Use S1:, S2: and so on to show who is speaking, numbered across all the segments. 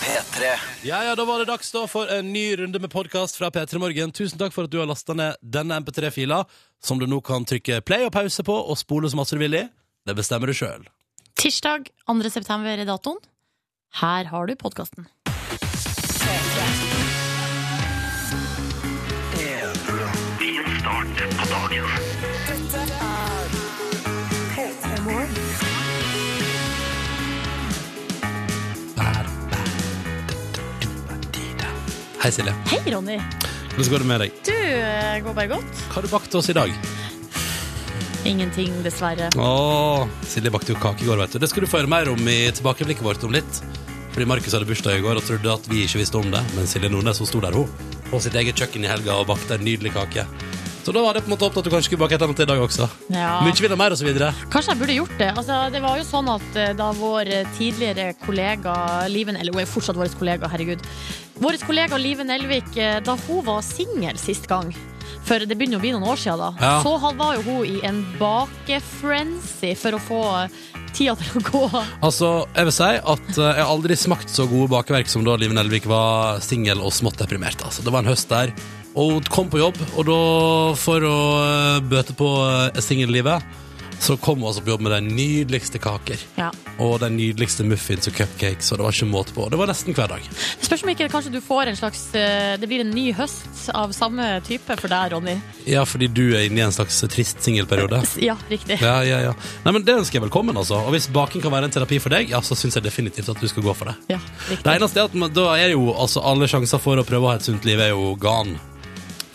S1: P3.
S2: Ja, ja, da var det dags da for en ny runde med podkast fra P3 Morgen. Tusen takk for at du har lasta ned denne MP3-fila, som du nå kan trykke play og pause på og spole så masse du vil i. Det bestemmer du sjøl.
S3: Tirsdag 2. september er datoen. Her har du podkasten.
S2: Hei, Silje.
S3: Hei, Ronny.
S2: Hvordan går det med deg?
S3: Du eh, går bare godt.
S2: Hva har du bakt til oss i dag?
S3: Ingenting, dessverre.
S2: Åh, Silje bakte jo kake i går, vet du. Det skal du få høre mer om i tilbakeblikket vårt om litt. Fordi Markus hadde bursdag i går og trodde at vi ikke visste om det, men Silje Nordnes hun sto der, hun, på sitt eget kjøkken i helga og bakte en nydelig kake. Så da var det på en måte opp til at du kanskje skulle bake et eller annet i dag også.
S3: Ja.
S2: Mye vil ha mer, og så videre.
S3: Kanskje jeg burde gjort det. Altså, det var jo sånn at eh, Da vår eh, tidligere kollega Liven Eller hun er fortsatt vår kollega, herregud. Vår kollega Liven Elvik, eh, da hun var singel sist gang for det begynner å bli noen år siden da
S2: Ja.
S3: Så han var jo hun i en bakefrenzy for å få eh, tida til å gå.
S2: Altså, jeg vil si at eh, jeg har aldri smakt så gode bakeverk som da Liv Nelvik var singel og smått deprimert. Altså, det var en høst der, og hun kom på jobb, og da, for å eh, bøte på eh, singellivet, så kom hun altså på jobb med de nydeligste kaker.
S3: Ja.
S2: Og de nydeligste muffins og cupcakes, og det var ikke måte på. Det var nesten hver dag.
S3: Det spørs om ikke kanskje du får en slags eh, Det blir en ny høst av samme type for deg, Ronny.
S2: Ja, fordi du er inne i en slags trist singelperiode.
S3: S- Ja, riktig.
S2: Ja, ja, ja. Nei, men det ønsker jeg velkommen, altså. Og hvis baking kan være en terapi for deg, ja, så syns jeg definitivt at du skal gå for det.
S3: Ja,
S2: Det
S3: riktig.
S2: eneste er at man, da er jo altså, alle sjanser for å prøve å ha et sunt liv er jo gone.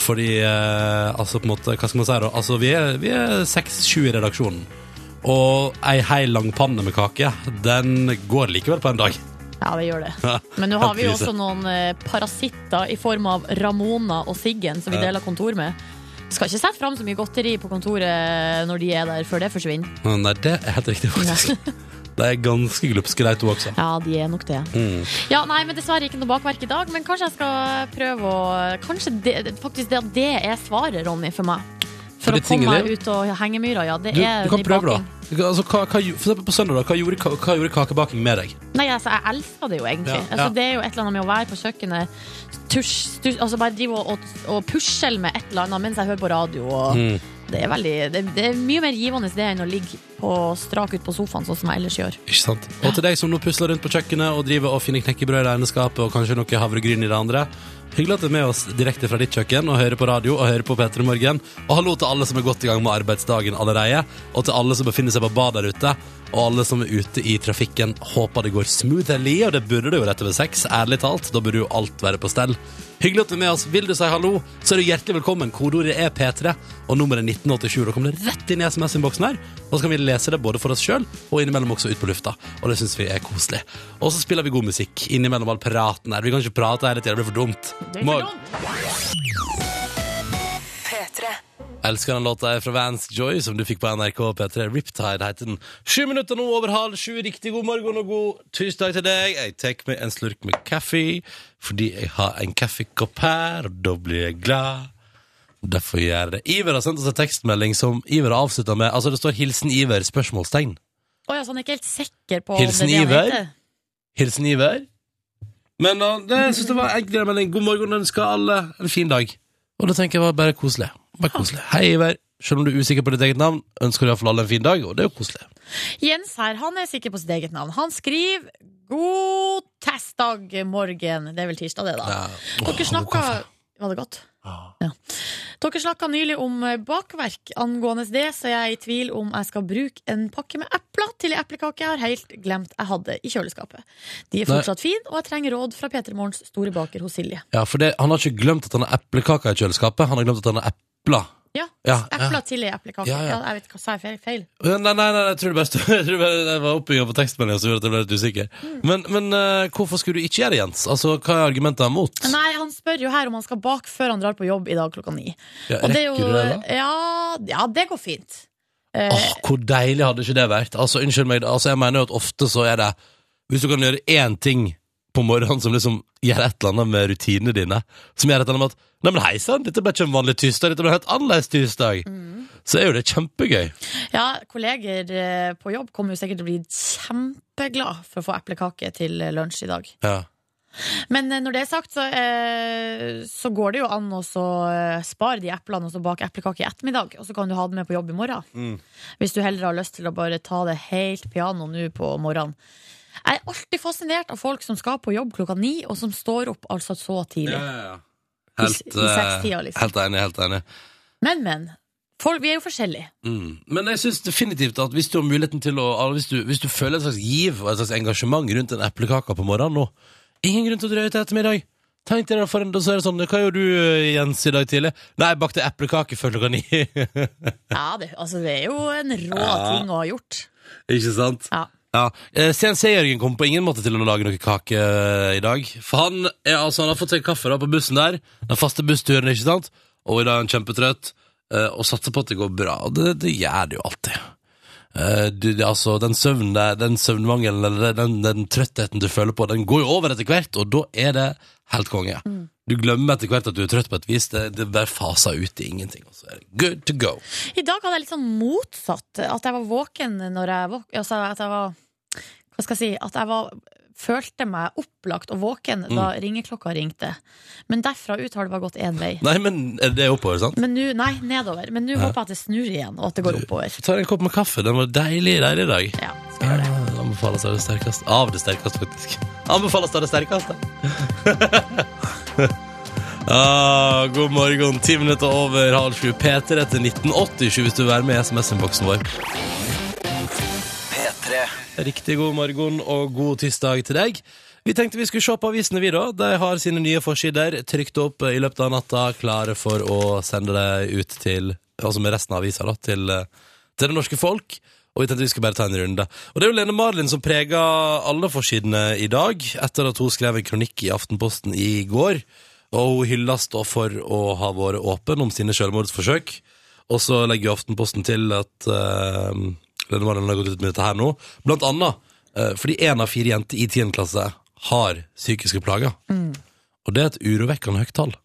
S2: Fordi eh, altså på en måte, hva skal man si da? Altså vi er, vi er 6-7 i redaksjonen. Og ei hei lang panne med kake, den går likevel på en dag.
S3: Ja, det gjør det.
S2: Ja,
S3: Men nå har vi jo
S2: krise.
S3: også noen eh, parasitter i form av Ramona og Siggen, som vi
S2: Ja.
S3: deler kontor med. Skal ikke sette fram så mye godteri på kontoret eh, når de er der, før det forsvinner.
S2: Men Nei, det er helt riktig faktisk. De er ganske glupske de to også.
S3: Ja, de er nok det.
S2: Mm.
S3: Ja, nei, men Dessverre ikke noe bakverk i dag, men kanskje jeg skal prøve å Kanskje det, faktisk det at det er svaret, Ronny, for meg. For,
S2: For
S3: å
S2: ditt
S3: komme meg
S2: singelliv?
S3: ut og henge myra, ja. Det
S2: Du,
S3: er
S2: du kan
S3: i
S2: prøve,
S3: baking.
S2: da. Altså, hva, hva, gjo- for eksempel på søndag, da. Hva gjorde, ka- hva gjorde kakebaking med deg?
S3: Nei, altså, jeg elsker det jo egentlig.
S2: Ja, ja.
S3: Altså, det er jo et eller annet med å være på kjøkkenet, tusj, tusj, altså bare drive og, og, og pusle med et eller annet mens jeg hører på radio. Og
S2: Mm.
S3: det, er veldig, det, det er mye mer givende det enn å ligge på strak ut på sofaen, sånn som jeg ellers gjør.
S2: Ikke sant? Og til deg som nå pusler rundt på kjøkkenet og driver og finner knekkebrød i det ene skapet og kanskje noe havregryn i det andre. Hyggelig at du er med oss direkte fra ditt kjøkken og hører på radio og hører på P3 Morgen. Og hallo til alle som er godt i gang med arbeidsdagen allerede, og til alle som befinner seg på bad der ute, og alle som er ute i trafikken. Håper det går smoothly, og det burde det jo rett over seks, ærlig talt. Da burde jo alt være på stell. Hyggelig at du er med oss. Vil du si hallo, så er du hjertelig velkommen. Kodeordet er P3, og nummeret er 1987. Da kommer det rett inn i SMS-innboksen her. Og så kan vi lese det både for oss sjøl og innimellom også ut på lufta. Og det syns vi er koselig. Og så spiller vi god musikk innimellom all praten her. Vi kan ikke prate hele tida, det blir for dumt. Må- Elsker den låta her fra Vance Joy som du fikk på NRK P3. Riptide heter den. Sju minutter nå over halv sju. Riktig god morgen og god tirsdag til deg. Jeg tar meg en slurk med kaffe fordi jeg har en kaffekopp her, og da blir jeg glad. Derfor gjør jeg det. Iver har sendt oss en tekstmelding som Iver har avslutta med. Altså, det står 'Hilsen Iver?' spørsmålstegn.
S3: Å ja, så han er ikke helt sikker på
S2: Hilsen
S3: om det er det han
S2: Iver.
S3: heter.
S2: Hilsen Iver. Men uh, det, jeg synes det var en grei melding. God morgen, ønsker alle en fin dag. Og det tenker jeg var bare koselig. Bare koselig. Hei, Iver. Selv om du er usikker på ditt eget navn, ønsker du iallfall alle en fin dag, og det er jo koselig.
S3: Jens her, han er sikker på sitt eget navn. Han skriver 'God testdag, morgen'. Det er vel tirsdag, det, da.
S2: Ja. Åh,
S3: Dere snakka
S2: kaffe.
S3: Var det godt?
S2: Ja.
S3: Ja. Dere snakka nylig om eh, bakverk. Angående det så er jeg i tvil om jeg skal bruke en pakke med epler til ei eplekake jeg har helt glemt jeg hadde i kjøleskapet. De er
S2: Nei.
S3: fortsatt fine, og jeg trenger råd fra Peter Morgens store baker hos Silje.
S2: Ja, for det, han har ikke glemt at han har eplekaker i kjøleskapet. Han har glemt at han har epler.
S3: Ja,
S2: Ja,
S3: epler til ei eplekake.
S2: Ja,
S3: Ja,
S2: ja.
S3: jeg vet hva sa jeg feil? feil.
S2: Nei, nei, nei, nei, jeg tror det bare stod- jeg tror bare det var oppbygginga på tekstmeldinga som gjorde at jeg ble litt usikker. Men, men eh, hvorfor skulle du ikke gjøre det, Jens? Altså, Hva er argumentene mot?
S3: Nei, han spør jo her om han skal bake før han drar på jobb i dag klokka ni.
S2: Ja,
S3: Og det
S2: rekker
S3: er jo-
S2: du det, da?
S3: Ja, ja, det går fint. Eh,
S2: Åh, hvor deilig hadde ikke det vært? Altså, unnskyld meg, altså, jeg mener jo at ofte så er det Hvis du kan gjøre én ting på morgenen som liksom gjør et eller annet med rutinene dine, som gjør et eller annet med at Nei, men hei sann, dette ble ikke en vanlig tirsdag, dette ble en helt annerledes tirsdag.
S3: Mm.
S2: Så er jo det kjempegøy.
S3: Ja, kolleger eh, på jobb kommer jo sikkert til å bli kjempeglad for å få eplekake til eh, lunsj i dag.
S2: Ja.
S3: Men eh, når det er sagt, så, eh, så går det jo an å så, eh, spare de eplene og så bake eplekake i ettermiddag. Og så kan du ha det med på jobb i morgen.
S2: Mm.
S3: Hvis du heller har lyst til å bare ta det helt piano nå på morgenen. Jeg er alltid fascinert av folk som skal på jobb klokka ni, og som står opp altså så tidlig.
S2: Helt,
S3: I- i sekstida, liksom.
S2: eh, helt enig, helt enig.
S3: Men, men. Folk, vi er jo forskjellige.
S2: Mm. Men jeg synes definitivt at hvis du har muligheten til å al- hvis du, hvis du føler en slags giv og et slags engasjement rundt en eplekake på morgenen nå Ingen grunn til å drøye til ettermiddag. Tenk deg da for en, da så er det sånn Hva gjorde du, eh, Jens, i dag tidlig? Nei, jeg bakte eplekake før klokka ni.
S3: Ja, det, altså, det er jo en rå
S2: Ja.
S3: ting å ha gjort.
S2: Ikke sant?
S3: Ja.
S2: Ja. Eh, CNC-Jørgen kom på ingen måte til å lage noe kake eh, i dag. For han, er, altså, han har fått seg kaffe da på bussen der, den faste bussturen, ikke sant? Og i dag er han kjempetrøtt, eh, og satser på at det går bra. Og det, det gjør det jo alltid. Eh, du, det, altså, den søvnen der, den søvnmangelen, eller den, den trøttheten du føler på, den går jo over etter hvert, og da er det helt konge. Du glemmer etter hvert at du er trøtt på et vis, det, det bare faser ut i ingenting, og så er det good to go.
S3: I dag hadde jeg litt sånn motsatt. At jeg var våken når jeg våk... Altså at jeg var Hva skal jeg si? At jeg var, følte meg opplagt og våken da ringeklokka ringte. Men derfra ut har det bare gått én vei.
S2: Nei, men eh, det er oppover, sant?
S3: Men nå, nei, nedover. Men nå håper jeg at det snur igjen, og at det går oppover.
S2: Så tar jeg en kopp med kaffe. Den var deilig, deilig i dag.
S3: Ja, skal gjøre
S2: Ja,
S3: det.
S2: Anbefales av det sterkeste. Av det sterkeste, faktisk. Anbefales av det sterkeste. ah, god morgen. Ti minutter over halv sju. Peter etter 1987 hvis du vil være med i SMS-innboksen vår.
S1: P3
S2: Riktig god morgen og god tirsdag til deg. Vi tenkte vi skulle se på avisene, vi da. De har sine nye forsider trykt opp i løpet av natta, klare for å sende det ut til Altså med resten av avisa, da, til, eh, til det norske folk. Og vi tenkte vi skulle bare ta en runde. Og det er jo Lene Marlin som preger alle forsidene i dag, etter at hun skrev en kronikk i Aftenposten i går. Og hun hylles da for å ha vært åpen om sine selvmordsforsøk. Og så legger jo Aftenposten til at uh, Lene Marlen har gått ut med dette her nå. Blant annet eh, fordi én av fire jenter i 10. klasse har psykiske plager.
S3: Mm.
S2: Og det er et urovekkende høyt tall.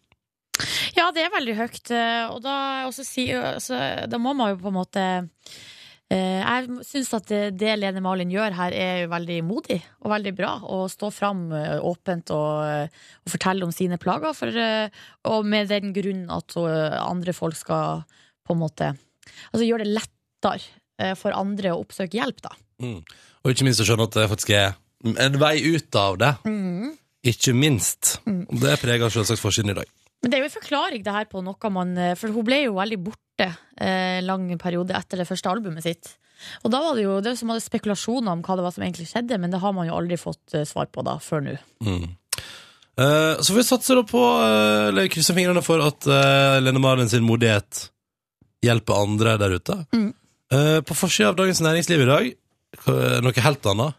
S3: Ja, det er veldig høyt. eh, Og da, også si, altså, da må man jo på en måte eh, Jeg syns at det, det Lene Malin gjør her, er jo veldig modig og veldig bra. Å stå fram eh, åpent og, eh, og fortelle om sine plager, for, eh, og med den grunn at eh, andre folk skal på en måte Altså gjøre det lettere eh, for andre å oppsøke hjelp, da.
S2: Og ikke minst å skjønne at det faktisk er en vei ut av det. Ikke minst. Det preger selvsagt forsiden i dag.
S3: Men det er jo en forklaring det her på noe man eh, For hun ble jo veldig borte eh, lang periode etter det første albumet sitt. Og da var det jo det var som hadde spekulasjoner om hva det var som egentlig skjedde, men det har man jo aldri fått eh, svar på da, før nå.
S2: Mm. Eh, så får vi satse da på eh, eller krysse fingrene for at eh, Lene Marlen sin modighet hjelper andre der ute.
S3: Mm.
S2: Eh, på forsida av Dagens Næringsliv i dag, eh, noe helt annet.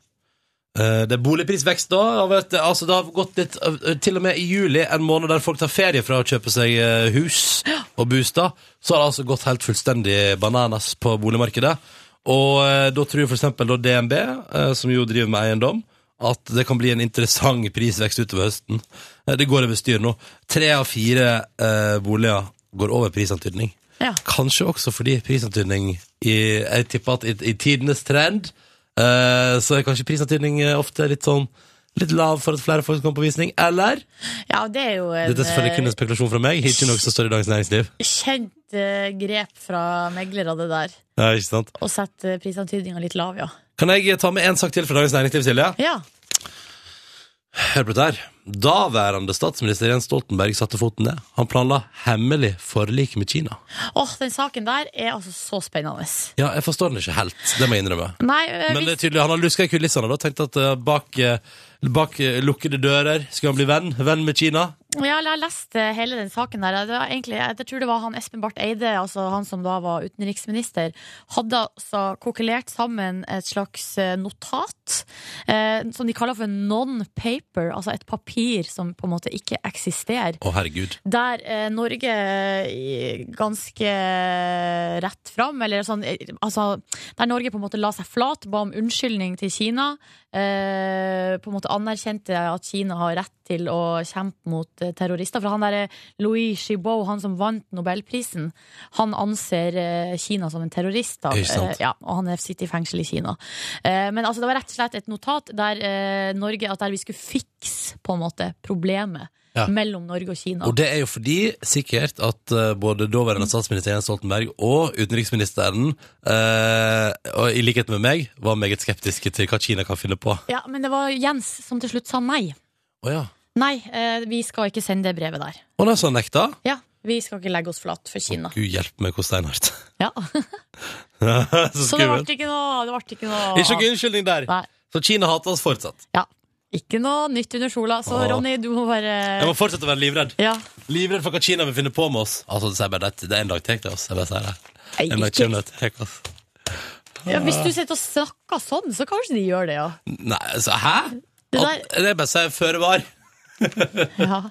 S2: Eh, det er boligprisvekst da. og Vet, du, altså, det har gått litt, eh, til og med i juli, en måned der folk tar ferie fra å kjøpe seg eh, hus og bostad, så har det altså gått helt fullstendig bananas på boligmarkedet. Og eh, da tror f.eks. DNB, eh, som jo driver med eiendom, at det kan bli en interessant prisvekst utover høsten. Eh, det går over styr nå. Tre av fire eh, boliger går over prisantydning.
S3: Ja.
S2: Kanskje også fordi prisantydning i, Jeg tipper at i, i tidenes trend eh, Så er kanskje prisantydning eh, ofte litt sånn Litt lav for at flere folk kommer på visning Eller?
S3: ja, det er jo en
S2: Dette er selvfølgelig kun
S3: eh,
S2: en spekulasjon fra meg Ikke noe som står i Dagens Næringsliv
S3: kjent eh, grep fra meglere, det der.
S2: ja, ikke sant?
S3: Å sette eh, prisantydninga litt lav, ja.
S2: Kan jeg ta med en sak til fra Dagens Næringsliv, Silje?
S3: Ja,
S2: Hør på dette her Daværende statsminister Jens Stoltenberg satte foten ned Han planla hemmelig forlik med Kina
S3: Åh, den saken der er altså så spennende.
S2: Ja, jeg forstår den ikke helt Det må jeg innrømme
S3: Nei, eh,
S2: Men
S3: hvis-
S2: det er tydelig, han har luska i kulissene og tenkt at eh, bak, eh, bak eh, lukkede dører skal han bli venn. Venn med Kina.
S3: Ja, jeg har lest eh, hele den saken der. Det var egentlig, jeg tror det var han Espen Barth Eide, altså han som da var utenriksminister, hadde altså kokkelert sammen et slags eh, notat, eh, som de kaller for non-paper, altså et papir som på en måte ikke eksisterer.
S2: Å, herregud.
S3: Der eh, Norge i- ganske eh, rett fram, eller sånn eh, Altså, der Norge på en måte la seg flat, ba om unnskyldning til Kina. Eh, på en måte anerkjente at Kina har rett til å kjempe mot eh, terrorister. For han derre Louis Xibo, han som vant nobelprisen, han anser eh, Kina som en terrorist. Da.
S2: Ikke sant?
S3: Eh, ja, og han er- sitter i fengsel i Kina. Eh, men altså, det var rett og slett et notat der eh, Norge At der vi skulle fikse på en måte problemet
S2: Ja.
S3: mellom Norge og Kina.
S2: Og det er jo fordi sikkert at eh, både daværende statsminister Jens Stoltenberg og utenriksministeren, eh, og i likhet med meg, var meget skeptiske til hva Kina kan finne på. Å
S3: Ja, Men det var Jens som til slutt sa nei.
S2: ja.
S3: Nei, eh, vi skal ikke sende det brevet der.
S2: Og da sa han nekta.
S3: Ja, Vi skal ikke legge oss flat for Kina.
S2: Gud hjelpe meg hvor steinhardt.
S3: Ja.
S2: Så
S3: Så det ble
S2: skummelt.
S3: ikke noe, det ble ikke noe
S2: Ikke noen unnskyldning der.
S3: Nei.
S2: Så Kina hater oss fortsatt.
S3: Ja. Ikke noe nytt under sola. Så
S2: Åh.
S3: Ronny, du må
S2: Jeg
S3: bare
S2: må fortsette å være livredd.
S3: ja.
S2: Livredd for hva Kina vil finne på med oss. Altså, det er bare det, det er en dag tek det oss. Jeg bare sier det.
S3: Nei,
S2: En dag
S3: ikke-
S2: Kina tek oss.
S3: ja, Hvis du sitter og snakker sånn, så kanskje de gjør det, ja.
S2: Nei, altså, hæ?
S3: Det
S2: At- Det er bare å si føre var.
S3: ja.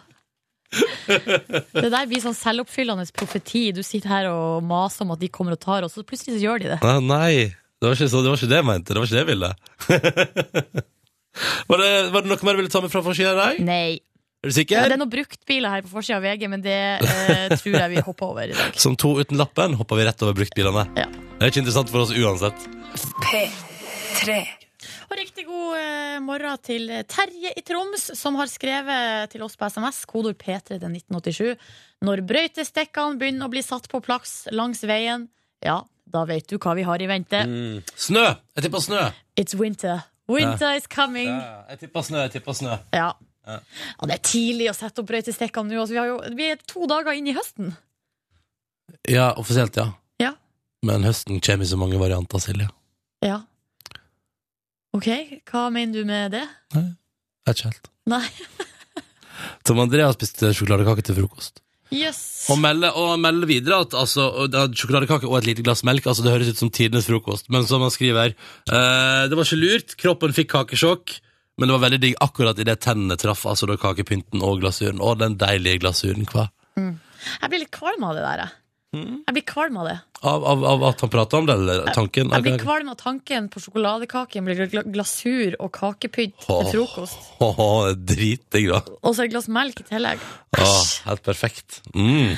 S3: Det der blir sånn selvoppfyllende profeti. Du sitter her og maser om at de kommer og tar oss, og så plutselig så gjør de det.
S2: Nei, nei. Det, var ikke, så, det var ikke det jeg mente. Det var ikke det jeg ville. var, det, var det noe mer du ville ta med fra forsida i dag?
S3: Nei.
S2: Er du
S3: Ja,
S2: sikker?
S3: det er noen bruktbiler her på forsida av VG, men det eh, tror jeg vi hopper over i dag.
S2: Som to uten lappen hopper vi rett over bruktbilene.
S3: Ja.
S2: Det er ikke interessant for oss uansett.
S1: P3.
S3: Og riktig god eh, morgen til Terje i Troms, som har skrevet til oss på SMS, kodord P3 til 1987. Når brøytestekkene begynner å bli satt på plass langs veien, ja, da vet du hva vi har i vente.
S2: Mm. Snø! Jeg tipper snø.
S3: It's winter. Winter is coming.
S2: Jeg tipper snø, jeg tipper snø.
S3: Ja.
S2: Ja.
S3: ja, det er tidlig å sette opp brøytestekkene nå. Altså, vi, har jo, vi er to dager inn i høsten.
S2: Ja, offisielt, ja.
S3: Ja.
S2: Men høsten kommer i så mange varianter, Silje.
S3: Ja. Ok, hva mener du med det?
S2: Det er ikke helt.
S3: Nei.
S2: Tom André har spist eh, sjokoladekake til frokost.
S3: Jøss.
S2: Og melder, og melder videre at altså, og det er sjokoladekake og et lite glass melk altså, Det høres ut som tidenes frokost. Men som han skriver eh, Det var ikke lurt. Kroppen fikk kakesjokk. Men det var veldig digg akkurat idet tennene traff altså da kakepynten og glasuren. Og den deilige glasuren hva?
S3: Jeg blir litt kvalm av det der. jeg. Jeg blir kvalm av det.
S2: Av, av, av at han prater om det, eller tanken?
S3: Jeg blir kvalm av tanken på sjokoladekake med gla- glasur og kakepynt til
S2: Åh.
S3: frokost.
S2: Åh, Dritdigg, da.
S3: Og så et glass melk i tillegg.
S2: Ah, helt perfekt. Mm.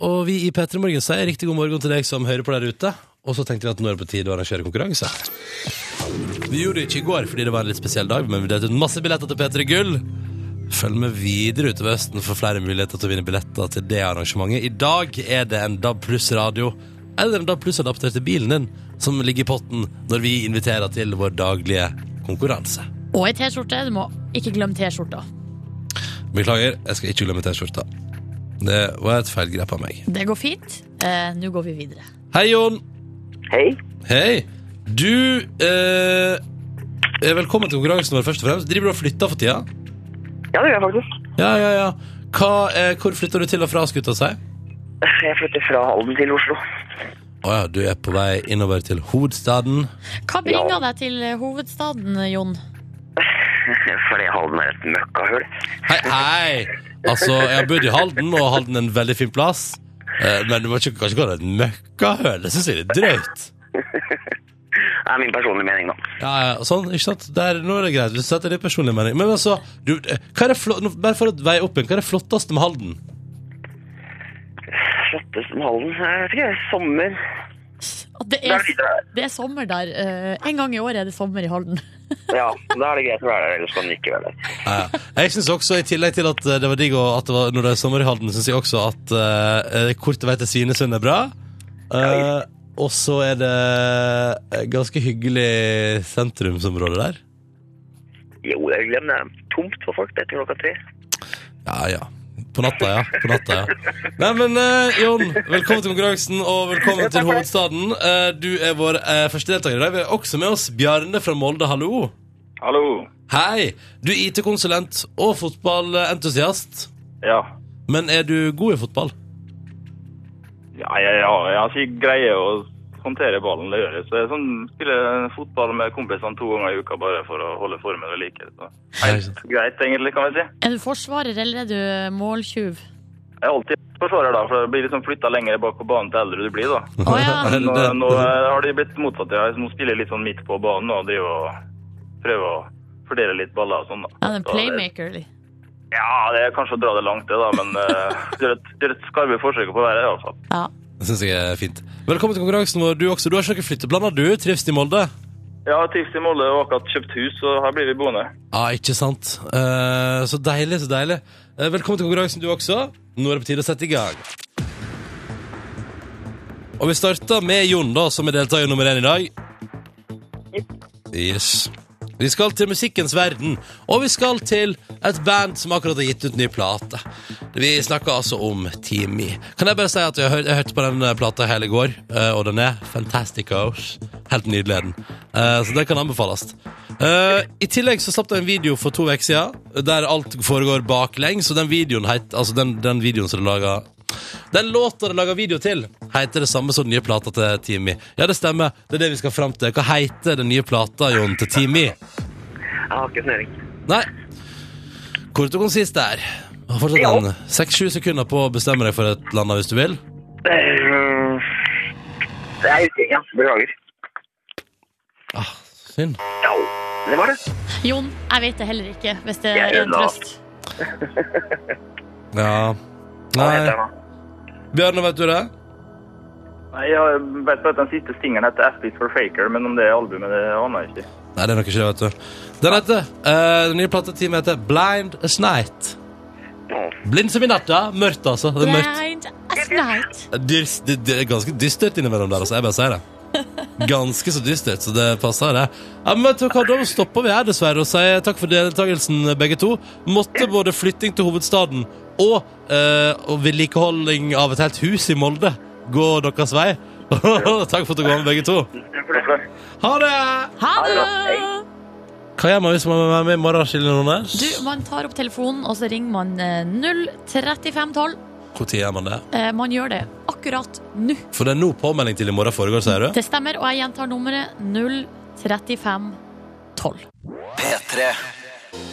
S2: og vi i P3 Morgen sier riktig god morgen til deg som hører på der ute. Og så tenkte vi at nå er det på tide å arrangere konkurranse. Vi gjorde det ikke i går fordi det var en litt spesiell dag, men vi delte ut masse billetter til P3 Gull. Følg med videre utover høsten for flere muligheter til å vinne billetter til det arrangementet. I dag er det en DAB pluss-radio eller en DAB pluss-adapter til bilen din som ligger i potten når vi inviterer til vår daglige konkurranse.
S3: Og ei T-skjorte. Du må ikke glemme T-skjorta.
S2: Beklager, jeg skal ikke glemme T-skjorta. Det var et feilgrep av meg.
S3: Det går fint. Eh, Nå går vi videre.
S2: Hei, Jon.
S4: Hei.
S2: Hei. Du eh, er velkommen til konkurransen vår, først og fremst. Driver du og flytter for tida?
S4: Ja, det gjør jeg faktisk.
S2: Ja, ja, ja. Hva, eh, hvor flytter du til og fra, skuta si?
S4: Jeg flytter fra Halden til Oslo.
S2: Å ja, du er på vei innover til hovedstaden.
S3: Hva bringer deg til eh, hovedstaden, Jon?
S4: Fordi Halden er et møkkahull.
S2: Hei, hei! Altså, jeg har bodd i Halden, og Halden er en veldig fin plass. Eh, men du må ikke kanskje kalle det et møkkahøl. Det syns jeg er litt drøyt.
S4: Det er min personlige mening, da.
S2: Ja, ja, sånn, ikke sant? Der, nå er det greit, hvis du setter din personlige mening Men altså, du, eh, hva er det flott, nå, bare for å veie opp igjen Hva er det flotteste med Halden?
S4: Flotteste som Halden. Jeg vet ikke, det er sommer.
S3: At Det
S4: Da
S3: er,
S4: er det greit.
S3: det er sommer der. eh, En gang i året er det sommer i Halden.
S4: Ja, da er det greit å være der, ellers kan du ikke være der.
S2: Ja, ja. jeg synes også, i tillegg til at eh, det var digg og at det var, Når det er sommer i Halden, synes jeg også at uh, Kort vei til Svinesund er bra Eh, Og så er det eh, Ganske hyggelig Sentrumsområde der
S4: Jo, jeg glemmer det. Tomt for folk etter klokka tre.
S2: Ja, ja. På natta, ja. På natta, ja. Nei, men eh, Jon, velkommen til konkurransen, og velkommen til hovedstaden. Eh, du er vår eh, første deltaker i dag. Vi har også med oss Bjarne fra Molde, hallo.
S5: Hallo.
S2: Hei. Du er IT-konsulent og fotballentusiast.
S5: Ja.
S2: Men er du god i fotball?
S5: Ja, jeg, jeg, har- jeg har ikke greie å håndtere ballen, det gjør jeg. Så jeg sånn, spiller fotball med kompisene to ganger i uka bare for å holde formen ved like. Så. Helt greit, egentlig, kan vi si.
S3: Er du forsvarer, eller er du måltyv?
S5: Jeg er alltid forsvarer, da, for det blir liksom flytta lenger bak på banen til eldre du blir, da.
S3: Å ja.
S5: Nå, nå eh, har det blitt motsatt. Jeg nå spiller jeg litt sånn midt på banen og driver og prøver å fordele litt baller og sånn, da.
S3: Han er en
S5: Så det-
S3: playmaker. eller?
S5: Ja, det er kanskje å dra det langt, det, da, men eh, gjør et, gjør et skarve forsøk på å være det, iallfall.
S3: Ja.
S2: Det syns jeg er fint. Velkommen til konkurransen vår, du også. Du har ikke noen flytteplaner, du? Trives i Molde?
S5: Jo, Jeg har trives i Molde og akkurat kjøpt hus, så her blir vi boende.
S2: Ja, ikke sant. Eh, så deilig, så deilig. Eh, velkommen til konkurransen, du også. Nå er det på tide å sette i gang. Og vi starter med Jon, da, som er deltaker nummer én i dag. Yes. Vi skal til musikkens verden, og vi skal til et band som akkurat har gitt ut ny plate. Vi snakker altså om Timmy. Kan jeg bare si at jeg, hør, jeg hørte på den eh, plata hele i går, eh, og den er fantasticos. Helt nydelig er den. Eh, Så den kan anbefales. Eh, I tillegg så slapp de en video for to uker siden, der alt foregår baklengs, og den videoen, het, altså den, den videoen som de laga den låta de lager video til, heter det samme som den nye plata til Timmy. Ja, det stemmer. Det er det vi skal fram til. Hva heter den nye plata, Jon, til Timmy?
S4: Jeg har ikke snøring.
S2: Nei. Kort og konsist der. Du har fortsatt en seks-sju sekunder på å bestemme deg for et eller annet hvis du vil.
S4: Eh, Det er ikke Ja, beklager.
S2: Ah, synd.
S4: Ja, det var det.
S3: Jon, jeg vet det heller ikke, hvis det
S4: Jeg
S3: er en
S4: ødela.
S3: trøst.
S2: Ja.
S4: Hva heter
S2: Nei.
S4: den da?
S2: Bjørne, vet du det?
S5: Nei, Jeg vet bare at den siste stingeren heter F is for Faker, men om det er albumet, det aner jeg ikke.
S2: Nei, det er nok ikke det, vet du. Den heter eh, Den nye plata til Timmy heter Blind as Night. Blind som i natta. Mørkt, altså. Det er mørkt.
S3: Blind as night.
S2: Dyrs- Det, det er ganske dystert innimellom der, altså. Jeg bare sier det. Ganske så dystert, så det passer, det. Ja, men vet du hva, Da stopper vi her, dessverre, og sier takk for deltakelsen, begge to. Måtte både flytting til hovedstaden og, eh, og vedlikeholding av et helt hus i Molde gå deres vei. takk for at du kom, begge to. Ha det!
S3: Ha det!
S2: Hva gjør man hvis man er med i morgenskillet?
S3: Du, man tar opp telefonen, og så ringer man eh, 03512.
S2: Når gjør man det?
S3: Eh, Man gjør det akkurat nå.
S2: For det er nå påmelding til i morgen foregår, sier du?
S3: Det stemmer, og jeg gjentar nummeret 03512.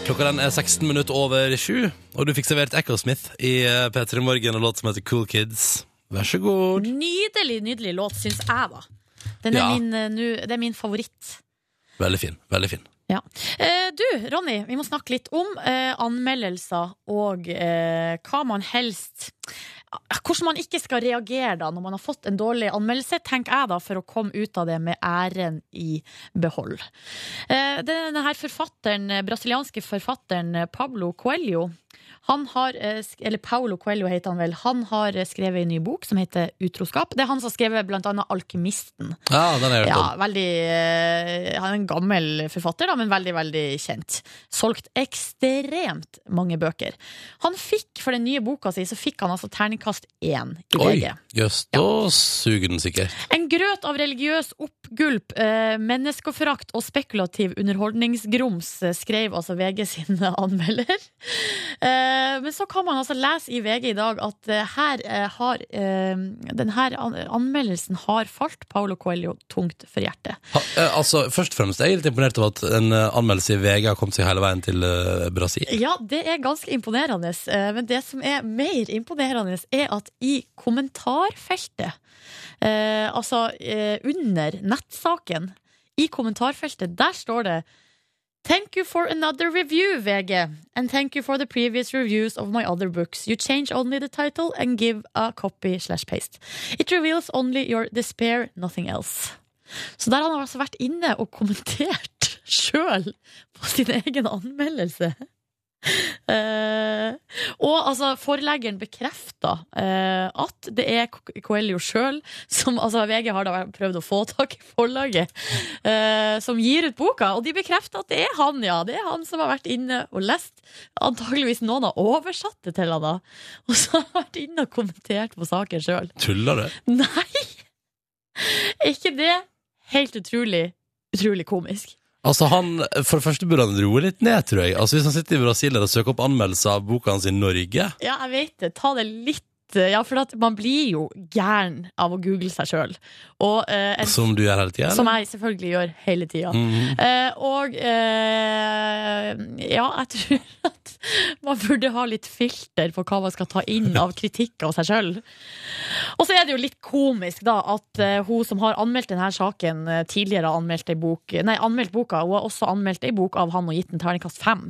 S2: Klokka den er 16 minutter over 7, og du fikk servert Echo Smith i eh, P3 Morgen og låt som heter Cool Kids. Vær så god.
S3: Nydelig, nydelig låt, syns jeg, da. Den er,
S2: Ja.
S3: min, eh, nu- det er min favoritt.
S2: Veldig fin. veldig fin.
S3: Ja. Eh, du, Ronny, vi må snakke litt om eh, anmeldelser og eh, hva man helst eh, Hvordan man ikke skal reagere da når man har fått en dårlig anmeldelse, tenker jeg da, for å komme ut av det med æren i behold. Eh, denne her forfatteren, eh, brasilianske forfatteren eh, Pablo Coelho han har, eh, sk- eller Paulo Coelho heter han vel, han har eh, skrevet en ny bok som heter Utroskap. Det er han som har skrevet blant annet Alkymisten.
S2: Ja, den har jeg hørt
S3: Ja,
S2: om.
S3: veldig eh, Han er en gammel forfatter, da, men veldig, veldig kjent. Solgt ekstremt mange bøker. Han fikk, for den nye boka si, så fikk han altså terningkast én i
S2: Oi,
S3: VG.
S2: jøss, da suger den sikkert.
S3: En grøt av religiøs oppgulp, eh, menneskeforakt og spekulativ underholdningsgrums, eh, skrev altså VG sin anmelder. Eh, men så kan man altså lese i VG i dag at eh, her eh, har eh, denne anmeldelsen har falt Paulo Coelho tungt for hjertet.
S2: Ha, eh, altså, Først og fremst, jeg er litt imponert over at en eh, anmeldelse i VG har kommet seg hele veien til eh, Brasil.
S3: Ja, det er ganske imponerende. eh, Men det som er mer imponerende, er at i kommentarfeltet, eh, altså eh, under nettsaken, i kommentarfeltet, der står det Thank you for another review, VG. And thank you for the previous reviews of my other books. You change only the title and give a copy slash paste. It reveals only your despair, nothing else. Så der har han altså vært inne og kommentert sjøl på sin egen anmeldelse. Eh, og altså, forleggeren bekrefta eh, at det er Co- Coelho sjøl som altså, VG har da prøvd å få tak i forlaget, eh, som gir ut boka. Og de bekrefter at det er han, ja. Det er han som har vært inne og lest. Antakeligvis noen har oversatt det til han da. Og så har han vært inne og kommentert på saken sjøl.
S2: Tuller du?
S3: Nei! Er ikke det helt utrolig, utrolig komisk?
S2: Altså, han, For det første burde han roe litt ned, tror jeg. Altså, Hvis han sitter i Brasil der og søker opp anmeldelser av boka hans i Norge
S3: Ja, jeg vet det. Ta det litt eh, ja, for at man blir jo gæren av å google seg sjøl. Som,
S2: Som du gjør hele tida?
S3: som jeg selvfølgelig gjør hele tida.
S2: Mhm.
S3: Eh, og eh, ja, jeg tror at man burde ha litt filter på hva man skal ta inn av kritikk av seg sjøl. Og så er det jo litt komisk da at eh, hun som har anmeldt denne saken, eh, tidligere har anmeldt, ei bok, nei, anmeldt boka, hun har også anmeldt ei bok av han og gitt den terningkast fem.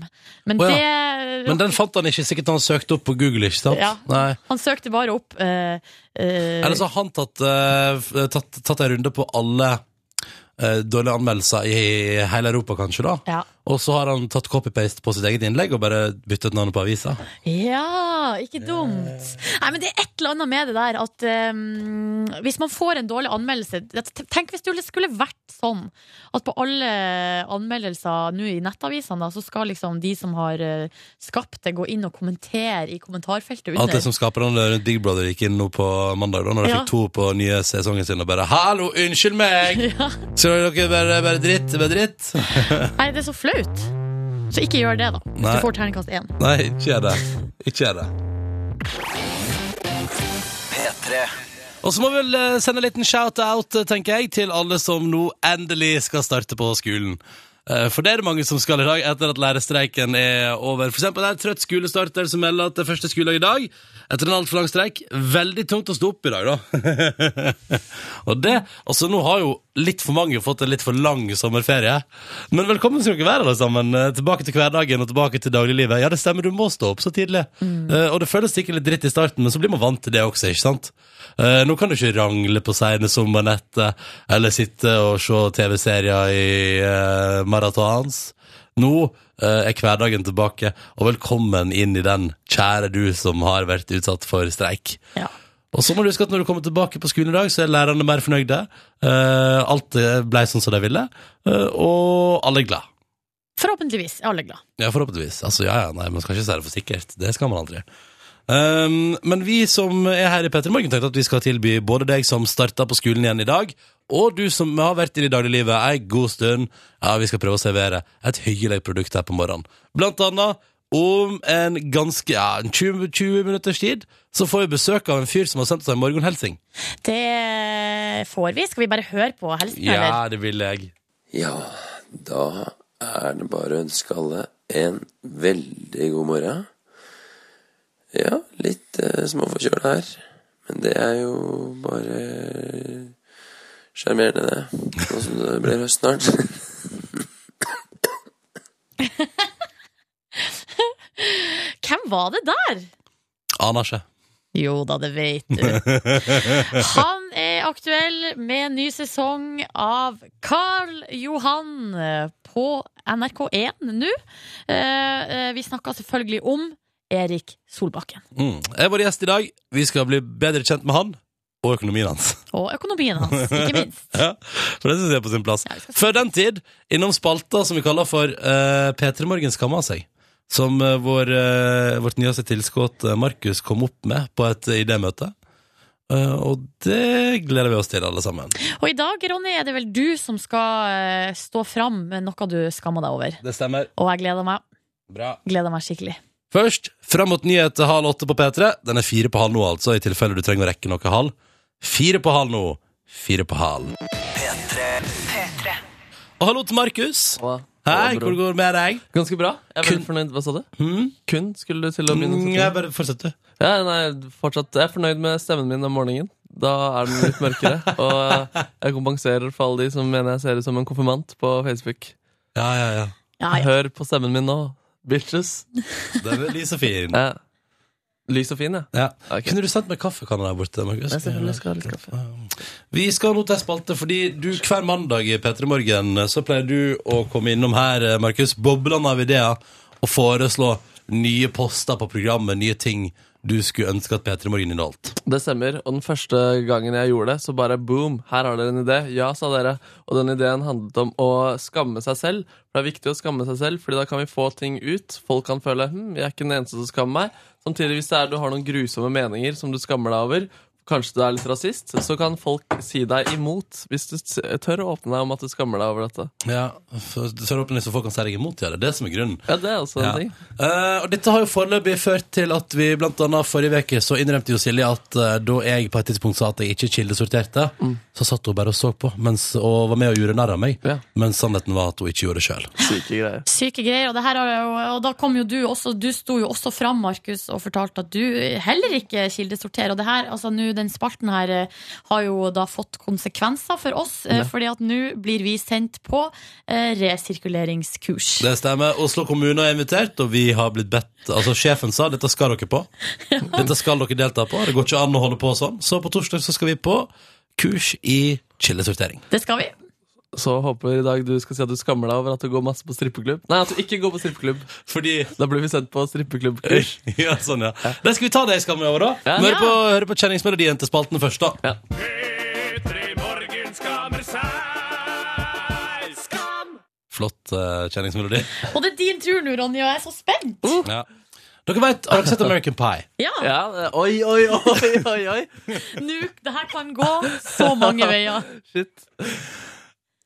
S3: Men
S2: Å ja.
S3: det
S2: Men den fant han ikke, sikkert han søkte opp på Google, ikke sant?
S3: Ja.
S2: Nei.
S3: Han søkte bare opp eh, eh,
S2: Eller så har han tatt, eh, f- tatt, tatt en runde på alle eh, dårlige anmeldelser i hele Europa, kanskje, da.
S3: Ja.
S2: Og så har han tatt copy-paste på sitt eget innlegg og bare byttet navnet på avisa.
S3: Ja, ikke dumt. Nei, men det er et eller annet med det der at eh, hvis man får en dårlig anmeldelse t- Tenk hvis det skulle vært sånn at på alle anmeldelser nå i nettavisene, da, så skal liksom de som har eh, skapt det, gå inn og kommentere i kommentarfeltet
S2: Alt det
S3: under.
S2: som skaperne rundt Big Brother gikk inn nå på mandag, da når de
S3: Ja.
S2: fikk to på nye sesongen sin, og bare 'Hallo, unnskyld meg!' Skal dere bare, bare dritt? Bare dritt?
S3: Nei, det er så flaut. Så ikke gjør det, da. Hvis
S2: Nei.
S3: du får terningkast én.
S2: Nei, ikke gjør det. Ikke gjør det. Og så må vi vel eh, sende en liten shout-out, eh, tenker jeg, til alle som nå endelig skal starte på skolen. Eh, For det er det mange som skal i dag, etter at lærerstreiken er over. For eksempel det er en trøtt skolestarter som melder at det er første skoledag i dag, etter en altfor lang streik. Veldig tungt å stå opp i dag, da. og det, altså nå har jo litt for mange fått en litt for lang sommerferie. Men velkommen skal dere være, alle sammen. Eh, Tilbake til hverdagen og tilbake til dagliglivet. Ja, det stemmer, du må stå opp så tidlig. Eh, Og det føles sikkert litt dritt i starten, men så blir man vant til det også, ikke sant? Eh, Nå kan du ikke rangle på seine sommernettet, eller sitte og se TV-serier i eh, maratons. Nå eh, er hverdagen tilbake, og velkommen inn i den, kjære du som har vært utsatt for streik.
S3: Ja.
S2: Og så må du huske at når du kommer tilbake på skolen i dag, så er lærerne mer fornøyde. Eh, alt eh, ble sånn som de ville, eh, og alle er glad.
S3: Forhåpentligvis er alle glad.
S2: Ja, forhåpentligvis. Altså, ja, ja, nei, man skal ikke si det for sikkert. Det skal man aldri. Um, men vi som er her i Petter Morgen, tenkte at vi skal tilby både deg som starta på skolen igjen i dag, og du som har vært i det daglige livet ei god stund. Ja, vi skal prøve å servere et hyggelig produkt her på morgenen. Blant annet om en ganske ja, en 20, 20 minutters tid så får vi besøk av en fyr som har sendt oss en morgenhelsing.
S3: Det får vi. Skal vi bare høre på helsen, eller?
S2: Ja, det vil jeg.
S6: Ja, da er det bare å ønske alle en veldig god morgen. Ja, litt eh, småforkjøla her, men det er jo bare eh, sjarmerende, det. Nå som det blir høst snart.
S3: Hvem var det der?
S2: Aner ikke.
S3: Jo da, det vet du. Han er aktuell med ny sesong av Carl Johan på NRK1 nå. Eh, eh, Vi snakka selvfølgelig om Erik Solbakken
S2: Mm. Jeg er vår gjest i dag. Vi skal bli bedre kjent med han og økonomien hans.
S3: og økonomien hans, ikke minst.
S2: Ja, for det synes jeg er på sin plass. Før den tid, innom spalta som vi kaller for uh, P3 Morgen skammer seg. Som eh, vår, eh, vårt nyeste tilskudd eh, Markus kom opp med på et eh, idémøte. Eh, og det gleder vi oss til, alle sammen.
S3: Og i dag, Ronny, er det vel du som skal eh, stå fram med noe du skammer deg over.
S2: Det stemmer.
S3: Og jeg gleder meg,
S2: Bra.
S3: gleder meg skikkelig.
S2: Først, fram mot nyheter halv åtte på P3. Den er fire på halv nå, altså, i tilfelle du trenger å rekke noe halv. Fire på halv nå. Fire på halv.
S1: P3.
S2: Og hallo til Markus.
S7: Hva?
S2: Hei,
S7: Hva,
S2: hvor
S7: bro?
S2: går det med deg?
S7: Ganske bra. Jeg er
S2: Kun-
S7: veldig fornøyd. Hva sa du?
S2: Hm?
S7: Kun skulle du til å begynne? å
S2: Mm,
S7: sette
S2: jeg
S7: ting?
S2: bare fortsetter.
S7: Ja, nei, fortsatt. Jeg er fornøyd med stemmen min om morgenen. Da er den litt mørkere. Og eh, jeg kompenserer for alle de som mener jeg ser ut som en konfirmant på Facebook.
S2: Ja, ja, ja.
S3: Ah, Ja, ja.
S7: Hør på stemmen min nå, bitches.
S2: Den er lys og fin.
S7: Eh, Lys og fin, jeg.
S2: Ja.
S7: Ok.
S2: Kunne du sendt meg kaffekanna der borte, Markus?
S7: Jeg selvfølgelig skal ha litt kaffe.
S2: Vi skal nå til en spalte, fordi du hver mandag i P3 Morgen så pleier du å komme innom her, eh, Markus, boblende av ideer, og foreslå nye poster på programmet, nye ting du skulle ønske at P3 Morgen inneholdt.
S7: Det stemmer. Og den første gangen jeg gjorde det, så bare boom, her har dere en idé. Ja, sa dere. Og den ideen handlet om å skamme seg selv. For det er viktig å skamme seg selv, Fordi da kan vi få ting ut. Folk kan føle hm, jeg er ikke den eneste som skammer meg. Samtidig, hvis det er du har noen grusomme meninger som du skammer deg over, kanskje du er litt rasist, så kan folk si deg imot. Hvis du s- tør å åpne deg om at du skammer deg over dette.
S2: Ja, for, så er det åpenlig så folk kan si deg imot, ja. Det er det som er grunnen.
S7: Ja, det er også en
S2: Ja.
S7: ting.
S2: Eh, og dette har jo foreløpig ført til at vi blant annet forrige veke så innrømte jo Silje at eh, da jeg på et tidspunkt sa at jeg ikke kildesorterte, så satt hun bare og så på mens, og var med og gjorde narr av meg.
S7: Ja.
S2: Men sannheten var at hun ikke gjorde det sjøl.
S7: Syke greier.
S3: Syke greier. Og, det her har jo, og da kom jo du også Du sto jo også fram, Markus, og fortalte at du heller ikke kildesorterer. Og det her, altså nå, den spalten her eh, har jo da fått konsekvenser for oss, eh, fordi at nå blir vi sendt på eh, resirkuleringskurs.
S2: Det stemmer. Oslo kommune er invitert, og vi har blitt bedt Altså, sjefen sa dette skal dere på. Dette skal dere delta på. Det går ikke an å holde på sånn. Så på torsdag så skal vi på kurs i kildesortering.
S3: Det skal vi.
S8: Så håper i dag du skal si at du skammer deg over at du går masse på strippeklubb. Nei, at du ikke går på strippeklubb.
S2: Fordi
S8: Da blir vi sendt på strippeklubbkurs.
S2: ja, sånn, ja. Da skal vi ta det i skammen over, da.
S8: Ja.
S2: Vi hører på, hører på kjenningsmelodien til spalten først, da.
S8: Ja.
S2: Flott eh, kjenningsmelodi.
S3: Og det er din tur nå, Ronny, og jeg er så spent!
S2: Ja. Dere vet, Har dere sett American Pie?
S3: Ja,
S8: Ja, det- oi, oi, oi, oi, oi.
S3: nå, det her kan gå så mange veier.
S8: Shit.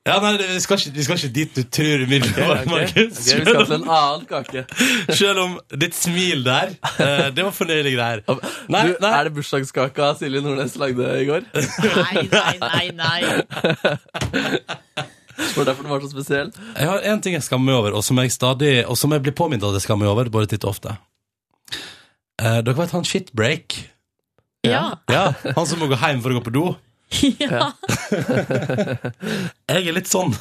S2: Ja, nei, det- Vi skal ikke, vi skal ikke dit du tror umiddelbart,
S8: Ok,
S2: Markus.
S8: ok, vi skal til en annen kake.
S2: Selv, om- selv om ditt smil der, eh, det var fornøyelige greier. Nei,
S8: Du,
S2: nei.
S8: Er det bursdagskaka Silje Nordnes lagde i går? Det
S3: Nei, nei, nei. nei.
S8: var derfor den var så spesiell.
S2: Jeg har en ting jeg skammer meg over, og som jeg stadig Og som jeg blir påminnet at jeg skammer meg over, både titt og ofte. Eh, dere vet han shitbreak?
S3: Ja.
S2: Ja, han som må gå hjem for å gå på do?
S3: ja.
S2: Jeg er litt sånn.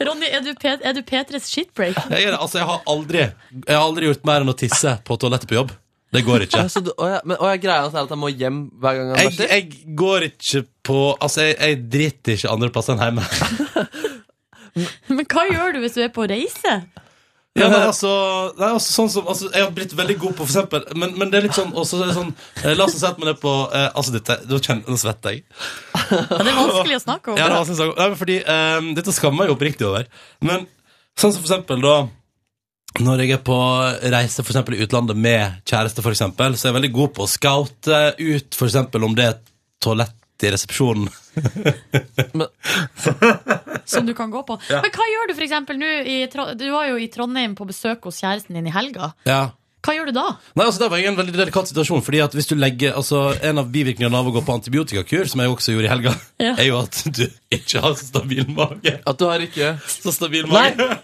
S3: Ronny, er du, Pet er du Petres shitbreak?
S2: Jeg, er, det. altså, jeg, har aldri, jeg har aldri gjort mer enn å tisse på toalettet på jobb. Det går ikke.
S8: Ja, så du, å, ja, men å, ja, greia er at han må hjem hver gang han
S2: Jeg,
S8: bæsjer?
S2: jeg går ikke på Altså, jeg, jeg driter ikke andre plasser enn hjemme.
S3: Men hva gjør du hvis du er på reise?
S2: Ja, nei, altså, nei, altså, sånn som, altså, jeg har blitt veldig god på, for eksempel Men, men det er litt sånn, også, er det sånn eh, La oss si at man er på eh, Altså, dette, da kjenner nå svetter jeg.
S3: Ja, det er vanskelig å snakke om.
S2: Ja, det var sånn sak- Nei, men fordi eh, Dette skammer jeg jo oppriktig over. Men sånn som for eksempel da når jeg er på reise for eksempel, i utlandet med kjæreste, for eksempel, så er jeg veldig god på å scoute ut for eksempel, om det er et toalett i resepsjonen.
S3: som du kan gå på. Men hva gjør du for eksempel nå? i Tro- Du var jo i Trondheim på besøk hos kjæresten din i helga.
S2: Ja.
S3: Hva gjør du da?
S2: Nei, altså Det var en veldig delikat situasjon. fordi at hvis du legger, altså En av bivirkningene av å gå på antibiotikakur, som jeg også gjorde i helga,
S3: Ja.
S2: er jo at du ikke har så stabil mage.
S8: At du har ikke
S2: Så stabil mage.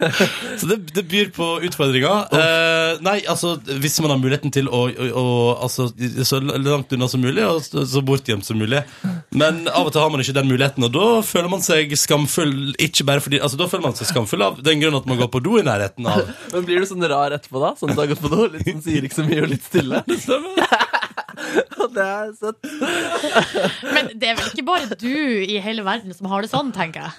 S2: så det, det byr på utfordringer. Eh, nei, altså hvis man har muligheten til å, å, å altså, Så langt unna som mulig, og så- så bortgjemt som mulig. Men av og til har man ikke den muligheten, og da føler man seg skamfull. Ikke bare fordi, altså Da føler man seg skamfull av den grunn at man går på do i nærheten av
S8: Men blir du sånn rar etterpå, da? Sånn at du har gått på do? Litt sånn sier ikke så mye og litt stille? Og det er søtt.
S3: Men det er vel ikke bare du i hele verden som har det sånn, tenker jeg.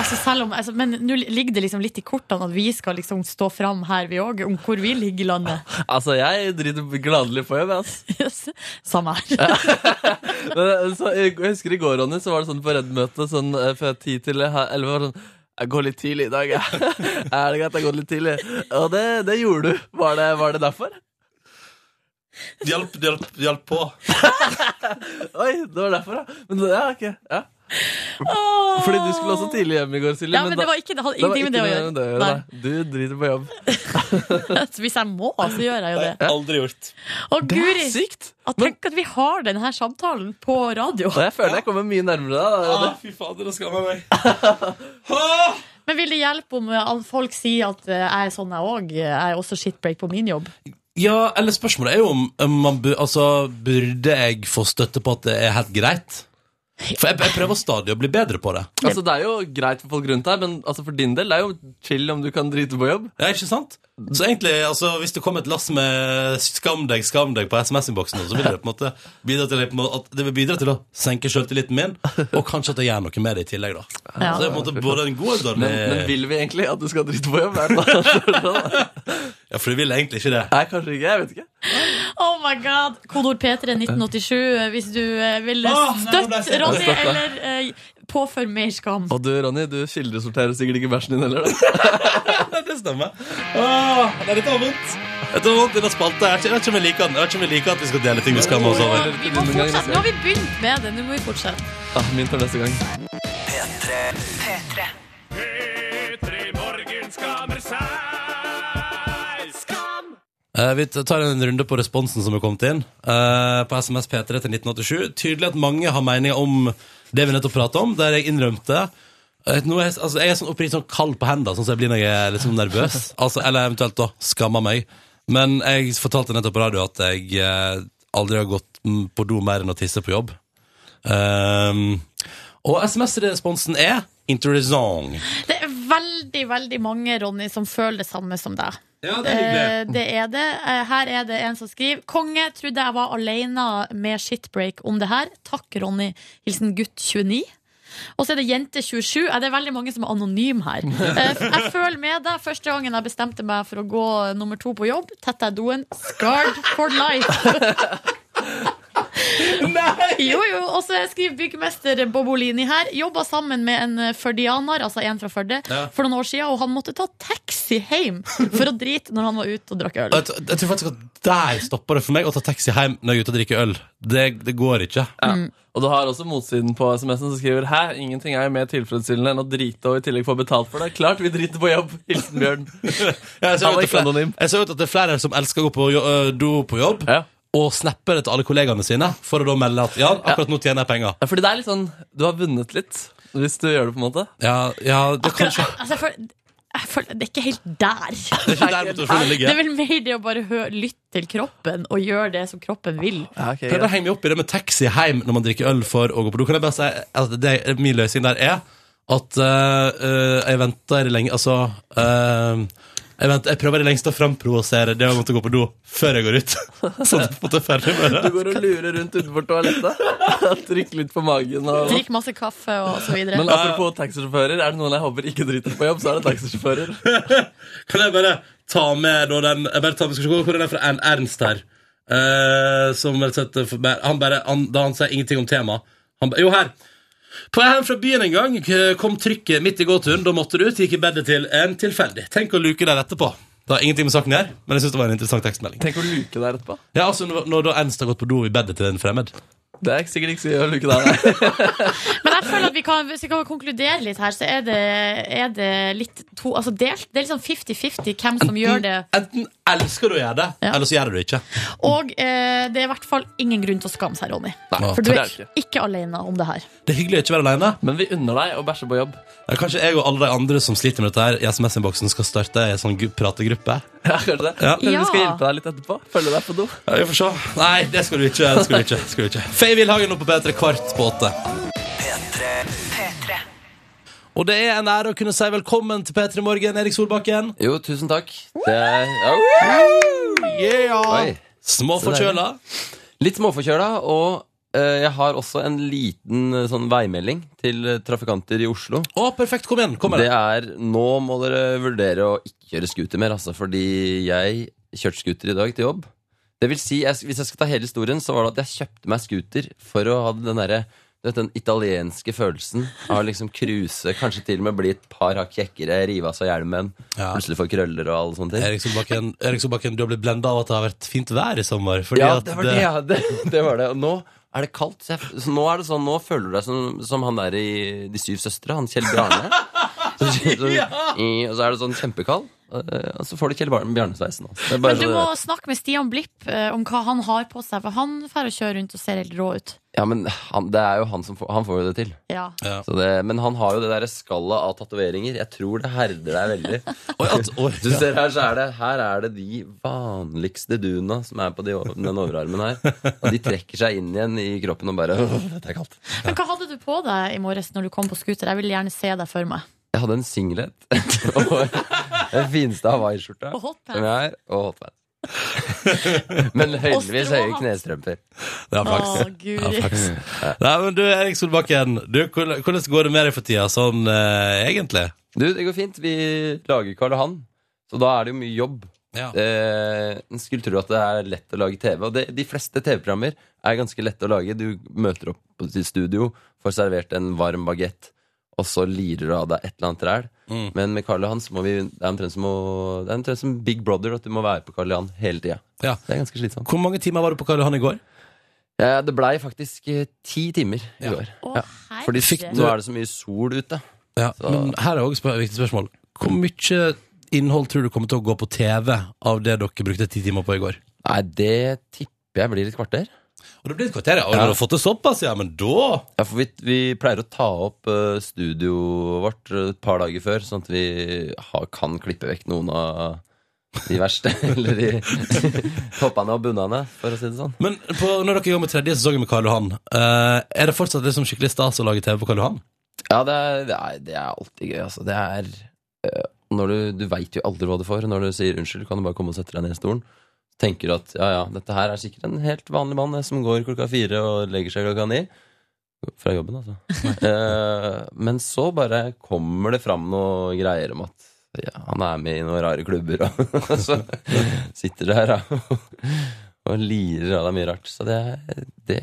S3: Altså selv om, altså, men nå ligger det liksom litt i kortene at vi skal liksom stå fram her, vi òg, om hvor vi ligger i landet.
S8: Altså, jeg driter gladelig på jobb, ass.
S3: Yes. Samme her.
S8: Men, eh, så, jeg jeg husker i går, Ronny, så var det sånn på Redd-møtet sånn, eh, fra 10 til eh, 11 var det sånn jeg går litt tidlig i dag, jeg. Er det greit? Jeg går litt tidlig. Og det, det gjorde du. Var det, var det derfor?
S2: Hjelp, hjelp, hjelp på.
S8: Oi, det var derfor, ja. Men, ja, ok. Ja. Fordi du skulle også tidlig hjem i går, Silje.
S3: Ja, men det var ikke, det hadde
S8: det var
S3: ingenting med det å
S8: ikke
S3: gjøre.
S8: noe med det å gjøre. nei. Du driter på jobb.
S3: Nei. Hvis jeg må, så gjør jeg jo det.
S2: Aldri gjort.
S3: Og Guri,
S8: Sykt!
S3: at tenk at vi har denne samtalen på radio.
S8: Og jeg føler jeg kommer mye nærmere deg. da, Ronny.
S2: Ah, fy fader, det skammer meg.
S3: Men vil det hjelpe om eh, an- folk sier at eh, jeg er sånn jeg òg? Jeg er også shitbreak på min jobb.
S2: Ja, eller spørsmålet er jo om om man bu altså, Burde jeg få støtte på at det er helt greit? For jeg, jeg prøver stadig å bli bedre på det.
S8: Altså, det er jo greit for folk rundt deg, men altså, for din del det er jo chill om du kan drite på jobb.
S2: Ja, ikke sant? Så egentlig, altså, hvis det kommer et lass med 'skam deg, skam deg' på SMS-innboksen, så vil det på en måte bidra til, at det vil bidra til å senke selvtilliten min, og kanskje at jeg gjør noe med det i tillegg, da.
S3: Ja.
S2: Så det er på en måte både en god og
S8: Men, men
S2: dårlig
S8: vil vi egentlig at du skal drite på jobb? Er det noe-
S2: Ja, for du vil egentlig ikke det.
S8: Nei, kanskje ikke. Jeg vet ikke.
S3: Oh my god! Kodord P3 1987 eh, hvis du eh, vil
S2: Åh, nei, nå ble jeg
S3: støtte
S2: sint.
S3: Ronny
S8: Støtte.
S3: eller eh, påføre mer skam.
S8: Og du, Ronny, du kildesorterer sikkert ikke bæsjen din heller. da.
S2: Nei, det stemmer. Åh, nei, dette var vondt. Dette var vondt i den spalta. Jeg vet ikke- jeg vet ikke om jeg liker den. Jeg vet ikke om jeg liker at vi skal dele ting vi skammer oss over.
S8: Eller
S3: Vi må
S8: denne gangen,
S3: fortsette.
S8: altså.
S3: Nå har vi begynt med det. Nå må vi fortsette.
S8: Ah, min tur neste gang.
S9: P3. P3.
S2: Eh, Vi tar en runde på responsen som er kommet inn eh, på SMS P3 til 1987. Tydelig at mange har meninger om det vi nettopp pratet om, der jeg innrømte eh, nå er, jeg- altså, Jeg er sånn oppriktig sånn kald på hendene, sånn som jeg blir når jeg er litt sånn nervøs. Altså, eller eventuelt da skammer meg. Men jeg fortalte nettopp på radio at jeg eh, aldri har gått mm, på do mer enn å tisse på jobb. Ehm, og SMS-responsen er interessant.
S3: Det er veldig, veldig mange, Ronny, som føler det samme som deg.
S2: Ja, det er hyggelig.
S3: Eh, det er det. Eh, Her er det en som skriver Konge, trodde jeg var alene med shitbreak om det her. Takk, Ronny. Hilsen gutt 29. Og så er det jente 27. Eh, Det er veldig mange som er anonyme her. Eh, f- Jeg føler med deg. Første gangen jeg bestemte meg for å gå nummer to på jobb, tetta jeg doen. Scarred for life. Jo, jo. Og så skriver byggmester Bobolini her. Jobba sammen med en eh, førdianer, altså en fra Førde,
S2: Ja.
S3: for noen år siden, og han måtte ta taxi hjem for å drite når han var ute og drakk øl.
S2: Og Jeg, t- jeg tror faktisk at der stopper det for meg å ta taxi hjem når jeg er ute og drikker øl. Det, det går ikke.
S10: Og du har også motsiden på SMS-en som skriver Hæ, ingenting er jo mer tilfredsstillende enn å drite og i tillegg få betalt for det. Klart vi driter på jobb. Hilsen Bjørn.
S2: Ja, jeg, ser
S10: Han er
S2: ut at det er
S10: ikke
S2: flere,
S10: anonym.
S2: jeg ser ut at det er flere som elsker å gå på jo, ø, do på jobb,
S10: Ja.
S2: og snapper det til alle kollegaene sine for å da melde at ja, akkurat nå tjener jeg penger.
S10: Ja, Fordi det er litt sånn Du har vunnet litt, hvis du gjør det på en måte.
S2: Ja, ja det er kanskje
S3: Altså, jeg føler, jeg føler, det er ikke helt der.
S2: Det er ikke der motivasjonen
S3: Det er
S2: ligger.
S3: vel mer det å bare hø, lytte til kroppen og gjøre det som kroppen vil.
S10: Ja, ok,
S2: Prøv å henge meg opp i det med taxi hjem når man drikker øl for å gå på do. Kan jeg bare si at det, min løsning der er at ø, ø, jeg venter lenge Altså ø, jeg, venter, jeg prøver i lengste å framprovosere det å måtte gå på do før jeg går ut. Sånn at jeg på en måte er ferdig med det.
S10: Du går og lurer rundt utenfor toalettet. Trykker litt på magen. Og...
S3: Drikk masse kaffe og så videre.
S10: Men apropos taxisjåfører, er det noen jeg håper ikke driter på jobb, så er det taxisjåfører.
S2: Kan jeg bare ta med da den Jeg bare tar, vi skal se hvor den er fra en Ernst her. Eh, som rett og slett for- bare- han bare, han, Da han sier ingenting om temaet. Han ba- Jo, her. På vei hjem fra byen en gang k- kom trykket midt i gåturen. Da måtte du ut. Gikk i bedet til en tilfeldig. Tenk å luke der etterpå. Det har ingenting med saken her, men jeg synes det var en interessant tekstmelding.
S10: Tenk å luke der etterpå.
S2: Ja, altså Når, når da Ernst har gått på do i bedet til en fremmed.
S10: Det er sikkert ikke så gøy å luke der. nei.
S3: Men jeg føler at vi kan, hvis vi kan konkludere litt her, så er det, er det litt to, altså delt. Det er litt sånn 50-50 hvem som gjør det.
S2: Enten elsker du å gjøre det,
S3: Ja.
S2: eller så gjør du det ikke.
S3: Og eh, det er i hvert fall ingen grunn til å skamme seg, Ronny.
S2: Nei,
S3: For du
S10: det
S3: er
S10: er det
S3: ikke alene om det her.
S2: Det er hyggelig å ikke være aleine.
S10: Men vi unner deg å bæsje på jobb.
S2: Ja, Kanskje jeg og alle de andre som sliter med dette her i SMS-innboksen skal starte en sånn gu- prategruppe?
S10: Ja, kanskje det.
S2: Ja.
S10: Men vi skal
S3: Ja.
S10: hjelpe deg litt etterpå. Følge deg på do.
S2: Ja, Vi får se. Nei, det skal du ikke. det skal du ikke, det skal du ikke. Faye Wilhagen nå på P3 kvart på åtte. Og det er en ære å kunne si velkommen til P3 Morgen, Erik Solbakken.
S8: Jo, tusen takk. Det er Au! Oi.
S2: Yeah! Småforkjøla.
S8: Litt småforkjøla, og eh, jeg har også en liten eh, sånn veimelding til eh, trafikanter i Oslo.
S2: Å, perfekt. Kom igjen. kom
S8: Det
S2: igjen.
S8: er Nå må dere vurdere å ikke kjøre scooter mer, altså, fordi jeg kjørte scooter i dag til jobb. Det vil si, jeg, Hvis jeg skal ta hele historien, så var det at jeg kjøpte meg scooter for å ha den derre du vet, den italienske følelsen av å liksom cruise, kanskje til og med bli et par hakk kjekkere, rive av seg hjelmen,
S2: Ja.
S8: plutselig få krøller og alle sånne ting.
S2: Erik Solbakken, Erik Solbakken, du har blitt blenda av at det har vært fint vær i sommer. Fordi
S8: Ja,
S2: at
S8: det var det, ja. det, det var det. Og nå er det kaldt. Så jeg, så nå er det sånn, nå føler du deg som, som han der i De syv søstre, han Kjell Bjarne. Så, så, i, og så er det sånn kjempekald. eh, Og så får du Kjell Bjarne- Bjarne-sveisen. nå. Det er
S3: Men
S8: bare
S3: du
S8: så-
S3: må snakke med Stian Blipp eh, om hva han har på seg, for han drar og kjører rundt og ser helt rå ut.
S8: Ja, men han, det er jo han som får, han får jo det til.
S3: Ja.
S8: Så det, men han har jo det der skallet av tatoveringer. Jeg tror det herder deg veldig.
S2: Oi, at, oi,
S8: Du ser her, så er det, her er det de vanligste duna som er på de, den overarmen her. Og de trekker seg inn igjen i kroppen og bare «Åh, Dette er kaldt.
S3: Men hva hadde du på deg i morges når du kom på scooter? Jeg vil gjerne se deg for meg.
S8: Jeg hadde en singlet og den fineste hawaiiskjorta.
S3: Og hotpants.
S8: som jeg har, Og hotpants. Men heldigvis høye
S3: stråhatt.
S8: knestrømper.
S2: Det er flaks.
S3: Å, Guri.
S2: Ja, flaks. Nei, men du, Erik Solbakken, du, hvordan hvordan går det med deg for tida sånn eh, egentlig?
S8: Du, det går fint. Vi lager Karl Johan, så da er det jo mye jobb.
S2: Ja.
S8: Eh, en skulle tro at det er lett å lage TV, og det, de fleste TV-programmer er ganske lette å lage. Du møter opp på- til studio, får servert en varm bagett, og så lirer du av deg et eller annet ræl.
S2: Mm.
S8: Men med Karl Johan så må vi, det er omtrent som, å- det er omtrent som Big Brother, at du må være på Karl Johan hele tida.
S2: Ja.
S8: Det er ganske slitsomt.
S2: Hvor mange timer var du på Karl Johan i går?
S8: Ja, det blei faktisk eh, ti timer i
S2: Ja.
S8: går.
S3: Å,
S8: Ja.
S3: herre.
S8: Fordi nå er det så mye sol ute.
S2: Ja,
S8: Så-
S2: men her er også et viktig spørsmål. Hvor mye innhold tror du kommer til å gå på TV av det dere brukte ti timer på i går?
S8: Nei, det tipper jeg blir et kvarter.
S2: Og det blir et kvarter, ja. Og
S8: Ja.
S2: når du har fått det såpass, ja, men da
S8: Ja, for vi, vi pleier å ta opp eh, studioet vårt eh, et par dager før, sånn at vi har, kan klippe vekk noen av de verste. eller de toppene og bunnene, for å si det sånn.
S2: Men på, når dere går med tredje sesongen med Karl Johan, eh, er det fortsatt liksom skikkelig stas å lage TV på Karl Johan?
S8: Ja, det er, det er, det er alltid gøy, altså. Det er eh, når du, du veit jo aldri hva du får når du sier unnskyld. Kan du bare komme og sette deg ned i stolen? Tenker du at ja, ja, dette her er sikkert en helt vanlig mann eh, som går klokka fire og legger seg klokka ni. Fra jobben, altså. Eh, men så bare kommer det fram noe greier om at ja, han er med i noen rare klubber, og så sitter du her da, og lirer av deg mye rart. Så det, det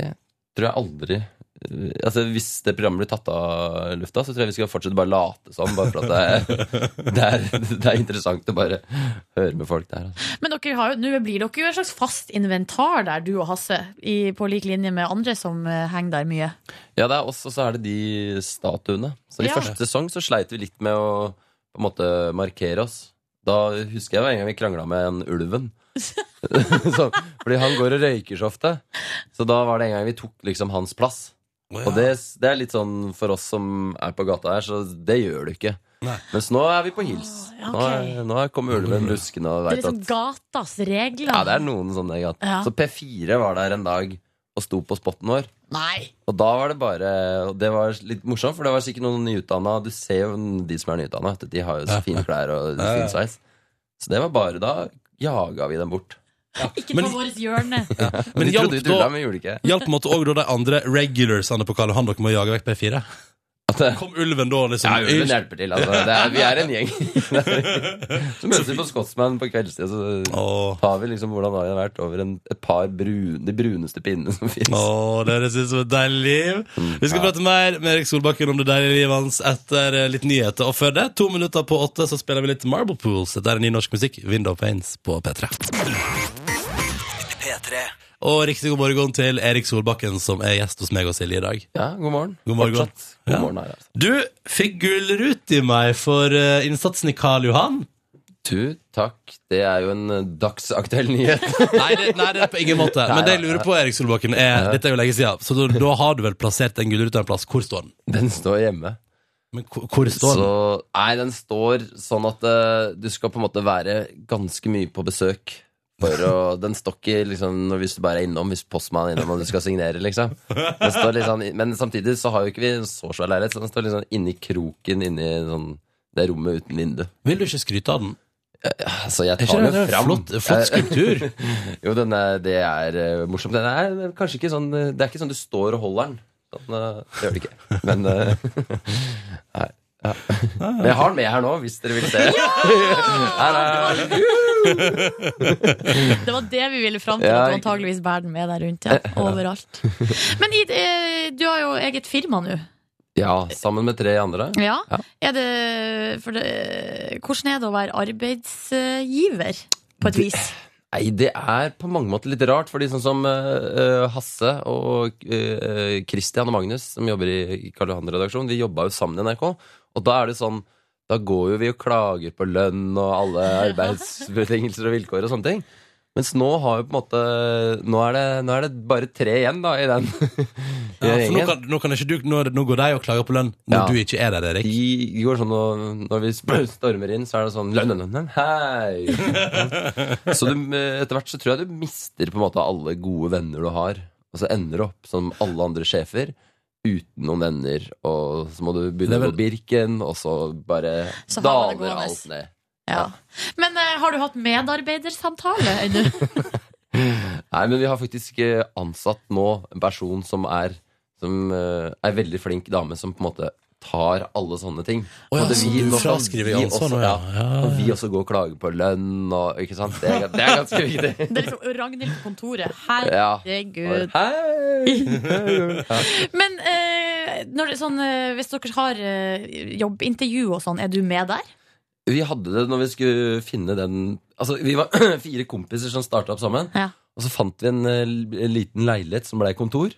S8: tror jeg aldri Eh, Altså Hvis det programmet blir tatt av lufta, så tror jeg vi skal fortsette bare late som. Bare for at det er, det er, det er interessant å bare høre med folk der. Altså.
S3: Men dere har jo, nå blir dere jo en slags fast inventar der, du og Hasse, i, på lik linje med andre som eh, henger der mye.
S8: Ja, det er oss, og så er det de statuene. Så I
S3: Ja.
S8: første sesong så sleit vi litt med å på en måte markere oss. Da husker jeg hver gang vi krangla med en ulven. så, fordi han går og røyker så ofte. Så da var det en gang vi tok liksom hans plass. Og det, det er litt sånn for oss som er på gata her, så det gjør du ikke.
S2: Nei. Mm.
S8: Mens nå er vi på hils.
S3: Ah,
S8: Nå,
S3: ok.
S8: er, nå er- kommer ulven buskende og
S3: Det er
S8: veit
S3: liksom
S8: at
S3: gatas regler.
S8: Ja, det er noen sånne. Gat.
S3: Ja.
S8: Så P4 var der en dag og sto på spotten vår.
S3: Nei!
S8: Og da var det bare Og det var litt morsomt, for det var sikkert noen nyutdanna. Du ser jo de som er nyutdanna, vet du, de har jo så
S2: Ja.
S8: fine klær og
S2: Ja, ja.
S8: fin sveis. Så det var bare da jaga vi dem bort.
S3: Ikke
S2: Men-
S3: på vårt hjørne.
S2: Men
S8: Men de
S2: hjalp
S8: trodde vi
S2: da-
S8: tulla, men gjorde ikke.
S2: Hjalp på en måte også da de andre regularsene på Karl Johan dere med å jage vekk P4?
S8: At det,
S2: Kom ulven da, liksom?
S8: ja, ulven hjelper til. Altså. Det er, vi er en gjeng. Så møtes vi på Scotsman på kveldstid, så
S2: Åh,
S8: tar vi liksom hvordan dagen har vært over en, et par brun, de bruneste pinnene som fins.
S2: åh, det høres ut som et deilig liv. Vi skal prate mer med Erik Solbakken om det deilige livet hans etter eh, litt nyheter. Og før det, to minutter på åtte, så spiller vi litt Marble Pools. Dette er ny norsk musikk, Window Pains på P3.
S1: P3.
S2: Og riktig god morgen til Erik Solbakken, som er gjest hos meg og Silje i dag.
S8: Ja, god morgen.
S2: God morgen.
S8: Fortsatt. God
S2: Ja.
S8: morgen her, altså.
S2: Du fikk gulrot i meg for eh, innsatsen i Karl Johan.
S8: Du, takk. Det er jo en eh, dagsaktuell nyhet.
S2: Nei, det, nei, det er på ingen måte. Men det jeg lurer på, Erik Solbakken, er Dette er jo lenge siden, så da, da har du vel plassert en gulrot en plass. Hvor står den?
S8: Den står hjemme.
S2: Men hvor, hvor står den?
S8: Så, nei, den står sånn at eh, du skal på en måte være ganske mye på besøk. For å, den står ikke liksom, når- hvis du bare er innom, hvis postmannen er innom og du skal signere. liksom den står litt sånn i- Men samtidig så har jo ikke vi en så svær leilighet, så den står liksom inni kroken inni sånn, det rommet uten vindu.
S2: Vil du ikke skryte av den?
S8: Så jeg
S2: Er ikke
S8: tar
S2: det, det er
S8: den
S2: en
S8: fram.
S2: flott, flott skulptur?
S8: Jo, den er, det er eh, morsomt. Den er kanskje ikke sånn eh, Det er ikke sånn du står og holder den. Sånn, eh, det gjør det ikke. Men eh, Nei. Ja. Men jeg har den med her nå, hvis dere vil se. Her er,
S3: Det var det vi ville fram til,
S8: Ja,
S3: at du
S8: ikke-
S3: antageligvis bærer den med deg rundt. Ja, overalt. Men i, eh, du har jo eget firma nå.
S8: ja, sammen med tre andre.
S3: Ja.
S8: Ja.
S3: Er det, for det, hvordan er det å være arbeidsgiver, på et vis?
S8: Nei, det er på mange måter litt rart, fordi sånn som eh, eh, Hasse og eh, Christian og Magnus, som jobber i Karl Johan-redaksjonen, vi jobba jo sammen i NRK. Og da er det sånn Da går jo vi og klager på lønn og alle arbeidsbetingelser og vilkår og sånne ting. Mens nå har jo på en måte Nå er det, nå er det bare tre igjen, da, i den, i
S2: Ja, for nå,
S8: den gjengen.
S2: kan, nå, kan ikke du, nå, nå går de og klager på lønn når
S8: Ja.
S2: du ikke er der, Erik.
S8: De går sånn og, Når vi sp- stormer inn, så er det sånn lønn, lønn, lønn, hei! Så du, etter hvert så tror jeg du mister på en måte alle gode venner du har. Og så ender du opp som alle andre sjefer. Uten noen venner, og så må du begynne
S2: Det er vel-
S8: på Birken, og så bare
S3: Så har man det
S8: daler
S3: gående.
S8: alt ned.
S3: Ja. Men eh, har du hatt medarbeidersamtale ennå?
S8: Nei, men vi har faktisk eh, ansatt nå en person som er Som eh, er veldig flink dame, som på en måte tar alle sånne ting.
S2: Å ja,
S8: Og det-
S2: så
S8: vi-
S2: du
S8: nå kan
S2: fraskriver
S8: vi
S2: ansvar
S8: også-
S2: nå, ja. Ja,
S8: Og vi også går og klager på lønn og Ikke sant? Det er, det er ganske viktig.
S3: Det er liksom Ragnhild på kontoret.
S8: Ja.
S3: Herregud.
S8: Hei!
S3: Men eh, når det, er sånn, eh, hvis dere har eh, jobbintervju og sånn, er du med der?
S8: Vi hadde det når vi skulle finne den Altså, vi var fire kompiser som starta opp sammen.
S3: Ja.
S8: Og så fant vi en, eh, l- en liten leilighet som blei kontor.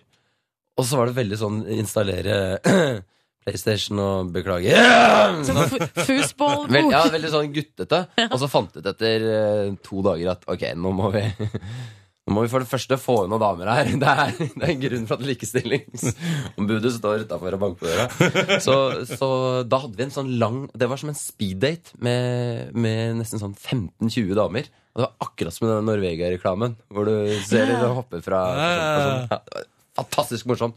S8: Og så var det veldig sånn installere PlayStation og beklage
S3: Sånn fu-
S8: Mm. Vel,
S3: Foosballbok?
S8: ja, veldig sånn guttete. Og så fant vi ut etter eh, to dager at ok, nå må vi Nå må vi for det første få inn noen damer her. Det er, det er en grunn for at likestillingsombudet står utafor og banker på døra. Så, så da hadde vi en sånn lang Det var som en speeddate med, med nesten sånn 15-20 damer. Og det var akkurat som i den Norvegia-reklamen, hvor du ser
S3: Ja.
S8: det hoppe fra sånn-
S2: Ja, ja, ja.
S8: person til person. Ja, det var Fantastisk morsomt.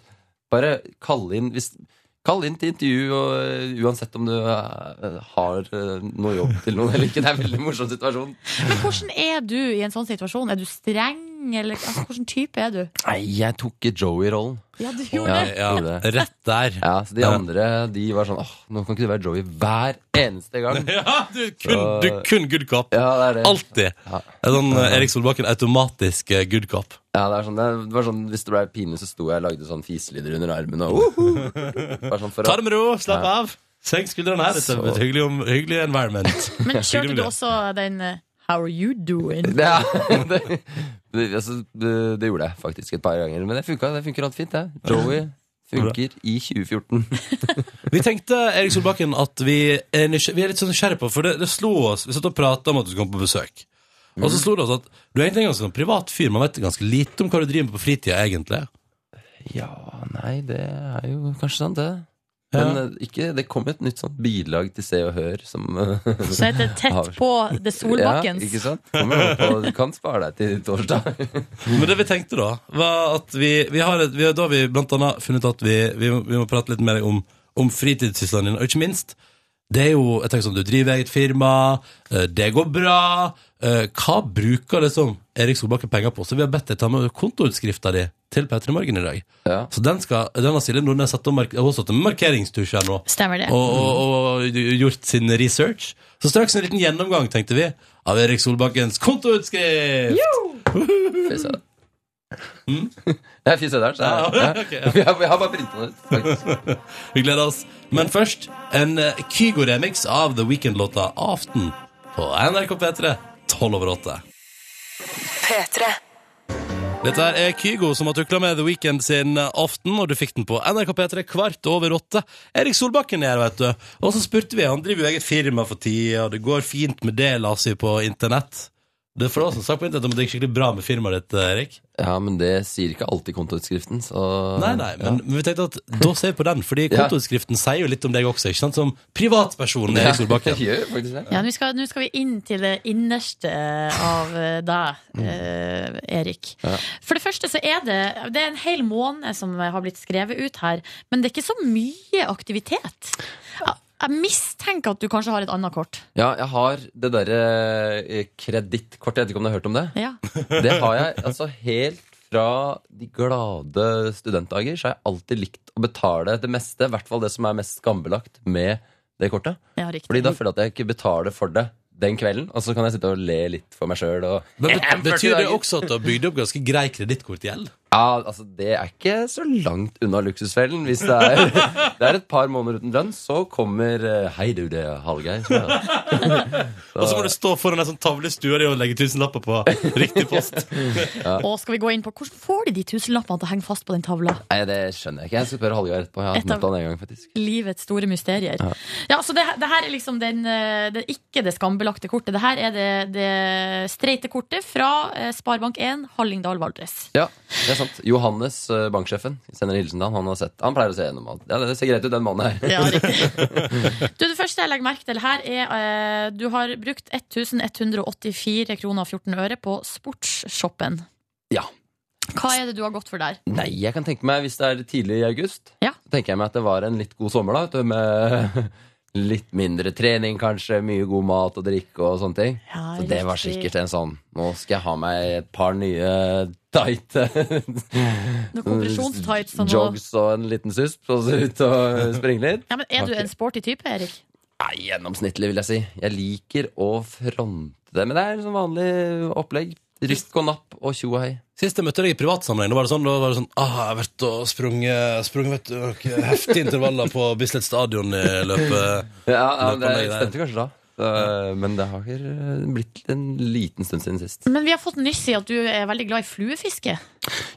S8: Bare kalle inn hvis Kall inn til intervju, og eh, uansett om du eh, har eh, noe jobb til noen eller ikke. Det er en veldig morsom situasjon.
S3: Men hvordan er du i en sånn situasjon? Er du streng, eller altså, hvilken type er du?
S8: Nei, jeg tok Joey-rollen.
S3: Ja, du
S8: Ja,
S3: gjorde det.
S2: Ja,
S8: Gjorde det.
S2: rett der.
S8: Ja, så De andre de var sånn åh, nå kan ikke du være Joey hver eneste gang.
S2: Ja, du er kun, du er kun good cop.
S8: Ja, det er det.
S2: Alltid.
S8: Ja.
S2: En sånn eh, Erik Solbakken automatisk eh, good cop.
S8: Ja, det, er sånn, det var sånn, Hvis det ble pinlig, så sto jeg og lagde sånn fiselyder under armen. Og, uhu! Bare sånn for
S2: Ta
S8: å,
S2: det med ro, slapp av. Senk skuldrene her. Dette er et hyggelig, om, hyggelig environment.
S3: Men kjørte du også den eh, How are you doing?
S8: ja, det, det, altså, det, det gjorde jeg faktisk et par ganger. Men det funka. Det funker alt fint, det. Joey funker i 2014.
S2: Vi tenkte Erik Solbakken, at vi er, nysg- vi er litt sånn nysgjerrige på For det, det slo oss Vi satt og prata om at du skulle komme på besøk. Og så slo det oss at du er egentlig en ganske sånn privat fyr. Man vet ganske lite om hva du driver med på fritida, egentlig.
S8: Ja, nei, det er jo kanskje sant, det. Men eh, ikke, det kom jo et nytt sånt bilag til Se og Hør som eh,
S3: Så heter det
S8: Har-
S3: Tett på The
S8: Ja, ikke
S3: Solbakkens.
S8: sant? Kommer jo på, du kan spare deg til torsdag.
S2: Men det vi tenkte da, var at vi, vi har et, vi, har- Da har vi blant annet funnet ut at vi, vi, må, vi må prate litt mer om, om fritidssyslene dine, og ikke minst det er jo, jeg tenker sånn, Du driver eget firma, eh, det går bra. eh, Hva bruker liksom Erik Solbakken penger på? Så vi har bedt deg ta med kontoutskrifta di til P3 Morgen i dag.
S8: Ja.
S2: Så den, skal, den har Silje Nordnes satt og mark- hun har satt en markeringstusj her nå.
S3: Stemmer det.
S2: Og, og, og gjort sin research. Så straks en liten gjennomgang, tenkte vi, av Erik Solbakkens kontoutskrift!
S8: Fy søren. Det er fy søren. så er
S2: Mm.
S8: det-
S2: Ja,
S8: ja.
S2: ok, ja.
S8: Vi har, vi har bare printet den ut, faktisk.
S2: Vi gleder oss. Men først en eh, Kygo-remix av The Weekend-låta Aften på NRK P3 12 over 8.
S1: P3.
S2: Dette her er Kygo som har tukla med The Weekend sin eh, aften, og du fikk den på NRK P3 kvart over åtte. Erik Solbakken er her, vet du. Og så spurte vi, han driver jo eget firma for tida, og det går fint med det, la oss si, på internett. Det er for oss som sagt på internett om det gikk skikkelig bra med firmaet ditt, eh, Erik.
S8: Ja, men det sier ikke alltid kontoutskriften, så
S2: Nei, nei, men men vi tenkte at da ser vi på den, fordi
S8: Ja.
S2: kontoutskriften sier jo litt om deg også, ikke sant? Som privatpersonen Erik
S8: Jeg
S2: Solbakken.
S8: gjør jo faktisk det.
S3: Ja, Nå skal, nå skal vi inn til det innerste av eh, deg,
S8: Mm.
S3: eh, Erik. For det første så er det Det er en hel måned som har blitt skrevet ut her, men det er ikke så mye aktivitet. Jeg, jeg mistenker at du kanskje har et annet kort.
S8: Ja, jeg har det derre eh, kredittkortet. Jeg vet ikke om du har hørt om det?
S3: Ja.
S8: Det har jeg altså helt fra de glade studentdager, så har jeg alltid likt å betale det meste, i hvert fall det som er mest skambelagt med det kortet.
S3: Ja, riktig.
S8: Fordi da føler jeg at jeg ikke betaler for det den kvelden, og så kan jeg sitte og le litt for meg sjøl og
S2: Men bet-
S8: 40
S2: betyr det
S8: dager.
S2: også at du har bygd opp ganske grei kredittkortgjeld?
S8: Ja, altså Det er ikke så langt unna luksusfellen. Hvis det er, det er et par måneder uten lønn, så kommer eh, Hei, du, det er Hallgeir. Ja.
S2: Og så må du stå foran en sånn tavle i stua di og legge tusenlapper på riktig post.
S3: Og skal vi gå inn på hvordan får de de tusenlappene til å henge fast på den tavla?
S8: Nei, det skjønner jeg ikke. Jeg skal spørre Hallgeir etterpå. Jeg har
S3: Et av-
S8: møtt han en gang, faktisk.
S3: Livets store mysterier. Ja, så det, det her er liksom den, eh, det, ikke det skambelagte kortet. Det her er det, det streite kortet fra eh, Sparebank1 Hallingdal Valdres.
S8: Ja, det er sant. Johannes, eh, banksjefen, sender en hilsen til han. Han, har sett, han pleier å se gjennom alt. Ja, det ser greit ut, den mannen her.
S3: Ja, riktig. Du, det første jeg legger merke til her, er eh, du har brukt 1184 kroner og 14 øre på sportsshoppen.
S8: Ja.
S3: Hva er det du har gått for der?
S8: Nei, jeg kan tenke meg, hvis det er tidlig i august,
S3: Ja.
S8: så tenker jeg meg at det var en litt god sommer, da. vet du, Med litt mindre trening, kanskje. Mye god mat og drikke og sånne ting.
S3: Ja,
S8: Så det var
S3: riktig.
S8: sikkert en sånn Nå skal jeg ha meg et par nye tighte
S3: Noen kompresjonstights og noe.
S8: Mm. jogs og en liten susp, og så ut og springe litt.
S3: Ja, men er du en sporty type, Erik?
S8: Nei, gjennomsnittlig, vil jeg si. Jeg liker å fronte det. Men det er sånn vanlig opplegg. Ryst og napp og tjo og hei.
S2: Sist jeg møtte deg i privatsammenheng, da var det sånn, da var det sånn ah, jeg har vært og sprunget, sprunget vet du, noen heftige intervaller på Bislett Stadion i løpet.
S8: Ja, ja
S2: Løp
S8: det
S2: og legg der.
S8: stemte kanskje da. Så, Men det har ikke blitt en liten stund siden sist.
S3: Men vi har fått nyss i at du er veldig glad i fluefiske.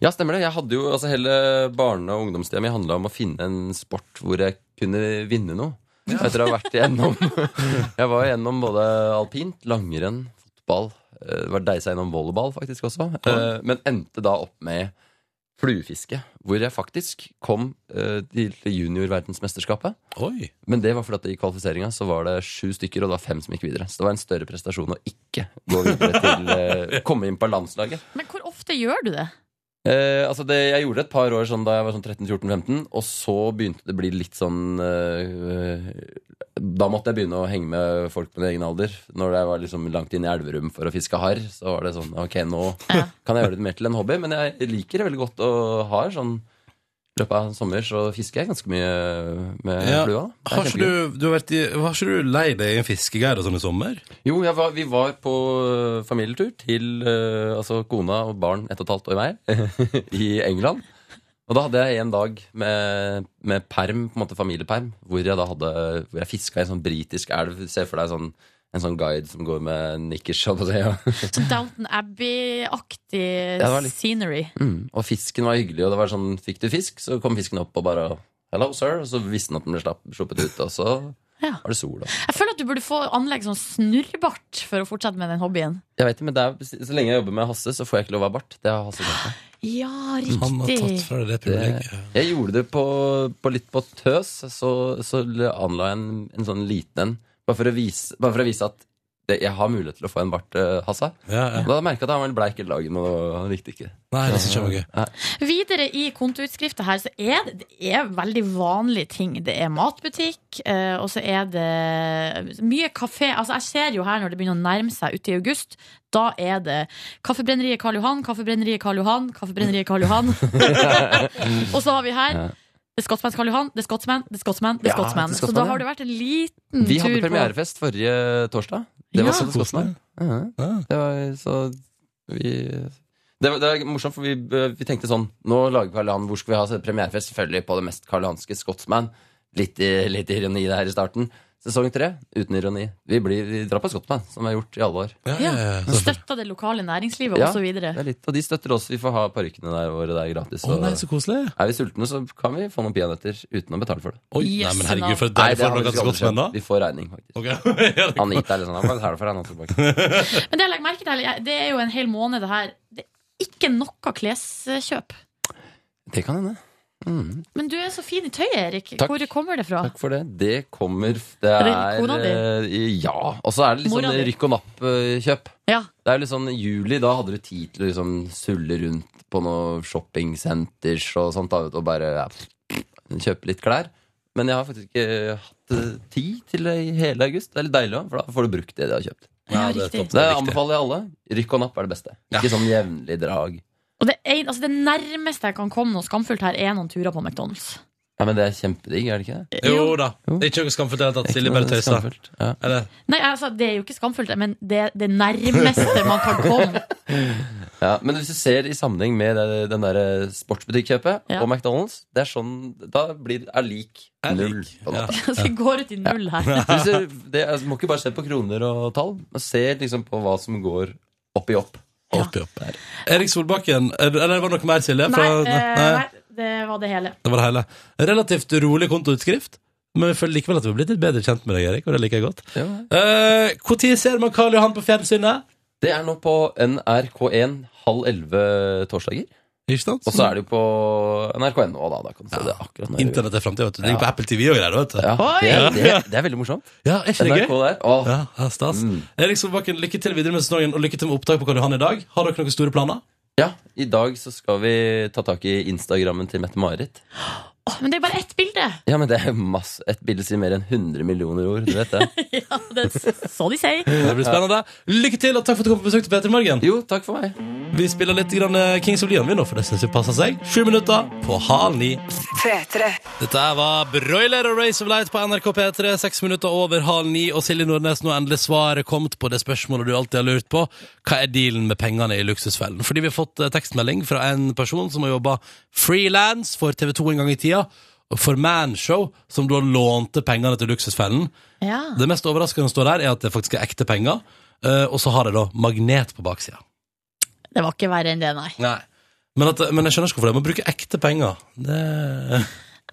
S8: Ja, stemmer det. Jeg hadde jo, altså Hele barne- og ungdomstida mi handla om å finne en sport hvor jeg kunne vinne noe. Etter å ha vært igjennom Jeg var igjennom både alpint, langrenn, fotball. eh, Var deisa gjennom volleyball faktisk også. eh, Men endte da opp med fluefiske. Hvor jeg faktisk kom eh, til juniorverdensmesterskapet.
S2: Oi.
S8: Men det var fordi at i kvalifiseringa så var det sju stykker, og det var fem som gikk videre. Så det var en større prestasjon å ikke gå videre til eh, komme inn på landslaget.
S3: Men hvor ofte gjør du det?
S8: Eh, altså det, jeg gjorde det et par år sånn, da jeg var sånn 13-14-15, og så begynte det å bli litt sånn eh, Da måtte jeg begynne å henge med folk på min egen alder. Når jeg var liksom langt inn i Elverum for å fiske harr, så var det sånn Ok, nå kan jeg gjøre det mer til en hobby, men jeg liker det veldig godt og har sånn I løpet av en sommer så fisker jeg ganske mye med
S2: Ja.
S8: flua. Det er
S2: Har ikke
S8: kjempegøy.
S2: du, du har vært i, var ikke du lei deg i en fiskegeir og sånn i sommer?
S8: Jo, jeg var, vi var på øh, familietur til øh, altså kona og barn ett og et halvt år hver i England. Og da hadde jeg en dag med, med perm, på en måte familieperm, hvor jeg da hadde Hvor jeg fiska i en sånn britisk elv. Se for deg sånn, en sånn guide som går med nikkers. holdt på å si, Ja.
S3: Så Sånn Downton Abbey-aktig
S8: det var litt-
S3: scenery.
S8: Mm. Og fisken var hyggelig, og det var sånn Fikk du fisk, så kom fisken opp og bare Hello, sir. Og så visste den at den ble slapp, sluppet ut, og så
S3: Ja.
S8: var det sol. Og.
S3: Jeg føler at du burde få anlegg som snurrbart for å fortsette med den hobbyen.
S8: Jeg vet, det, men det er, så lenge jeg jobber med Hasse, så får jeg ikke lov å ha bart. Det har Hasse glemt.
S3: Ja,
S2: Han har tatt
S3: riktig.
S2: fra deg det
S8: Det,
S2: privilegiet.
S8: jeg gjorde det på, på litt på tøs, så, så anla jeg en, en sånn liten en. Bare for å vise, bare for å vise at det, jeg har mulighet til å få en bart, eh, Hassa.
S2: Ja, ja.
S8: Og Da merka jeg at han var litt bleik hele dagen, og han likte ikke.
S2: Nei, det synes jeg var gøy.
S3: Videre i kontoutskrifta her så er det, det er veldig vanlige ting. Det er matbutikk, eh, og så er det mye kafé. Altså, jeg ser jo her når det begynner å nærme seg ute i august, da er det Kaffebrenneriet Karl Johan, Kaffebrenneriet Karl Johan, Kaffebrenneriet Karl Johan. og så har vi her
S8: Ja.
S3: det er Scotsman Karl Johan, det er Scotsman, det er Scotsman, det
S8: Ja,
S3: er Scotsman.
S8: det er
S3: Så
S8: Scotsman,
S3: da
S8: ja.
S3: har det vært en liten
S8: Vi
S3: tur
S8: hadde
S3: på
S8: premierefest forrige torsdag.
S3: Ja.
S8: Det var så det skotske. Ja.
S2: Ja.
S8: Det var så vi det var, det var morsomt, for vi, vi tenkte sånn Nå lager Karl Johan Hvor skal vi ha så premierefest? Selvfølgelig på det mest karlianske Scotsman. Litt, i- litt ironi det her i starten. Sesong tre uten ironi. Vi, blir, vi drar på Scotsman, som vi har gjort i alle år.
S2: Ja, ja,
S3: ja,
S2: ja, ja.
S3: Støtta det lokale næringslivet
S8: Ja.
S3: og så videre
S8: Det er litt, og de støtter oss. Vi får ha parykkene der våre der gratis.
S2: Å
S8: Og
S2: nei, så koselig.
S8: er vi sultne, så kan vi få noen peanøtter uten å betale for det.
S2: Oi, nei,
S3: Yes,
S2: men herregud, for et
S8: Nei,
S2: deilig
S8: det har
S2: forhold dere har
S8: faktisk aldri
S2: gått med
S8: skjedd. Vi får regning, faktisk.
S2: da. Ok.
S8: Anita er litt sånn Han betaler for det, han også tilbake.
S3: Men det jeg legger merke til, jeg- det er jo en hel måned det her. Det er ikke noe kleskjøp.
S8: Det kan hende. Mm.
S3: Men du er så fin i tøyet, Erik.
S8: Takk.
S3: Hvor kommer det fra?
S8: Takk for det. Det kommer Det
S3: Er det
S8: er,
S3: kona
S8: eh, Ja. Og så er det litt
S3: Mora
S8: sånn
S3: di?
S8: rykk og napp-kjøp.
S3: Ja.
S8: Det er jo litt sånn i juli, da hadde du tid til å liksom sulle rundt på noen shoppingsenters og sånt, da, vet du, og bare ja, kjøpe litt klær. Men jeg har faktisk ikke hatt eh, tid til det i hele august. Det er litt deilig òg, for da får du brukt det du har kjøpt.
S3: Ja,
S2: det er
S3: riktig.
S2: topp.
S8: Så det
S2: riktig.
S8: anbefaler jeg alle. Rykk og napp er det beste.
S2: Ja.
S8: Ikke sånn jevnlig drag.
S3: Og det, er, altså, det nærmeste jeg kan komme noe skamfullt her, er noen turer på McDonald's.
S8: Ja, Men det er kjempedigg, er det ikke det?
S2: Jo da. Det er ikke noe skamfullt i det hele tatt. Silje bare tøyser.
S8: Skamfullt, Ja.
S2: Eller?
S3: Nei, altså, det er jo ikke skamfullt, men det er det nærmeste man kan komme.
S8: Ja, men hvis du ser i sammenheng med det, den der sportsbutikkjøpet
S3: Ja.
S8: og McDonald's, det er sånn, da blir er lik
S2: Er lik,
S8: null. på en
S2: ja.
S8: måte.
S3: Så det går ut i null her.
S8: Så Hvis du, det, altså, må ikke bare se på kroner og tall, men se liksom på hva som går opp i opp.
S2: Oppi, oppi. Erik Solbakken, er- eller var det noe mer, Silje?
S3: Nei,
S2: Fra-
S3: eh,
S2: nei.
S3: nei, det var det hele.
S2: Det var det hele. Relativt rolig kontoutskrift, men jeg føler likevel at vi har blitt litt bedre kjent med deg, Erik, og det liker jeg godt. Eh, Hvor tid ser man Karl Johan på fjernsynet?
S8: Det er nå på NRK1 halv elleve torsdager.
S2: Ikke sant?
S8: Og så er det jo på NRK.no, da. da kan du se det akkurat når du vil.
S2: Internett er fremtiden, vet du. Det ligger på Apple TV og greier, vet du.
S8: Ja, det, er, det, det er veldig morsomt.
S2: Ja, er ikke det
S8: NRK
S2: gøy?
S8: der. Åh, Mm.
S2: Ja, ja, stas. Erik Solbakken, lykke til videre med sesongen, og lykke til med opptak på Karl Johan i dag. Har dere noen store planer?
S8: ja, I dag så skal vi ta tak i Instagrammen til Mette-Marit.
S3: Åh, men det er bare ett bilde!
S8: Ja, men det er masse Et bilde sier mer enn 100 millioner ord. Du vet det.
S3: Ja, det er så de sier.
S2: Det blir spennende. Lykke til, og takk for at du kom på besøk til Peter i morgen.
S8: Jo, takk for meg.
S2: Vi spiller litt grann eh, Kings of Leon, vi nå, for det syns vi passer seg. Sju minutter på halv ni.
S1: P3.
S2: Dette her var Broiler og Race of Light på NRK P3, seks minutter over halv ni. Og Silje Nordnes, nå er endelig svaret kommet på det spørsmålet du alltid har lurt på. Hva er dealen med pengene i Luksusfellen? Fordi vi har fått eh, tekstmelding fra en person som har jobba frilans for TV2 en gang i tida. og For Manshow, som da lånte pengene til Luksusfellen.
S3: Ja.
S2: Det mest overraskende som står der, er at det faktisk er ekte penger. eh, Og så har de da magnet på baksida.
S3: Det var ikke verre enn det, nei.
S2: Nei. Men, at, men jeg skjønner ikke hvorfor de må bruke ekte penger. Det,
S3: nei.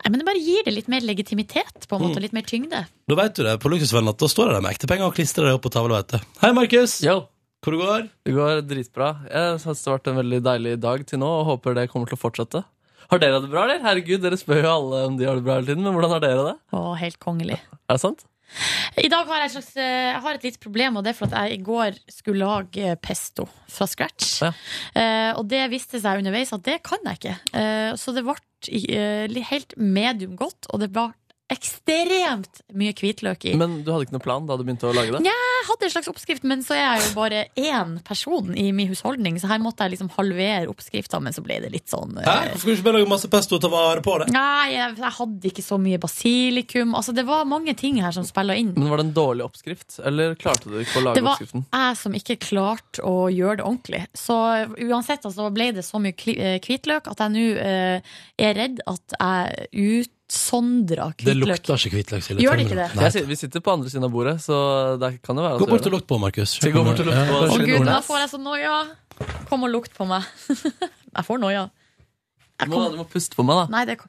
S3: Men det bare gir det litt mer legitimitet, på en måte. Litt mer tyngde.
S2: da vet du det på Luksusvennen at da står det der med ekte penger og klistrer det opp på tavla. vet du. Hei, Markus!
S7: Yo,
S2: Hvor det går?
S7: det går dritbra. Jeg synes det har vært en veldig deilig dag til nå, og håper det kommer til å fortsette. Har dere det bra, eller? Herregud, dere spør jo alle om de har det bra hele tiden, men hvordan har dere det?
S3: Å, helt kongelig.
S7: Er det sant?
S3: I dag har jeg, et slags, eh, jeg har et lite problem, og det er for at jeg i går skulle lage eh, pesto fra scratch.
S7: Ja.
S3: Eh, og det viste seg underveis at det kan jeg ikke. Eh, så det ble eh, li- helt medium godt, og det ble ekstremt mye hvitløk i.
S7: Men du hadde ikke noen plan da du begynte å lage det?
S3: Nei. Jeg hadde en slags oppskrift, men så er jeg jo bare én person i min husholdning, så her måtte jeg liksom halvere oppskrifta, men så ble det litt sånn eh,
S2: Hæ? Hvorfor skal du ikke bare lage masse pesto og ta vare på det?
S3: Nei, jeg, jeg hadde ikke så mye basilikum. Altså, det var mange ting her som spilla inn.
S7: Men Var det en dårlig oppskrift, eller klarte du ikke å lage
S3: Det var
S7: oppskriften?
S3: jeg som ikke klarte å gjøre det ordentlig. Så uansett altså, ble det så mye kli- eh, hvitløk at jeg nå eh, er redd at jeg utsondrer
S2: Det
S3: hvitløk.
S2: lukter ikke hvitløk. Silje.
S3: Gjør det ikke det?
S2: Nei.
S7: Jeg, sit- vi sitter på andre siden av bordet, så det kan jo være at
S2: Gå
S7: du
S2: bort
S7: gjør
S2: og lukt på, Markus.
S7: Skal jeg gå bort og lukte
S2: Ja,
S7: på?
S2: kanskje
S3: Å
S7: Silje
S2: litt
S3: gud,
S2: ordentlig.
S3: nå
S7: Nordnes.
S3: får jeg så noia! Kom og lukt på meg. Jeg får noia.
S7: det.
S3: Jeg
S7: Må,
S3: kom...
S7: du må puste på meg, da.
S3: Nei, det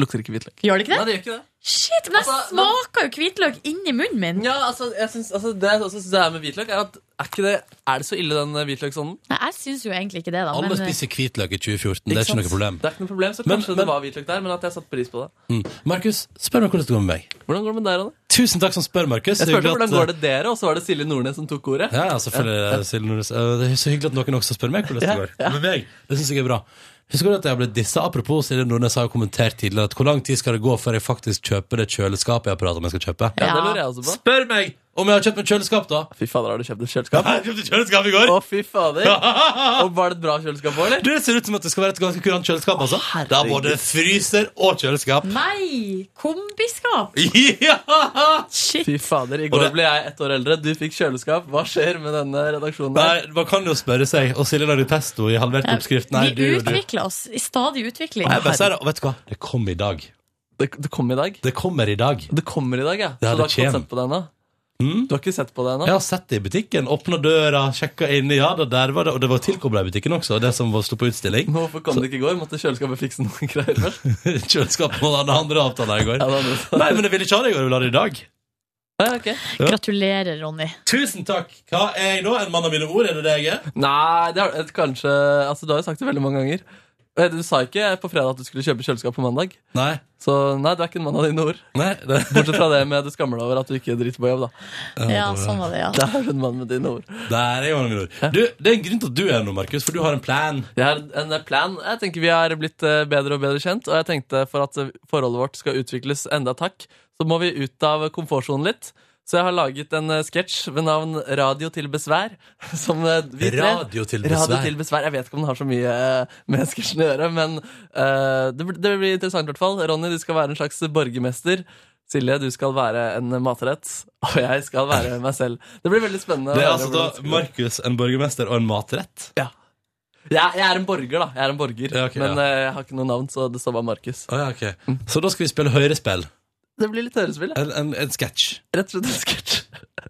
S7: Lukter ikke hvitløk.
S3: gjør det ikke
S7: Nei,
S3: det?
S7: det gjør ikke det.
S3: Shit, men jeg
S7: Altså, men-
S3: smaker jo hvitløk inni munnen min.
S7: Ja, altså, jeg synes, altså Det jeg også synes det er med hvitløk, er at er, ikke det, er det så ille, den eh, hvitløksånden?
S3: Nei, jeg syns jo egentlig ikke det, da.
S2: Alle
S3: Men, eh,
S2: spiser hvitløk i 2014. Det er ikke
S7: sant?
S2: noe problem.
S7: Det er ikke noe problem, så
S2: Men-
S7: kanskje
S2: men-
S7: det var hvitløk der, men at jeg satte pris på det.
S2: Mm. Markus, spør meg hvordan det går med meg.
S7: Hvordan går det med deg, Ronny?
S2: Tusen takk som spør, Markus.
S7: Jeg spurte hvordan går
S2: det?
S7: det dere, og så var det Silje Nordnes som tok ordet.
S2: Ja, ja, selvfølgelig, Silje Nordnes. Eh, Det er så hyggelig at noen også spør meg hvordan det
S7: Ja,
S2: går. Med meg, Det syns jeg er bra. Husker du at jeg ble dissa? Apropos Silje Nordnes har jo kommentert tidligere at hvor lang tid skal det gå før jeg faktisk kjøper det kjøleskapet jeg har pratet om jeg skal kjøpe?
S7: Ja,
S3: eh, Ja.
S7: Det lurer jeg også på.
S2: Spør meg om jeg har kjøpt meg kjøleskap, da!
S7: Fy fader, har du kjøpt et kjøleskap?
S2: Jeg kjøpte kjøleskap i går!
S7: Å, fy fader. Og var det et bra kjøleskap òg, eller?
S2: Du, Det ser ut som at det skal være et ganske kurant kjøleskap, altså.
S7: Herregud.
S2: Det er både fryser og kjøleskap.
S3: Nei! Kombiskap!
S2: Ja!
S3: Shit!
S7: Fy fader, I
S2: Og
S7: går
S2: det-
S7: ble jeg ett år eldre. Du fikk kjøleskap. Hva skjer med denne redaksjonen? her?
S2: Nei, man kan jo spørre seg. Og Silje lagde pesto i halvert oppskrift. Nei, du
S3: vi
S2: og du. Nei,
S3: utvikler oss i stadig utvikling.
S2: jeg bare sier det. Og vet du hva? Det kom i dag.
S7: Det, det kom i dag.
S2: Det kommer i dag.
S7: Det kommer i dag, ja.
S2: Ja,
S7: Så du
S2: det
S7: har ikke
S2: kjem.
S7: fått sett på det ennå?
S2: Mm.
S7: Du har ikke sett på det ennå?
S2: Jeg har sett det i butikken. Åpna døra, sjekka inni. Ja da, der var det. Og det var tilkobla i butikken også, det som var- sto på utstilling.
S7: Men Hvorfor kom det ikke i går? Måtte kjøleskapet fikse noen greier først?
S2: Kjøleskapet må ha den andre avtalen i går.
S7: Ja, det er noe sånt.
S2: Nei, men jeg ville ikke ha det i går. Jeg vil ha det i dag.
S7: Ja, ok.
S3: Gratulerer, Ronny.
S2: Tusen takk! Hva er jeg da? En mann av mine ord? Er det det jeg er?
S7: Nei, det har et, kanskje Altså, du har jo sagt det veldig mange ganger. Eh, Du sa ikke på fredag at du skulle kjøpe kjøleskap på mandag.
S2: Nei.
S7: Så nei, du er ikke en mann av dine ord.
S2: Nei, det,
S7: Bortsett fra det med at du skammer deg over at du ikke driter på jobb, da.
S3: Ja, sånn var det, ja.
S7: Det er du en mann med dine ord.
S2: der er jo mine ord. Du, det er en grunn til at du er nå, Markus, for du har en plan.
S7: Jeg har en plan. Jeg tenker Vi har blitt eh, bedre og bedre kjent, og jeg tenkte for at eh, forholdet vårt skal utvikles enda takk, så må vi ut av komfortsonen litt. Så jeg har laget en eh, sketsj ved navn Radio til besvær. Som eh, vi tre
S2: Radio til
S7: Radio
S2: besvær.
S7: til besvær. Jeg vet ikke om den har så mye eh, med sketsjen å gjøre, men eh, det, blir- det blir interessant i hvert fall. Ronny, du skal være en slags borgermester. Silje, du skal være en matrett. Og jeg skal være meg selv. Det blir veldig spennende. å
S2: Det er
S7: høre
S2: altså
S7: hvordan det
S2: da
S7: skal gå.
S2: Markus, en borgermester og en matrett.
S7: Ja. Jeg, jeg er en borger, da. Jeg er en borger
S2: Ja, ok,
S7: Men
S2: ja.
S7: eh, jeg har ikke noe navn, så det står bare Markus.
S2: Å ja, ok.
S7: Mm.
S2: Så da skal vi spille hørespill.
S7: Det blir litt hørespill. ja.
S2: En, en, en sketsj.
S7: Rett og slett en sketsj.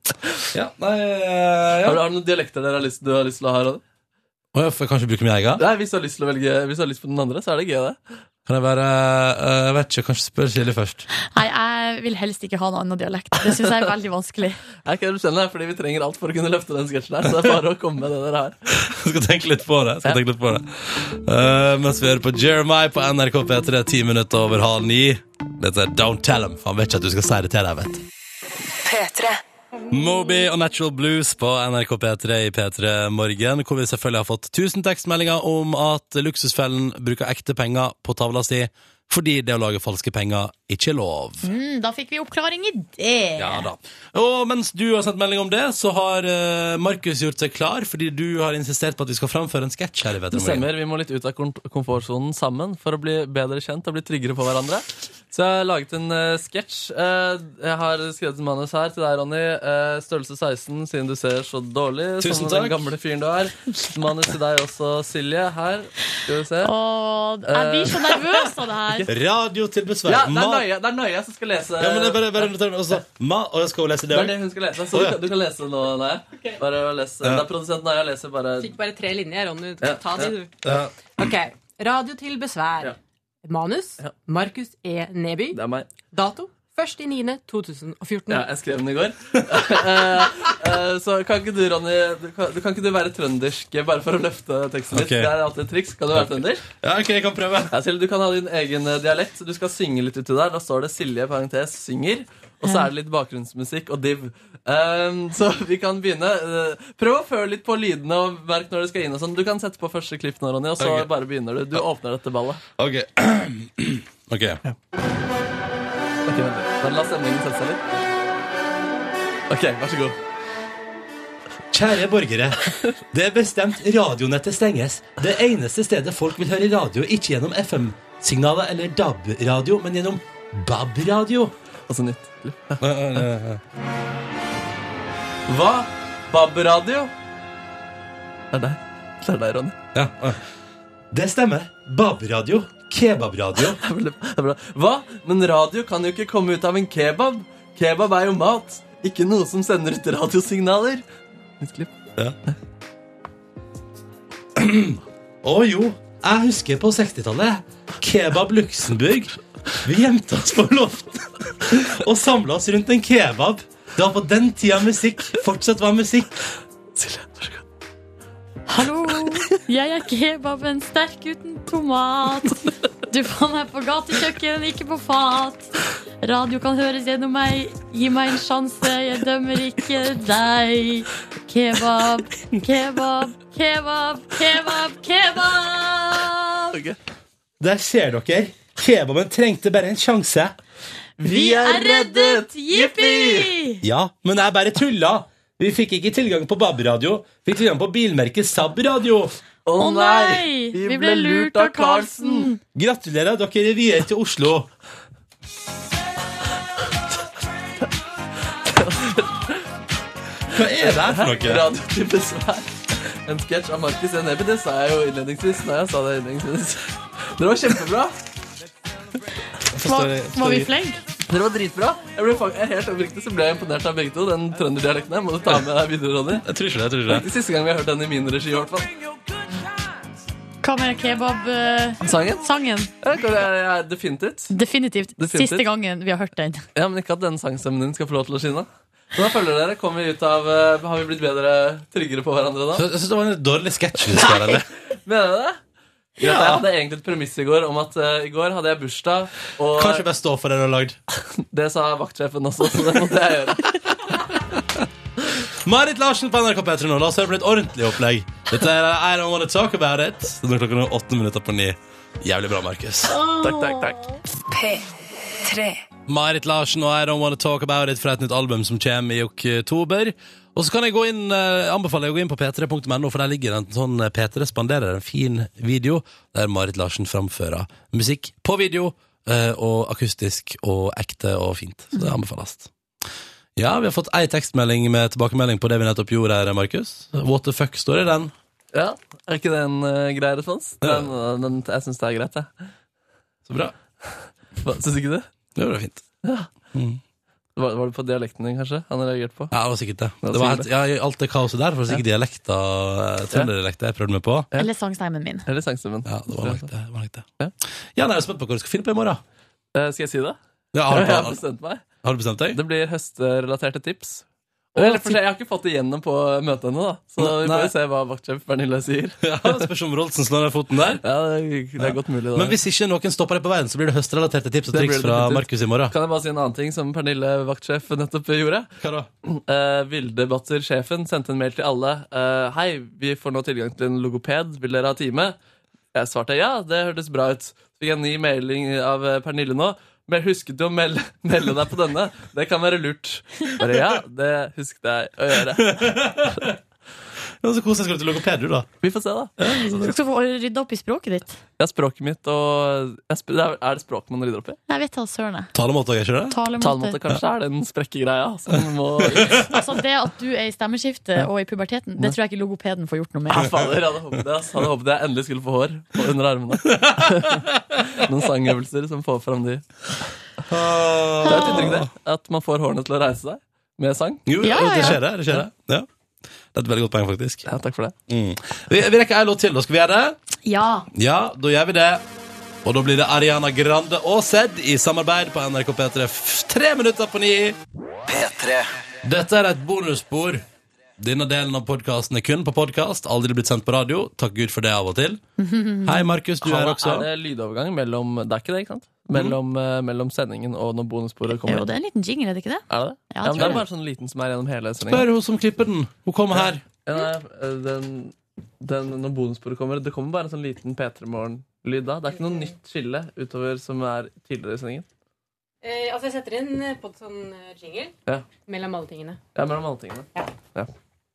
S2: Ja, nei eh, ja.
S7: Har, du- har du noen dialekter dere har lyst, du har lyst til å ha? Ronny?
S2: Å, jeg får kanskje bruke min egen?
S7: Nei, hvis du, har lyst til å velge, hvis du har lyst på den andre, så er det gøy, det.
S2: Kan jeg bare eh, Jeg vet ikke, kanskje spørre Silje først.
S3: Nei, jeg vil helst ikke ha noen annen dialekt. Det syns jeg er veldig vanskelig.
S7: Jeg kan bestemme deg, fordi Vi trenger alt for å kunne løfte den sketsjen her. Så det er bare å komme med det dere har.
S2: Jeg skal tenke litt på det. jeg Skal tenke litt på det. Eh, mens vi hører på Jeremiah på NRK P3, ti minutter over halv ni. Dette er Don't Tell Him. Han vet ikke at du skal si det til deg, vet du.
S1: P3.
S2: Moby og Natural Blues på NRK P3 i P3 Morgen, hvor vi selvfølgelig har fått tusen tekstmeldinger om at Luksusfellen bruker ekte penger på tavla si fordi det å lage falske penger ikke er lov.
S3: Mm, da fikk vi oppklaring i det.
S2: Ja da. Og mens du har sendt melding om det, så har eh, Markus gjort seg klar, fordi du har insistert på at vi skal framføre en sketsj her i P3
S7: Det
S2: Morgen.
S7: stemmer, Vi må litt ut av kom- komfortsonen sammen for å bli bedre kjent og bli tryggere på hverandre. Så jeg har laget en eh, sketsj. Eh, jeg har skrevet et manus her til deg, Ronny. Eh, størrelse 16, siden du ser så dårlig
S2: Tusen
S7: som
S2: takk.
S7: den gamle fyren du er. Manus til deg også, Silje. Her. Skal vi se.
S3: Og jeg blir så nervøs av det her.
S2: Radio til besvær.
S7: Ja, det er
S2: Ma-
S7: Nøye, det er nøye som skal lese.
S2: Ja, men jeg bare, bare noter meg også. Ma, og jeg skal jo lese det
S7: det er
S2: òg.
S7: det hun skal lese, så du kan, du kan lese det nå, Naya. Bare å lese. Det er produsent Naya leser bare
S11: Fikk bare tre linjer. Ronny,
S7: Ja,
S11: ta
S7: ja,
S11: de, du. Ok. Radio til besvær.
S7: Ja.
S11: Manus
S7: Ja.
S11: Markus E. Neby.
S7: Det er meg.
S11: Dato 1.9.2014.
S7: Ja, jeg skrev den i går. Eh, eh, så kan ikke du, Ronny, du kan, du kan ikke du være trøndersk eh, bare for å løfte teksten litt?
S2: Ok.
S7: Det er alltid et triks. Kan du være trøndersk?
S2: Ja, ok, jeg kan prøve.
S7: Ja, Silje, du kan ha din egen eh, dialekt. Du skal synge litt uti der. Da står det Silje parentes synger. Og så er det litt bakgrunnsmusikk og div. Ehm, så vi kan begynne. Eh, prøv å føle litt på lydene og merk når det skal inn. og sånn Du kan sette på første klipp nå, Ronny, og så
S2: Ok.
S7: bare begynner du. Du åpner dette ballet.
S2: Ok. ok.
S7: Ok, vent litt. Bare La stemningen sette seg litt. Ok, vær så god.
S12: Kjære borgere. Det er bestemt radionettet stenges. Det eneste stedet folk vil høre radio, ikke gjennom FM-signaler eller DAB-radio, men gjennom DAB-radio.
S7: Altså nytt. Hva? Babberadio? Det er deg. Det er deg, Ronny.
S2: Ja.
S12: Det stemmer. DAB-radio. Kebabradio.
S7: Det er veldig- det er bra. Hva? Men radio kan jo ikke komme ut av en kebab. Kebab er jo mat, ikke noe som sender ut radiosignaler. Nytt klipp.
S12: Å jo, jeg husker på 60-tallet. Kebab Luxembourg. Vi gjemte oss på loftet og samla oss rundt en kebab. Det var på den tida musikk fortsatt var musikk.
S3: Hallo, jeg er kebaben, sterk uten tomat. Du fant meg på gatekjøkken, ikke på fat. Radio kan høres gjennom meg, gi meg en sjanse, jeg dømmer ikke deg. Kebab, kebab, kebab, kebab, kebab.
S7: Ok.
S12: Der ser dere. Kebaben trengte bare en sjanse.
S3: Vi er reddet! Jippi!
S12: Ja, men jeg bare tulla. Vi fikk ikke tilgang på DAB-radio. Fikk tilgang på bilmerket SAB-radio.
S7: Å
S3: Å nei! Vi ble lurt av Karlsen.
S12: Gratulerer, dere er videre til Oslo. Hva er det her for noe?
S7: Radio til besvær. En sketsj av Markus E. Neby. Det sa jeg jo innledningsvis. Nei, jeg sa det innledningsvis. Dere var kjempebra.
S3: Var, var vi flinke?
S7: Dere var dritbra. Jeg ble, fak- jeg helt oppriktig så ble jeg imponert av begge to. Den trønderdialekten her må du ta med deg videre, Ronny.
S2: Jeg tror ikke det. jeg tror
S7: Det
S2: ikke
S7: er ikke siste gang vi har hørt den i min regi, i hvert fall.
S3: Hva med kebab-sangen?
S7: Sangen? Ja, det er definitivt.
S3: Definitivt.
S7: Definitivt.
S3: Siste gangen vi har hørt den.
S7: Ja, men ikke at denne sangstemmen din skal få lov til å skinne. Så da følger dere, kommer vi ut av eh, Har vi blitt bedre, tryggere på hverandre da?
S2: Så Jeg synes det var en dårlig sketsj. vi skal, eller?
S7: Mener du det? Ja. Jeg hadde egentlig et premiss i går om at eh, i går hadde jeg bursdag, og
S2: Kanskje bare stå for det du har lagd.
S7: det sa vaktsjefen også, så det måtte jeg gjøre.
S2: Marit Larsen på NRK P3 nå. La oss høre på et ordentlig opplegg. Dette er I Don't Wanna Talk About It. Så nå er klokka nå åtte minutter på ni. Jævlig bra, Markus.
S7: Takk, takk, takk.
S1: P3.
S2: Marit Larsen og I Don't Wanna Talk About It fra et nytt album som kommer i oktober. Og så kan jeg gå inn, eh, anbefaler jeg å gå inn på p3.no, for der ligger det en sånn eh, P3 spanderer en fin video der Marit Larsen framfører musikk på video, eh, og akustisk og ekte og fint. Så det anbefales. Ja, vi har fått ei tekstmelding med tilbakemelding på det vi nettopp gjorde her, Markus. What the fuck står det i den?
S7: Ja, er ikke det en eh, grei respons? Den, eh, den, jeg syns det er greit, jeg.
S2: Så bra.
S7: Hva- Syns ikke du?
S2: Det var fint.
S7: Var, var det på dialekten din, kanskje? Han reagerte på?
S2: Ja, det var sikkert det.
S7: var
S2: det var helt,
S7: sikkert
S2: ja, i alt det kaoset der var det sikkert dialekter, eh, trønderdialekter jeg prøvde meg på.
S3: Eller sangstemmen min.
S7: Eller sangstemmen?
S2: Ja, det var nok det. det, var nok det.
S7: Ja.
S2: Ja. nei, jeg er spent på hva du skal finne på i morgen.
S7: Eh, Skal jeg si det?
S2: Ja, har,
S7: Jeg
S2: du,
S7: har
S2: har,
S7: bestemt meg.
S2: har du bestemt deg?
S7: Det blir høstrelaterte tips. Eller, for jeg har ikke fått det igjennom på møtet ennå, da. Så
S2: Nei,
S7: vi får
S2: nei.
S7: jo se hva vaktsjef Pernille sier.
S2: Ja, Spørs om Rolsen slår ned foten der.
S7: Ja, det er, det er godt mulig, da.
S2: Men hvis ikke noen stopper deg på veien, så blir det høstrelaterte tips og
S7: Det blir
S2: triks
S7: det
S2: fra
S7: definitivt.
S2: Markus i morgen.
S7: Kan jeg bare si en annen ting som Pernille vaktsjef nettopp gjorde?
S2: Hva da?
S7: Eh, Vilde Batter, sjefen, sendte en mail til alle. Eh, Hei, vi får nå tilgang til en logoped. Vil dere ha time? Jeg svarte ja, det hørtes bra ut. Så fikk jeg en ny mailing av eh, Pernille nå. Men husket du å melde, melde deg på denne? Det kan være lurt. Bare ja, det husket jeg å gjøre.
S2: Ja, så koselig skal du til logoped, du, da.
S7: Vi får se, da.
S3: Du skal få rydde opp i språket ditt.
S7: Ja, språket mitt og jeg sp det er, er det språk man rydder opp i?
S3: Jeg vet da søren, jeg.
S2: Talemåte, er ikke det?
S3: Talemåte.
S7: Talemåte kanskje er den sprekkegreia som må
S3: Altså, det at du er i stemmeskiftet og i puberteten, det tror jeg ikke logopeden får gjort noe
S7: Ja,
S3: med.
S7: fader, jeg hadde håpet det. ass. Jeg Hadde håpet jeg endelig skulle få hår på under armene. Noen sangøvelser som får fram de. Det er et uttrykk, det. At man får hårene til å reise seg med sang.
S2: Jo,
S3: Ja, ja,
S2: det
S3: ja.
S2: skjer, det. det, skjer det. Ja. Det er et veldig godt poeng, faktisk.
S7: Ja, takk for det.
S2: Mm. Vi, vi rekker ei låt til, da. Skal vi gjøre det?
S3: Ja.
S2: Ja, da gjør vi det. Og da blir det Ariana Grande og Zed i samarbeid på NRK P3 f- tre minutter på ni.
S6: P3.
S2: Dette er et bonusspor Denne delen av podkasten er kun på podkast, aldri blitt sendt på radio. Takk Gud for det av og til. Hei, Markus, du er
S7: Halla,
S2: også
S7: Er det lydovergang mellom Det er ikke det, ikke sant? Mellom, eh, mellom sendingen og når bonusbordet kommer?
S3: Jo, det er en liten jingle, er det ikke det?
S7: Er det det?
S3: Ja,
S7: Ja,
S3: jeg
S7: men
S3: tror
S7: det er
S3: det.
S7: bare sånn liten som er gjennom hele sendingen.
S2: Spør hun som klipper den. Hun kommer her.
S7: Ja, nei, eh, den, den, når bonusbordet kommer Det kommer bare en sånn liten P3 Morgen-lyd da. Det er ikke noe nytt skille utover som er tidligere i sendingen.
S11: Eh, altså, jeg setter inn eh, på en sånn eh, jingle
S7: Ja,
S11: mellom alle tingene.
S7: ja mellom alle tingene.
S11: Ja.
S7: Ja.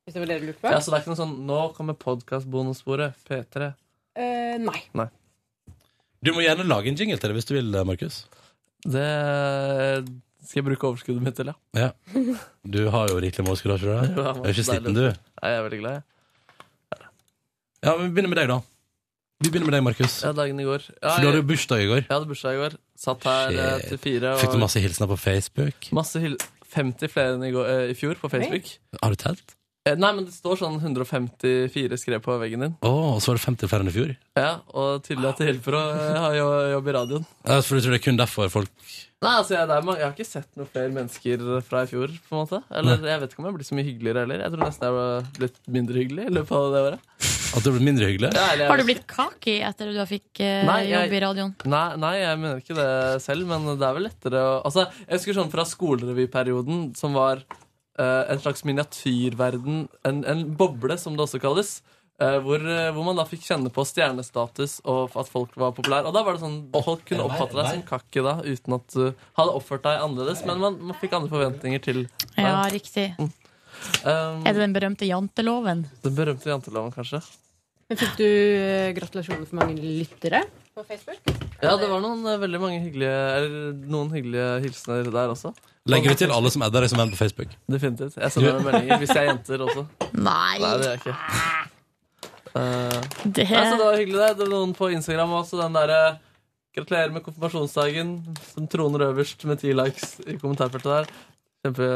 S11: Hvis det var det du lurte på?
S7: Ja, så det er ikke noe sånn Nå kommer podkast-bonussporet. P3.
S11: Eh, nei.
S7: Nei.
S2: Du må gjerne lage en jingle til det hvis du vil, Markus.
S7: Det skal jeg bruke overskuddet mitt til, ja.
S2: Ja. Du har jo rikelig med overskudd, har ikke du? det? Du
S7: Ja,
S2: er ikke
S7: deilig.
S2: sliten, du?
S7: Nei, jeg er veldig glad, jeg.
S2: Ja, men Vi begynner med deg, da. Vi begynner med deg, Markus.
S7: Ja, dagen i går. Ja,
S2: For du hadde
S7: jeg-
S2: jo bursdag i går.
S7: Jeg hadde bursdag i går. Satt her eh,
S2: Shit.
S7: til fire.
S2: Fikk du masse hilsener på Facebook?
S7: Masse hyll 50 flere enn i, går, eh, i fjor på Facebook.
S2: Har du telt?
S7: Eh, nei, men det står sånn 154 skrev på veggen din.
S2: Å, og så var det 50 flere enn i fjor?
S7: Ja, Og tydelig at det hjelper å eh, ha jo- jobb i radioen.
S2: Ja, For du tror det er kun derfor folk
S7: Nei, altså jeg, det er, mange- jeg har ikke sett noen flere mennesker fra i fjor. på en måte Eller Jeg vet ikke om jeg har blitt så mye hyggeligere heller. Jeg tror nesten jeg har blitt mindre hyggelig i løpet av det året.
S2: At det blir mindre hyggelig?
S7: Ja, eller jeg
S3: Har du
S7: vet
S3: blitt kaki etter at du fikk eh,
S7: Nei, jeg-
S3: jobb i radioen?
S7: Nei, nei, jeg mener ikke det selv, men det er vel lettere å Altså, Jeg husker sånn fra skolerevyperioden, som var eh, en slags miniatyrverden, en, en boble, som det også kalles. eh, hvor, eh, hvor man da fikk kjenne på stjernestatus og f- at folk var populære. Og da var det sånn, Folk kunne
S12: er det
S7: oppfatte
S12: verre,
S7: deg som kakke da, uten at du hadde oppført deg annerledes. Men man, man fikk andre forventninger til
S3: Ja, riktig.
S7: um,
S3: Er det den berømte janteloven?
S7: den berømte janteloven, kanskje.
S11: Men fikk du eh, gratulasjoner for mange lyttere på Facebook?
S7: Ja, det var noen eh, veldig mange hyggelige Eller noen hyggelige hilsener der også.
S2: Legger du til alle som adder deg som venn på Facebook?
S7: Definitivt. Jeg sender
S2: Du-
S7: dem meldinger hvis jeg er jenter også.
S3: Nei!
S7: Nei, det gjør jeg ikke. Eh,
S3: Det,
S7: nei, så det var hyggelig, det. det var noen på Instagram også. Den derre Gratulerer med konfirmasjonsdagen, som troner øverst med ti likes i kommentarfeltet der. Kjempe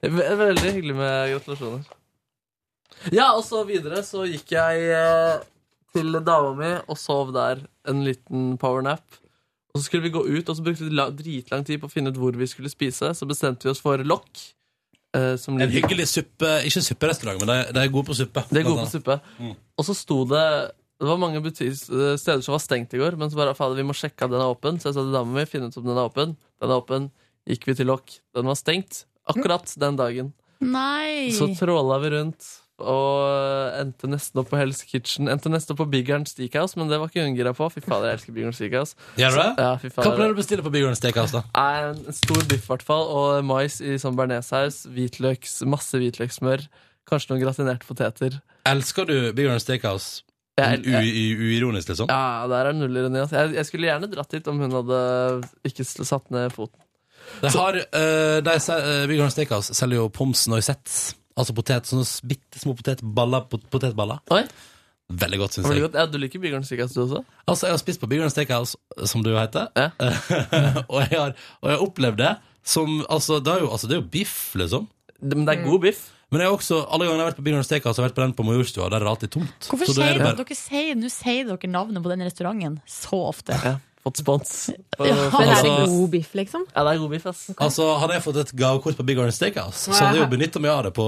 S7: Det er ve- Veldig hyggelig med gratulasjoner. Ja, og så videre så gikk jeg eh, til dama mi og sov der en liten powernap. Og så skulle vi gå ut, og så brukte vi la- dritlang tid på å finne ut hvor vi skulle spise. Så bestemte vi oss for Lokk. eh, som
S2: En
S7: ligger-
S2: hyggelig suppe Ikke supperestaurant, men de, de er gode på suppe.
S7: det er gode på suppe.
S2: Mm.
S7: Og så sto det Det var mange butis, steder som var stengt i går, men så bare fader, vi må sjekke at den er åpen. Så jeg sa til dama mi finne ut om den er åpen. Den er åpen. Gikk vi til lokk. Den var stengt akkurat den dagen.
S3: Nei!
S7: Så tråla vi rundt og eh, endte nesten opp på Hell's Kitchen. Endte nesten opp på Biggern Steakhouse, men det var ikke hun gira på. Fy fader, jeg elsker Biggern Steakhouse.
S2: Gjør du det?
S7: Ja, fy
S2: Hva pleier
S7: fader.
S2: du å bestille på Big Orange Steakhouse, da?
S7: Nei, En stor biff, i hvert fall, og mais i sånn bearnéssaus. Hvitløks, masse hvitløkssmør. Kanskje noen gratinerte poteter.
S2: Elsker du Big Orange Steakhouse
S7: Jeg-
S2: u u uironisk, liksom?
S7: Ja, der er det null ironi. ass. Jeg, jeg skulle gjerne dratt dit om hun hadde ikke sl- satt ned foten.
S2: De har, eh, de, se- eh, Big Orange Steakhouse selger jo pommes noisettes. Altså potet, sånne bitte små potetballer. Pot potetballer.
S7: Oi,
S2: Veldig godt,
S7: det
S2: syns
S7: var
S2: jeg.
S7: godt. Ja, Du liker Bigorn Stikas, du også?
S2: Altså, Jeg har spist på Big Orange Steakhouse, som du heter,
S7: Ja.
S2: og, jeg har, og jeg har opplevd det som altså det, er jo, altså, det er jo biff, liksom.
S7: Det- Men det er god biff.
S2: Men jeg har også, alle gangene jeg har vært på Big Orange Steakhouse, har jeg vært på den på Majorstua. Der er det alltid tomt.
S3: Hvorfor
S2: Så da er
S3: sier
S2: det
S3: dere,
S2: bare-
S3: dere sier, Nå sier dere navnet på den restauranten så ofte.
S7: Ja, Fått spons. Og-
S3: Ja.
S7: Ja,
S11: Men er det
S2: Altså-
S11: god biff, liksom?
S7: det er god biff, ass.
S2: Altså, Hadde jeg fått et gavekort på Big Orange Steakhouse, så hadde jeg jo benytta meg av det. på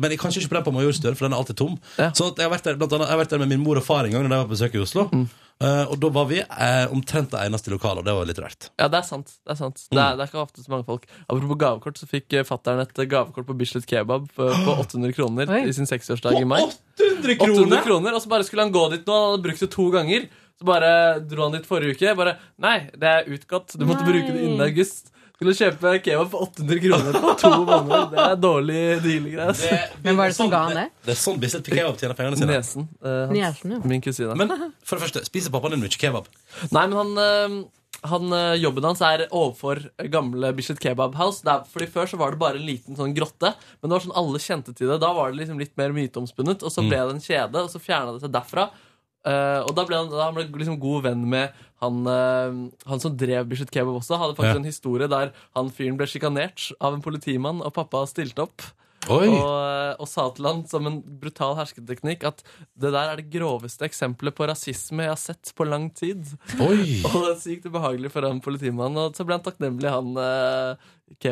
S2: Men jeg kanskje ikke på den på Majorstuen, for den er alltid tom.
S7: Ja.
S2: Så at jeg har vært der blant annet, jeg har vært der med min mor og far en gang da jeg var på besøk i Oslo.
S7: Mm.
S2: Eh, og da var vi eh, omtrent det eneste lokalet, og det var litt rart.
S7: Ja, det er sant. Det er sant det er, det er ikke ofte så mange folk. Apropos gavekort, så fikk eh, fattern et eh, gavekort på Bislett Kebab på, på 800 kroner
S11: Oi.
S7: i sin seksårsdag i mai.
S2: 800
S7: 800 kroner, Og så bare skulle han gå dit nå, han hadde brukt det to ganger. Så bare dro han dit forrige uke. Bare Nei, det er utgått. Du måtte
S3: Nei.
S7: bruke det innen august. Skulle kjøpe kebab for 800 kroner på to måneder. Det er dårlig deal, greier.
S11: Hvem var det som ga han det?
S2: Det er sånn Bislett Kebab tjener pengene sine.
S7: Nesen. eh, hans,
S11: Nesen, ja.
S7: Min kusine.
S2: Men for det første, spiser pappaen din mye kebab?
S7: Nei, men han, eh, han eh, Jobben hans er overfor gamle Bislett Kebab House. Der, fordi Før så var det bare en liten sånn grotte, men det var sånn alle kjente til det. Da var det liksom litt mer myteomspunnet, og så ble
S2: Mm.
S7: det en kjede, og så fjerna det seg derfra. Eh, og da ble han, da han ble liksom god venn med han, eh, han som drev Bislett Kebab også. Hadde faktisk
S2: Ja.
S7: en historie der han fyren ble sjikanert av en politimann, og pappa stilte opp.
S2: Oi.
S7: Og, og sa til han som en brutal hersketeknikk at det der er det groveste eksempelet på rasisme jeg har sett på lang tid.
S2: Oi.
S7: Og det er sykt ubehagelig for han politimannen. Og så ble han takknemlig, han eh,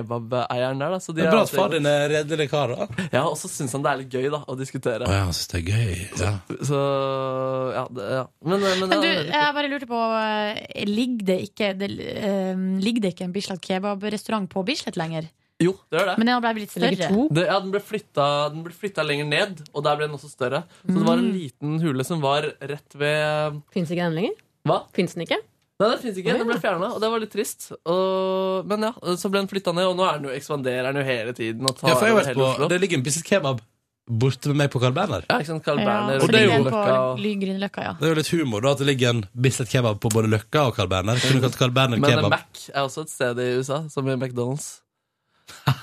S7: kebabeieren der. Da. Så de
S12: Det er
S7: har
S12: bra at
S7: alltid-
S12: far din er redelig kar, da.
S7: Ja, og så syns han det er litt gøy da, å diskutere.
S2: Å ja, han syns det er gøy. Ja.
S7: Så ja, det, ja. Men, eh, men,
S3: Men du,
S7: ja,
S3: jeg bare lurte på eh, Ligger det ikke, det, eh, ligger det ikke en Bislett kebabrestaurant på Bislett lenger?
S7: Jo, det gjør det.
S3: Men den ble litt
S7: Det ligger
S3: større.
S7: to. Det, ja, den ble, flytta, den ble flytta lenger ned, og der ble den også større. Så det var en
S11: Mm.
S7: liten hule som var rett ved
S11: Fins ikke den lenger?
S7: Hva?
S11: Fins den ikke?
S7: Nei, den fins ikke. Den ble fjerna, og det var litt trist. Og, men ja, så ble den flytta ned, og nå er den jo, ekspanderer den jo hele tiden. Og tar
S2: Ja, for jeg har
S7: over
S2: vært
S7: hele
S2: på,
S7: Oslo.
S2: det ligger en Bislett Kebab borte med meg på Carl Berner.
S7: Ja, ikke sant, Carl
S3: Ja,
S7: Berner
S3: for
S2: og det
S3: det
S2: er jo
S3: ligger på
S7: Løkka og-
S3: Ly- Grünerløkka, ja.
S2: Det er jo litt humor da, at det ligger en Bislett Kebab på både Løkka og Carl Berner. Kunne du kalt Carl Berner
S7: Men
S2: Kebab?
S7: Mac er også et sted i USA, som i McDonald's. Ah.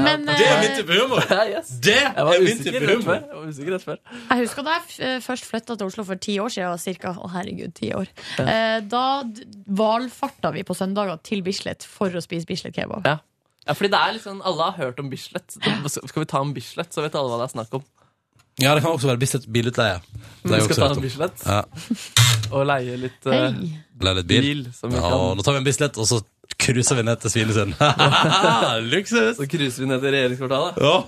S3: Men
S12: Det er min
S3: eh,
S12: type humor!
S7: Ja, yes.
S12: Det
S7: Jeg var
S12: er min
S7: usikker
S12: type
S7: rett
S12: humor!
S7: før. Jeg var usikker rett før.
S3: jeg husker da jeg f- eh, først flytta til Oslo for ti år siden, cirka. Å, herregud, ti år. Eh, Da d- valfarta vi på søndager til Bislett for å spise Bislett kebab.
S7: Ja. ja, fordi det er liksom Alle har hørt om Bislett. Skal vi ta en Bislett, så vet alle hva det er snakk om.
S2: Ja, det kan også være Bislett Bilutleie. Det
S7: Mm, Vi
S2: er jo
S7: skal
S2: også
S7: ta
S2: rett
S7: en
S2: om.
S7: Bislett
S2: Ja,
S7: og leie litt eh,
S3: Hei.
S2: det er litt bil.
S7: bil. Som vi
S2: Ja, og
S7: kan.
S2: nå tar vi en Bislett, og så cruiser vi ned til Svinesund. Luksus!
S7: Så cruiser vi ned til regjeringskvartalet.
S2: Åh,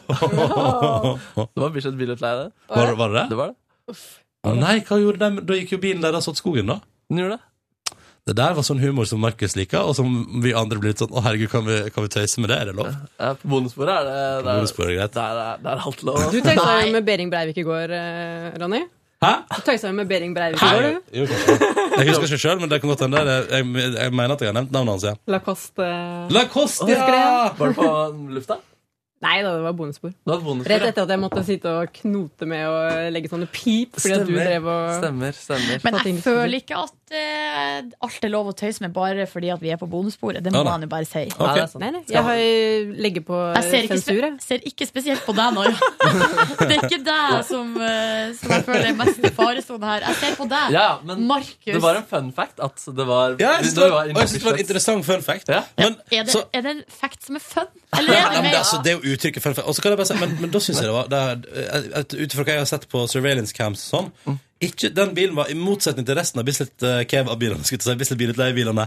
S7: Det var Bislett bilutleie, det.
S2: Var, det- var det det?
S7: Det var det.
S2: Å nei, hva gjorde de? Da gikk jo bilen deres åt skogen, da.
S7: Den gjorde det.
S2: Det der var sånn humor som Markus liker, og som vi andre blir litt sånn Å, herregud, kan vi, kan vi tøyse med det? Er det lov?
S7: Ja, på bonussporet er det der,
S2: Bonussporet er greit.
S7: Der, er- der er alt lov.
S11: Du tøysa jo med Behring Breivik i går, eh, Ronny.
S2: Hæ?
S11: Du tøysa jo med Behring Breivik i går,
S2: Nei,
S11: du.
S2: jo, kanskje. jeg husker ikke sjøl, men det kan godt hende. Det- Jeg, jeg mener at jeg har nevnt navnet hans, ja.
S11: Lacoste eh.
S2: Lacoste!
S11: Husker
S2: Ja!
S7: Var det på lufta?
S11: Nei da, det var bonusspor.
S7: Det var bonusbord,
S11: Rett
S7: ja.
S11: etter at jeg måtte sitte og knote med å legge sånne pip fordi at du
S7: Stemmer.
S11: drev og
S7: Stemmer. stemmer
S3: Men
S11: Satt inn
S3: jeg
S11: i
S3: føler ikke at eh, alt er lov å tøyse med bare fordi at vi er på bonussporet. Det
S2: Ja,
S3: må
S2: da.
S3: man jo bare si.
S7: Ja, det er
S2: Ok.
S7: sant.
S11: Nei, nei. Jeg har legger på
S3: Jeg ser ikke,
S11: sensur, jeg.
S3: spe ser ikke spesielt på deg, Nora. Det er ikke deg som, eh, som jeg føler er mest i faresonen her. Jeg ser på deg,
S7: Ja, men
S3: Markus.
S7: det var en fun fact at det var
S2: Ja, jeg synes det
S7: når vi
S2: var, og
S7: inne på
S2: jeg synes det var en
S7: Bislett.
S2: interessant fun fact.
S7: Ja.
S2: Men,
S3: Er det,
S2: så,
S3: er det en fact som er fun? Eller er
S2: Ja,
S3: det
S2: men det,
S3: mer
S2: altså, det er jo uttrykket fun fact. Og så kan jeg bare si, men, men da syns jeg det var det, er- at Ut ifra hva jeg har sett på surveillance camps og sånn ikke, Den bilen var, i motsetning til resten av Bislett eh, Keva-bilene, skulle jeg til å si, Bislett bilutleiebilene,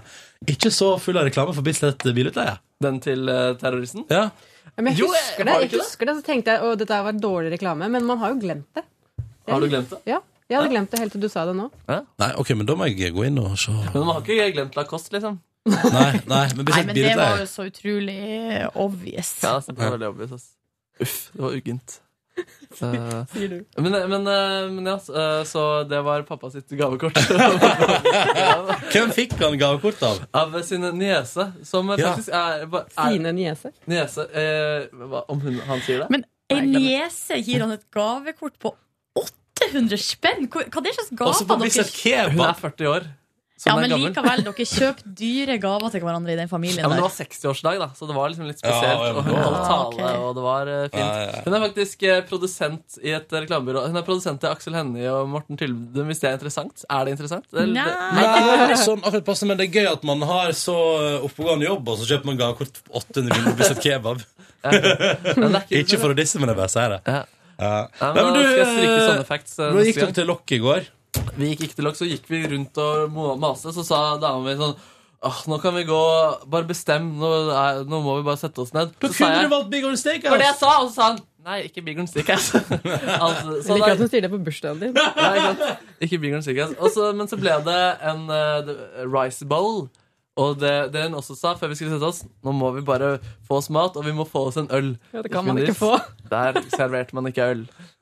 S2: ikke så full av reklame for Bislett bilutleie.
S7: Den til eh, terroristen?
S2: Ja.
S11: Ja, Men jeg
S7: Jo, jeg-
S11: husker
S7: var
S11: det.
S7: det
S11: Jeg
S7: ikke det?
S11: husker det, Så tenkte jeg å, dette var dårlig reklame, men man har jo glemt det.
S7: Har du glemt det?
S11: Ja, Jeg hadde glemt det helt til du sa det nå.
S2: Nei, ok, men da må jeg gå inn og se.
S7: Men man har ikke glemt Lacoste, liksom.
S2: Nei, nei men
S3: Nei,
S2: Bislett
S3: men det var
S2: bilutleie
S3: jo så utrolig eh, obvious.
S7: Ja, det var veldig obvious, ass. Uff, det var uggent. Eh,
S11: Sier du.
S7: men, men, eh, men ja, eh, så det var pappa sitt gavekort
S2: Hvem fikk han gavekort av?
S7: av sin niese, som
S2: Ja.
S7: faktisk er, ba- er
S11: Sine niese.
S7: Niese eh, hva- Om hun, han sier det?
S3: Men ei niese gir han et gavekort på 800 spenn! Hvor- Hva er det slags
S2: Også på
S3: gaver dere
S2: Bislett Kebab.
S7: Hun er 40 år. Så
S3: Ja,
S7: hun
S3: men
S7: er gammel.
S3: likevel, dere kjøper dyre gaver til hverandre i den
S7: Ja,
S3: familien
S7: men Det
S3: der.
S7: var 60-årsdag, da, så det var liksom litt spesielt.
S2: Ja, ja,
S7: og hun
S2: ja.
S7: holdt
S3: Ah,
S7: tale,
S3: ok.
S7: og det var eh, fint.
S2: Ja, ja, ja.
S7: Hun er faktisk eh, produsent i et reklamebyrå. Hun er produsent til Aksel Hennie og Morten Tyldum, hvis det er interessant. Er det interessant? Eller-
S3: Nei.
S2: Nei, det er sånn akkurat passe, men det er gøy at man har så eh, oppegående jobb, og så kjøper man gavekort på 800 kroner på Bislett Kebab.
S7: Men det er ikke,
S2: Ikke for å disse, men jeg bare sier det.
S7: Ja.
S2: Ja.
S7: Nei,
S2: Nei,
S7: men
S2: men
S7: da
S2: du,
S7: skal jeg stryke
S2: eh,
S7: sånne facts eh,
S2: Nå gikk dere
S7: neste gang.
S2: til lokket i går.
S7: Vi gikk ikke til lokk, så gikk vi rundt og mo- maste, så sa dama mi sånn Åh, nå kan vi gå Bare bestem. Nå, er, nå må vi bare sette oss ned. Så sa jeg
S2: valgt Big Old Steak.
S7: For det jeg sa, og så sa han Nei, ikke Big Green Stickers. altså,
S11: Jeg
S7: så
S11: liker
S7: da-
S11: at hun sier det på bursdagen din.
S7: Ja, ikke sant? Ikke Big Green Stickers. Og så- men så ble det en eh, det- rice bowl. Og det, det hun også sa før vi skulle sette oss, nå må vi bare få oss mat, og vi må få oss en øl.
S11: Ja, det kan man ikke
S7: Minus,
S11: få.
S7: Der serverte man ikke øl.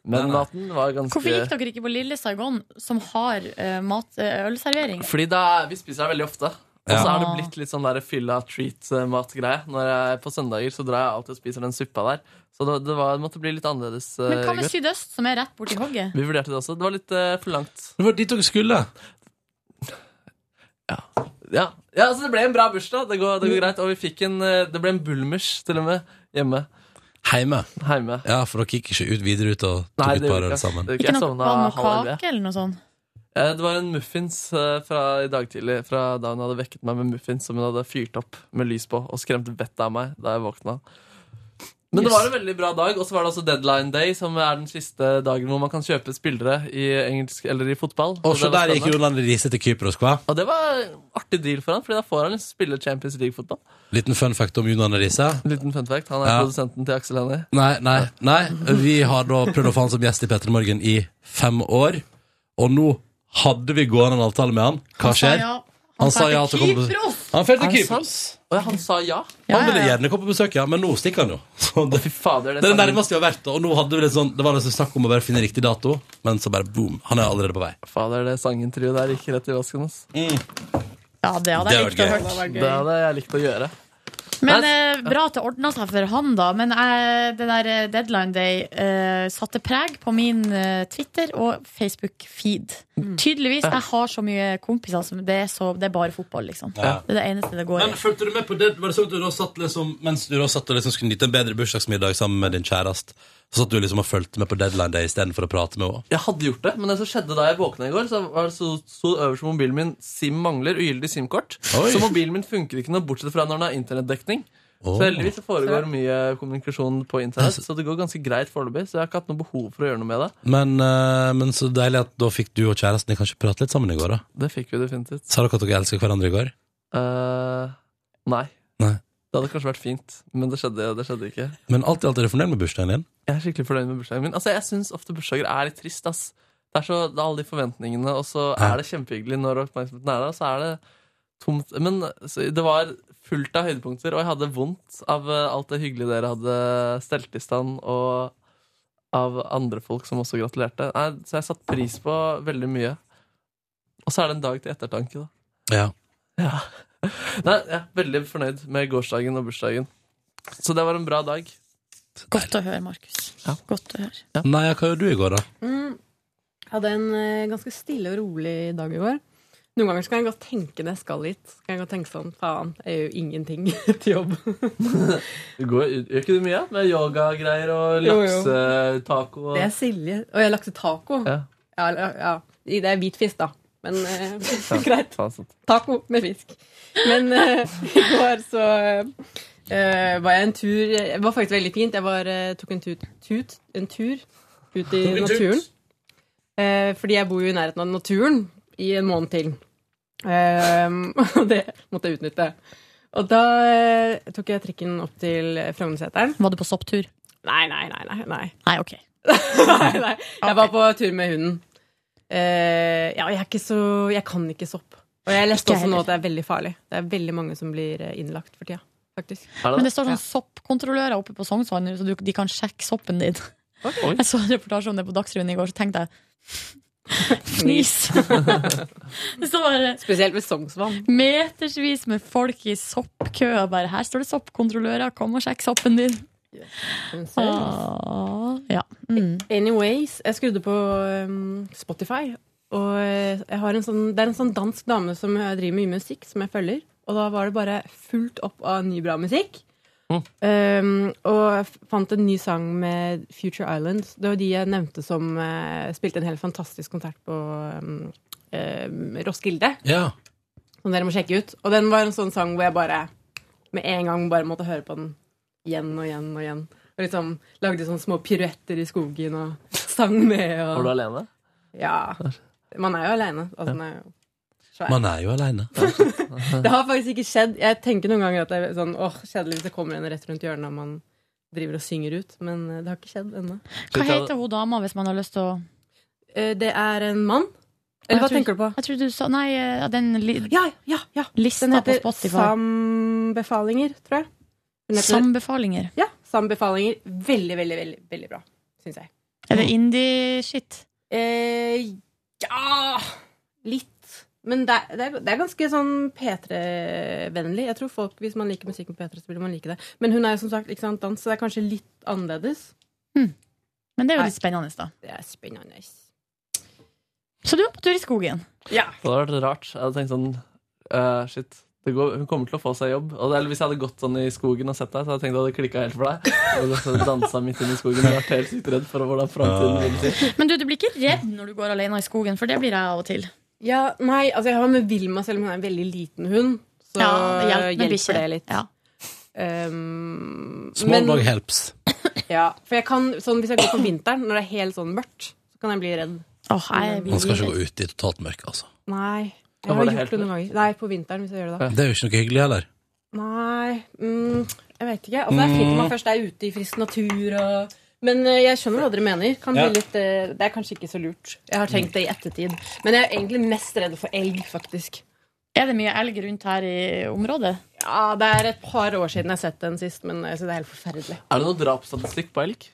S7: Men maten var ganske
S3: Hvorfor gikk dere ikke på Lille Saigon, som har eh, mat, eh, ølservering?
S7: Fordi da, vi spiser her veldig ofte. Og så
S2: Ja.
S7: har det blitt litt sånn der fylla treat-mat-greie. Når jeg På søndager så drar jeg alltid og spiser den suppa der. Så det, det, var, det måtte bli litt annerledes. eh,
S3: Men hva med
S7: i går.
S3: Sydøst, som er rett borti hogget?
S7: vi vurderte det også. Det var litt eh, for langt.
S2: Det var dit dere skulle.
S7: Ja. ja, så det ble en bra bursdag. Det går, det går greit. Og vi fikk en eh, Det ble en bulmers til og med hjemme.
S2: Heime.
S7: Hjemme.
S2: Ja, for dere gikk ikke ut videre ut og tok
S7: Nei,
S2: et
S7: det
S2: par øl
S7: gjorde jeg ikke.
S2: sammen.
S7: Det gjorde
S3: Ikke
S7: Jeg
S3: noe
S7: sovna
S3: vann og
S7: halv elleve.
S3: kake eller noe sånt?
S7: Eh, Det var en muffins eh, fra i dag tidlig Fra da hun hadde vekket meg med muffins Som hun hadde fyrt opp med lys på Og skremte vettet av meg da jeg våkna Men det var en veldig bra dag Og så var det også deadline day Som er den siste dagen hvor man kan kjøpe spillere I engelsk, eller i fotball
S2: Og
S7: Så
S2: så
S7: det var
S2: der gikk
S7: spennende.
S2: Jonan Riise til Kypros, hva?
S7: Og det var en artig deal for han Fordi da får han liksom spille Champions League-fotball
S2: Liten fun fact om Jonan Riise.
S7: Liten fun fact, han er
S2: Ja.
S7: produsenten til Aksel Hennie
S2: Nei, nei, nei. Vi har da prøvd å få han som gjest i Petter Morgen i fem år. Og nå hadde vi gående en avtale med han. Hva
S7: Han sa
S2: skjer?
S7: ja. Han
S2: sa
S7: drar til
S2: ja til å komme på-
S7: Kypros!
S2: Han drar til
S7: Er det
S2: Kypros.
S7: Å ja, han sa ja
S2: Han ville gjerne komme på besøk, ja, men nå stikker han jo. Så det,
S7: Fader,
S2: det er det nærmeste vi har vært. Og nå hadde vi litt sånn, det var liksom snakk om å bare finne riktig dato, men så bare boom. Han er allerede på vei.
S7: Fader, det sangintervjuet der gikk rett i vasken. Ass.
S3: Ja, det hadde
S2: Det
S3: jeg
S2: hadde
S3: likt å
S2: vært
S3: hørt.
S2: gøy.
S7: Det hadde jeg likt å gjøre.
S3: Men eh, bra at det ordna seg for han, da. Men jeg- det der eh, deadline day eh, satte preg på min eh, Twitter og Facebook-feed. Tydeligvis. Jeg har så mye kompiser som det er, så, det er bare fotball, liksom.
S2: Ja.
S3: Det er det eneste det går i.
S2: Men fulgte du med på det? Var det sånn at du da satt liksom, mens du da satt og liksom skulle nyte en bedre bursdagsmiddag sammen med din kjæreste, så satt du liksom og fulgte med på deadline day istedenfor å prate med henne?
S7: Jeg hadde gjort det, men det som skjedde da jeg våkna i går, så var det så, så øverst på mobilen min SIM mangler ugyldig SIM-kort.
S2: Oi.
S7: Så mobilen min funker ikke noe bortsett fra når den har internettdekning.
S2: Åh. Altså-
S7: Så heldigvis så foregår mye kommunikasjon på internett, så det går ganske greit foreløpig. Så jeg har ikke hatt noe behov for å gjøre noe med det.
S2: Men, eh, men så deilig at da fikk du og kjæresten din kanskje prate litt sammen i går, da.
S7: Det fikk vi definitivt.
S2: Sa dere at dere elsker hverandre i går?
S7: Eh, nei.
S2: Nei.
S7: Det hadde kanskje vært fint, men det skjedde, det skjedde ikke.
S2: Men alt i alt er du fornøyd med bursdagen din?
S7: Jeg er skikkelig fornøyd med bursdagen min. Altså, jeg syns ofte bursdager er litt trist. ass. Det er, så, det er alle de forventningene, og så er det kjempehyggelig når oppmerksomheten er der. Og så er det tomt. Men så, det var fullt av høydepunkter, og jeg hadde vondt av eh, alt det hyggelige dere hadde stelt i stand, og av andre folk som også gratulerte. Nei, så jeg satte pris på veldig mye. Og så er det en dag til ettertanke, da.
S2: Ja.
S7: Ja. Nei, jeg er veldig fornøyd med gårsdagen og bursdagen. Så det var en bra dag.
S3: Godt å høre, Markus. Godt å høre.
S2: Nei, ja, hva gjorde du i går, da?
S11: Mm. Hadde en eh, ganske stille og rolig dag i går. Noen ganger så kan jeg godt tenke når jeg skal hit. Så kan jeg godt tenke sånn, faen, jeg gjør jo ingenting til jobb.
S7: Du går, gjør ikke du mye med yogagreier og
S11: Jo, jo.
S7: laksetaco? Og...
S11: Det er Silje. Og jeg lagde taco.
S7: Ja.
S11: Ja, eller- ja. I- Det er hvit fisk, da. Men eh,
S7: Ja,
S11: greit.
S7: faen sant.
S11: Taco med fisk. Men eh, i går så eh, var jeg en tur Det var faktisk veldig fint. Jeg var, eh, tok en tut, tut En tur ut i
S13: Tok en tut.
S11: naturen. Eh, fordi jeg bor jo i nærheten av naturen i en måned til. Ehm, Og det måtte jeg utnytte. Og da eh, tok jeg trikken opp til Frognerseteren.
S3: Var du på sopptur?
S11: Nei, nei, nei. nei, nei.
S3: Nei, ok.
S11: nei, nei. Jeg var på tur med hunden. Eh, ja, jeg er ikke så Jeg kan ikke sopp. Og jeg leste
S3: Ikke
S11: også nå
S3: heller.
S11: at det er veldig farlig. Det er veldig mange som blir eh, innlagt for tida. Faktisk.
S3: Men det står sånn soppkontrollører oppe på Sognsvann, så du, de kan sjekke soppen din.
S11: Oi.
S3: Jeg så en reportasje om det på Dagsrevyen i går, så tenkte jeg Fnis.
S11: Spesielt ved Sognsvann.
S3: Metersvis med folk i soppkøer. Bare her står det soppkontrollører, kom og sjekk soppen din. Ah, ja. Mm.
S11: Anyways, jeg skrudde på um, Spotify, og eh, jeg har en sånn, det er en sånn dansk dame som eh, driver med mye musikk, som jeg følger. Og da var det bare fullt opp av ny, bra musikk. Um, og jeg f- fant en ny sang med Future Islands. Det var de jeg nevnte som eh, spilte en helt fantastisk konsert på um, um, Roskilde.
S2: Ja.
S11: Som dere må sjekke ut. Og den var en sånn sang hvor jeg bare med en gang bare måtte høre på den igjen og igjen og igjen. Og liksom lagde sånne små piruetter i skogen og sang med. Og...
S7: Var du alene?
S11: Ja. Man er jo aleine. Altså, man er jo svær.
S2: Man er jo aleine.
S11: Det har faktisk ikke skjedd. Jeg tenker noen ganger at det er sånn åh, kjedelig hvis det kommer en rett rundt hjørnet og man driver og synger ut, men eh, det har ikke skjedd ennå.
S3: Hva heter hun dama, hvis man har lyst til å
S11: Eh, Det er en mann. Eller hva tenker du på?
S3: Jeg tror du sa Nei, eh, den li,
S11: ja, ja, ja.
S3: lista
S11: Den
S3: på
S11: heter
S3: Spotify.
S11: Sambefalinger, tror jeg. Den heter-
S3: Sambefalinger.
S11: Ja. Sambefalinger. Veldig, veldig, veldig, veldig bra, syns jeg.
S3: Er det
S11: Mm.
S3: indie-shit?
S11: Eh, ja Litt. Men det er, det er, det er ganske sånn P3-vennlig. Jeg tror folk, Hvis man liker musikk med P3, så vil man like det. Men hun er jo som sagt ikke sant, dans, så det er kanskje litt annerledes.
S3: Men det er jo
S11: Nei.
S3: litt spennende, da.
S11: Det er spennende.
S3: Så du var på tur i skogen?
S11: Ja.
S7: Det hadde vært rart. Jeg hadde tenkt sånn eh, Shit, det går, hun kommer til å få seg jobb. Og det, eller Hvis jeg hadde gått sånn i skogen og sett deg, så hadde jeg tenkt at det hadde klikka helt for deg. Og gått og dansa midt inne i skogen og vært helt sykt redd for hvordan framtiden vil si.
S3: Men du, du blir ikke redd når du går alene i skogen, for det blir jeg av og til.
S11: Ja, nei, altså jeg har med Vilma, selv om hun er en veldig liten hund. Så
S3: Ja, eh, det hjelper
S11: hjelper,
S3: med bikkje.
S11: det litt. Um, men-
S2: helps.
S11: Ja, for jeg kan, sånn, hvis jeg går på vinteren, når det er helt sånn mørkt, så kan jeg bli redd.
S2: Man skal ikke gå ut i totalt mørke, altså.
S11: Nei.
S2: Da
S11: Jeg
S2: var
S11: har
S2: det
S11: gjort
S2: helt
S11: det noen ganger. Nei, på vinteren, hvis jeg gjør det da.
S2: Det er jo ikke noe hyggelig heller.
S11: Nei, mm, jeg vet ikke. Altså, det er fint når
S2: Mm.
S11: man først er ute i frisk natur og men eh, jeg skjønner hva dere mener. Kan bli
S2: Ja.
S11: litt, eh, det er kanskje ikke så lurt. Jeg har tenkt det i ettertid. Men jeg er egentlig mest redd for elg, faktisk.
S3: Er det mye elg rundt her i området?
S11: Ja, Det er et par år siden jeg har sett den sist, men jeg synes det er helt forferdelig.
S7: Er det noe drapsstatistikk på elg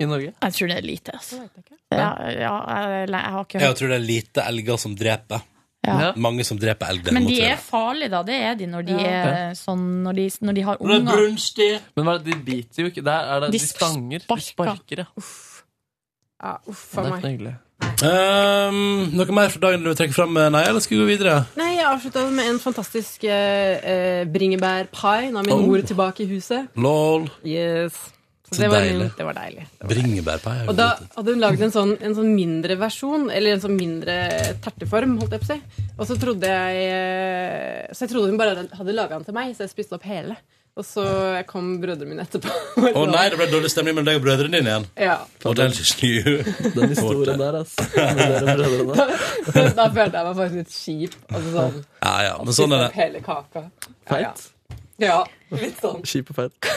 S7: i Norge?
S3: Jeg tror det er lite. Altså. Ja, ja, jeg, jeg har ikke
S2: Jeg
S3: hørt
S2: tror det er lite elger som dreper.
S3: Ja.
S2: Mange som dreper elg.
S3: Men
S2: derimot,
S3: de
S2: tror jeg.
S3: er farlige, da. Det er de når de,
S7: Ja.
S3: er, sånn, når de, når de har
S7: Når det er
S3: unger.
S7: Men hva er det, de biter jo ikke. Der er det,
S3: De
S7: de stanger. De sparker, ja.
S11: Ja, uff
S7: Det
S11: a
S7: er
S11: meg.
S7: ikke noe hyggelig.
S2: Ehm, noe mer fra dagen du vil trekke fram? Nei, eller skal vi gå videre?
S11: Nei, jeg avslutta med en fantastisk eh, eh, bringebærpai. Nå er min
S2: Oh.
S11: mor tilbake i huset.
S2: Lol.
S11: Så
S2: Så
S11: det var,
S2: deilig.
S11: min, det var deilig.
S2: Bringebærpai. er
S11: Og
S2: jo
S11: da
S2: godt.
S11: hadde hun lagd en sånn, en sånn mindre versjon, eller en sånn mindre terteform, holdt jeg på å si. Og så trodde jeg eh, Så jeg trodde hun bare hadde laga den til meg, så jeg spiste opp hele. Og så kom brødrene mine etterpå.
S2: Å nei, det ble dårlig stemning mellom deg og brødrene dine igjen.
S11: Ja.
S2: Og den snu.
S7: Den historien der, altså. Med dere brødrene der.
S11: Da følte jeg meg faktisk litt kjip. Altså sånn.
S2: Ja, ja, men sånn er
S11: Spiste opp
S2: det.
S11: hele kaka.
S7: Feit.
S11: Ja, litt sånn.
S7: Kjip og feit.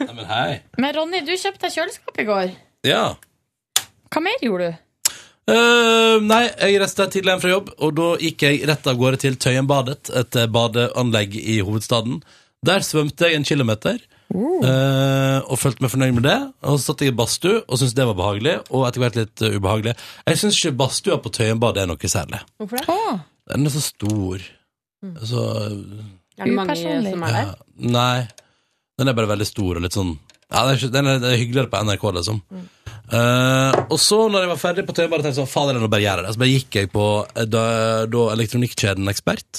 S2: Nei, men hei.
S3: Men Ronny, du kjøpte deg kjøleskap i går.
S2: Ja.
S3: Hva mer gjorde du?
S2: Eh, nei, jeg reiste tidlig hjem fra jobb, og da gikk jeg rett av gårde til Tøyenbadet, et eh, badeanlegg i hovedstaden. Der svømte jeg en kilometer, eh, og følte meg fornøyd med det. Og så satt jeg i badstue og syntes det var behagelig, og etter hvert litt eh, ubehagelig. Jeg syns ikke badstua på Tøyenbadet er noe særlig.
S11: Hvorfor det? Mm.
S2: Den er så stor. Altså, Så
S11: Er det mange som er der?
S2: Eh, Nei. Den er bare veldig stor og litt sånn ja, den, er, ikke- den, er, den er hyggeligere på NRK, liksom.
S7: Mm.
S2: Eh, og så, når jeg var ferdig på TV, bare tenkte jeg sånn Fader, nå bare gjør jeg det. Så bare gikk jeg på eh, da, da Elektronikkjeden Ekspert.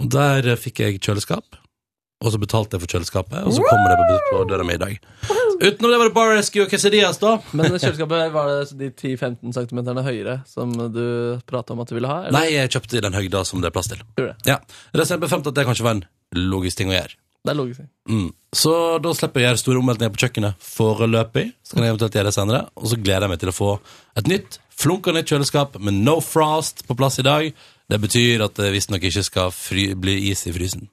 S2: Og der eh, fikk jeg kjøleskap. Og så betalte jeg for kjøleskapet, og så kommer det på butikk på døra mi i dag. Utenom det var det Bar Rescue og Quesadillas, da.
S7: Men kjøleskapet, var det de 10-15 cm høyere som du prata om at du ville ha?
S2: Nei, jeg kjøpte i den høyda som det er plass til.
S7: Gjorde det.
S2: Ja. Resten jeg befant at det kanskje var en logisk ting å gjøre.
S7: Det er logisk.
S2: Mm. Så da slipper jeg gjøre store omveltninger på kjøkkenet foreløpig. Så kan jeg eventuelt gjøre det senere. Og så gleder jeg meg til å få et nytt, flunkende nytt kjøleskap med no frost på plass i dag. Det betyr at det visstnok ikke skal fry bli is i frysen.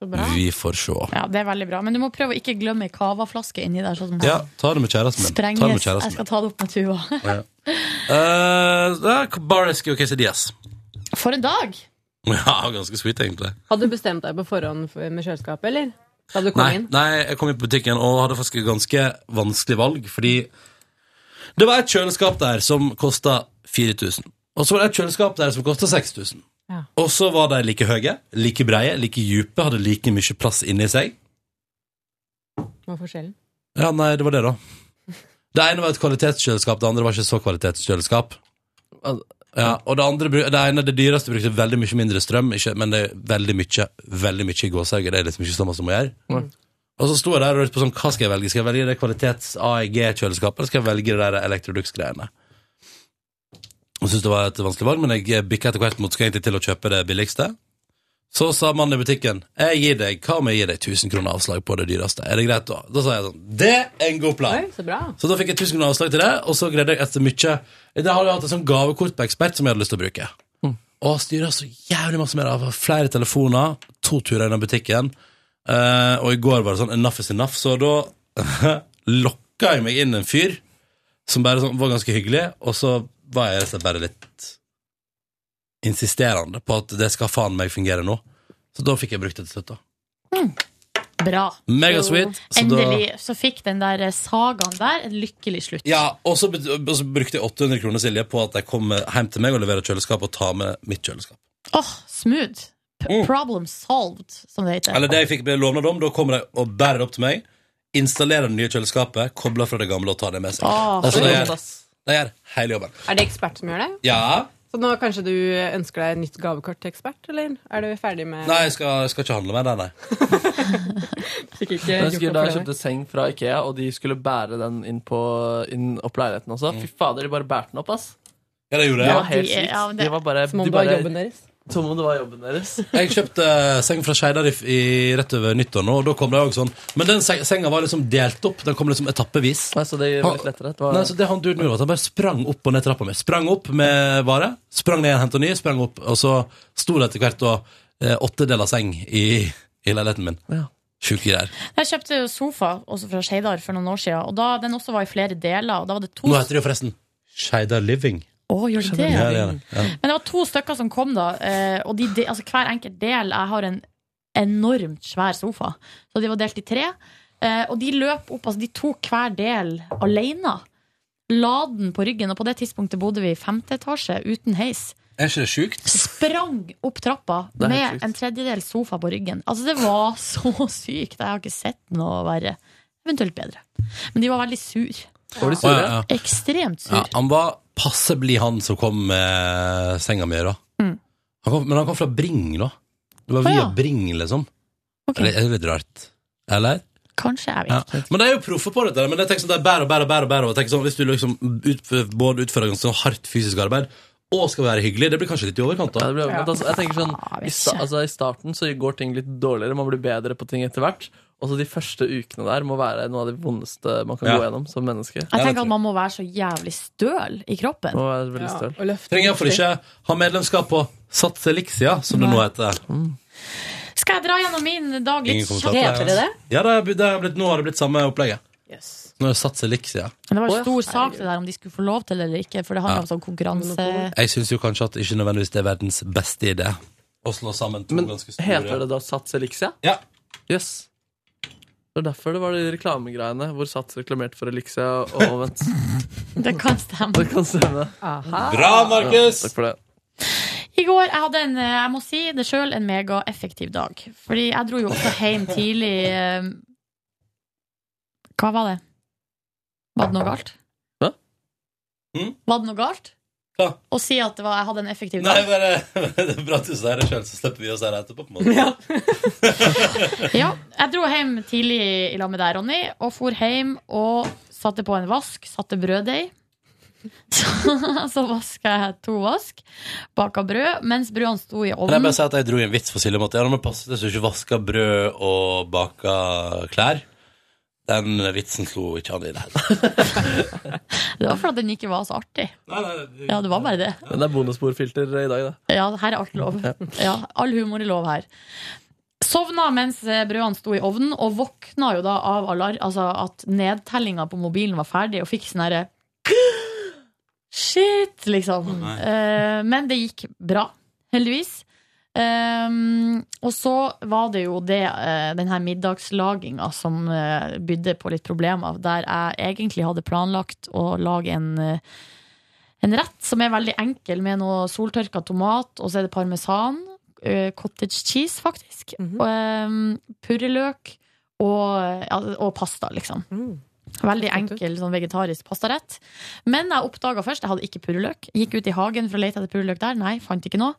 S3: Så bra.
S2: Vi får se.
S3: Ja, det er veldig bra. Men du må prøve å ikke glemme ei cavaflaske inni der. Sånn som
S2: Ja, ta det med kjæresten min. Ta det med
S3: Sprenges. Jeg
S2: kjæresten min.
S3: skal ta det opp med Tuva.
S2: Uh, bare rescue quesadillas.
S3: For en dag!
S2: Ja, ganske sweet, egentlig.
S11: Hadde du bestemt deg på forhånd for- med kjøleskapet, eller? Da du kom
S2: Nei,
S11: inn?
S2: nei, jeg kom inn på butikken og hadde faktisk et ganske vanskelig valg, fordi det var et kjøleskap der som kosta 4000. Og så var det et kjøleskap der som kosta 6000.
S11: Ja.
S2: Og så var de like høye, like breie, like dype, hadde like mye plass inni seg.
S11: Hva er forskjellen?
S2: Ja, nei, det var det, da. Det ene var et kvalitetskjøleskap, det andre var ikke så kvalitetskjøleskap.
S7: Al-
S2: Ja, og det, andre, bru- det ene, det dyreste, brukte veldig mye mindre strøm, ikke, men det er veldig mye veldig mye i gåseøyne. Det er liksom ikke så mye som må gjøre.
S7: Mm.
S2: Og så sto jeg der og lurte på sånn, hva skal jeg velge. Skal jeg velge det kvalitets-AEG-kjøleskapet, eller skal jeg velge det der Electrolux-greiene? Jeg syntes det var et vanskelig valg, men jeg bikka etter hvert mot skal jeg egentlig til å kjøpe det billigste. Så sa mannen i butikken Jeg gir deg, hva om jeg gir deg 1000 kroner avslag på det dyreste? Er det greit da? Da sa jeg sånn Det er en god plan!
S11: Oi, så bra.
S2: Så da fikk jeg 1000 kroner avslag til det, og så greide jeg etter mye Da hadde jeg hatt et sånt gavekort på Ekspert som jeg hadde lyst til å bruke. Og styra så jævlig masse mer av flere telefoner, to turer innom butikken. Eh, og i går var det sånn enough is enough, så da lokka jeg meg inn en fyr som bare sånn, var ganske hyggelig, og så var jeg rett og slett bare litt insisterende på at det skal faen meg fungere nå. Så da fikk jeg brukt det til slutt, da.
S3: Bra.
S2: Megasweet. så da-
S3: Endelig så fikk den der eh, sagaen der en lykkelig slutt.
S2: Ja, og så, bet- og så brukte jeg 800 kroner Silje på at jeg kom hjem til meg og leverer kjøleskap og tar med mitt kjøleskap.
S3: Åh, smooth! P Problem solved, som det heter.
S2: Mm. Eller det jeg fikk ble lovnad om, da kommer de og bærer det opp til meg, installerer det nye kjøleskapet, kobler fra det gamle og tar det med seg.
S3: Åh,
S2: altså,
S7: Det
S2: det
S7: er godt,
S2: gjør,
S7: ass.
S2: det gjør hele jobben.
S11: Er det ekspert som gjør det?
S2: Ja,
S11: Så nå kanskje du ønsker deg et nytt gavekort til ekspert, eller er du ferdig med
S2: Nei, jeg skal, jeg skal ikke handle med deg, nei.
S11: Fikk ikke
S7: Jeg husker da
S11: gjort opp for
S7: jeg
S11: deg.
S7: kjøpte seng fra Ikea, og de skulle bære den inn, på, inn opp leiligheten også. Fy fader, de bare bærte den opp, ass.
S2: Mm. Ja, det gjorde
S7: Det
S2: jeg.
S7: var helt sykt. de var bare,
S11: Som om
S7: de
S11: det var
S7: bare-
S11: jobben deres.
S7: Som om det var jobben deres.
S2: Jeg kjøpte eh, seng fra Skeidar i, i rett over nyttår nå, og da kom det også sånn. Men den seng- senga var liksom delt opp. Den kom liksom etappevis.
S7: Nei, så det var litt lettere. Det var,
S2: Nei, så det Han duden gjorde at han bare sprang opp og ned trappa mi. Sprang opp med vare, sprang ned og hentet ny, sprang opp, og så sto det etter hvert og eh, åttedel av seng i, i leiligheten min.
S7: Ja.
S2: Sjuke greier.
S3: Jeg kjøpte jo sofa også fra Skeidar for noen år siden, og da den også var i flere deler. Og da var det to
S2: Nå heter det jo forresten Skeidar Living.
S3: Å, gjør det det?
S2: Ja, det gjør det. Ja.
S3: Men det var to stykker som kom, da. eh, Og de, de, altså, hver enkelt del Jeg har en enormt svær sofa. Så de var delt i tre. eh, Og de løp opp Altså, de tok hver del alene. La den på ryggen, og på det tidspunktet bodde vi i femte etasje uten heis.
S2: Er ikke det sjukt?
S3: Sprang opp trappa
S7: Det er helt
S3: med
S7: sykt.
S3: en tredjedel sofa på ryggen. Altså, det var så sykt. Jeg har ikke sett noe verre. Eventuelt bedre. Men de var veldig sur.
S7: var
S2: Å,
S7: de sure?
S2: ja, ja.
S3: Ekstremt sur.
S2: Ja, han var passe blid, han som kom med senga mi. da
S3: Mm.
S2: han kom, Men han kom fra Bring, da. Det var
S3: Å,
S2: via
S3: ja.
S2: Bring, liksom.
S3: Ok.
S2: Det er litt rart. Eller?
S3: Kanskje, jeg vet
S2: Ja.
S3: ikke.
S2: Men de er jo proffe på dette. Men jeg tenker sånn, de bærer og bærer, og bærer, og bærer og tenker sånn, Hvis du liksom utf- både utfører ganske sånn hardt fysisk arbeid og skal være hyggelig, det blir kanskje litt i overkant.
S7: Ja,
S2: da
S7: det blir overkant, altså. Jeg tenker sånn,
S11: Ah,
S3: Ja, jeg
S7: i,
S3: vet
S7: sta
S3: ikke.
S7: altså, I starten så går ting litt dårligere, man blir bedre på ting etter hvert. Også de første ukene der må være noe av det vondeste man kan
S2: Ja.
S7: gå gjennom som
S2: Ja,
S7: menneske.
S2: det
S3: Jeg tenker
S2: tror
S3: at man må være så jævlig støl i kroppen.
S7: Må være veldig
S11: Ja,
S7: støl.
S11: og løfte
S2: Trenger iallfall ikke ha medlemskap på Sats Elixia, som det nå heter.
S3: Skal jeg dra gjennom min dag litt
S2: Ingen kommentar
S3: kjapt?
S2: på
S11: Heter det det?
S2: Ja, det er, det er blitt, nå har det blitt samme opplegget.
S11: Yes.
S2: Nå er det Sats Elixia.
S3: Men Det var en
S11: Å,
S3: stor
S11: ja,
S3: sak det der om de skulle få lov til eller ikke, for det handler om sånn konkurranse
S2: Jeg syns jo kanskje at ikke nødvendigvis det er verdens beste idé å slå sammen to
S7: Men
S2: ganske store
S7: heter det da Sats Elixia?
S2: Ja.
S7: Yes. Det var derfor det var de reklamegreiene hvor Sats reklamerte for Elixia og omvendt.
S3: Det kan stemme.
S7: Det kan stemme.
S11: Aha.
S2: Bra, Markus!
S7: Takk for det.
S3: I går jeg hadde en, eh, jeg må si det sjøl, en megaeffektiv dag. Fordi jeg dro jo også hjem tidlig eh, Hva var det? Var det noe galt?
S7: Hva?
S2: Mm?
S3: Var det noe galt?
S2: Hva?
S3: Å si at det var, jeg hadde en effektiv
S2: Nei,
S3: dag.
S2: bare, det er bra at du sier det sjøl, så slipper vi å si det etterpå. på en måte
S3: Ja, jeg dro hjem tidlig i lag med deg, Ronny, og for hjem og satte på en vask, satte brøddeig. Så, så vaska jeg to vask, baka brød, mens brødene sto i
S2: Kan jeg
S3: ovnen.
S2: bare si at jeg dro i en vits for Silje om at ja, nå må passe deg så du ikke vasker brød og baker klær. Den vitsen slo ikke han i det hele
S3: Det var fordi den ikke var så artig.
S2: tatt.
S3: Ja, det var bare det.
S7: Men det er bonusbordfilter i dag, da.
S3: Ja, her er alt lov. Ja, all humor er lov her. Sovna mens eh, brødene sto i ovnen, og våkna jo da av alarm, altså at nedtellinga på mobilen var ferdig, og fikk sånn herre Shit, liksom.
S2: nei.
S3: Eh, men det gikk bra, heldigvis. Ehm, og så var det jo det, eh, den her middagslaginga som eh, bydde på litt problemer, der jeg egentlig hadde planlagt å lage en eh, en rett som er veldig enkel, med noe soltørka tomat, og så er det parmesan, eh, cottage cheese, faktisk,
S11: Mhm.
S3: og, eh, purreløk og, ja, og pasta, liksom.
S11: Mm.
S3: Veldig
S11: Høres godt
S3: enkel sånn vegetarisk pastarett. Men jeg oppdaga først, jeg hadde ikke purreløk. Gikk ut i hagen for å lete etter purreløk der. Nei, fant ikke noe.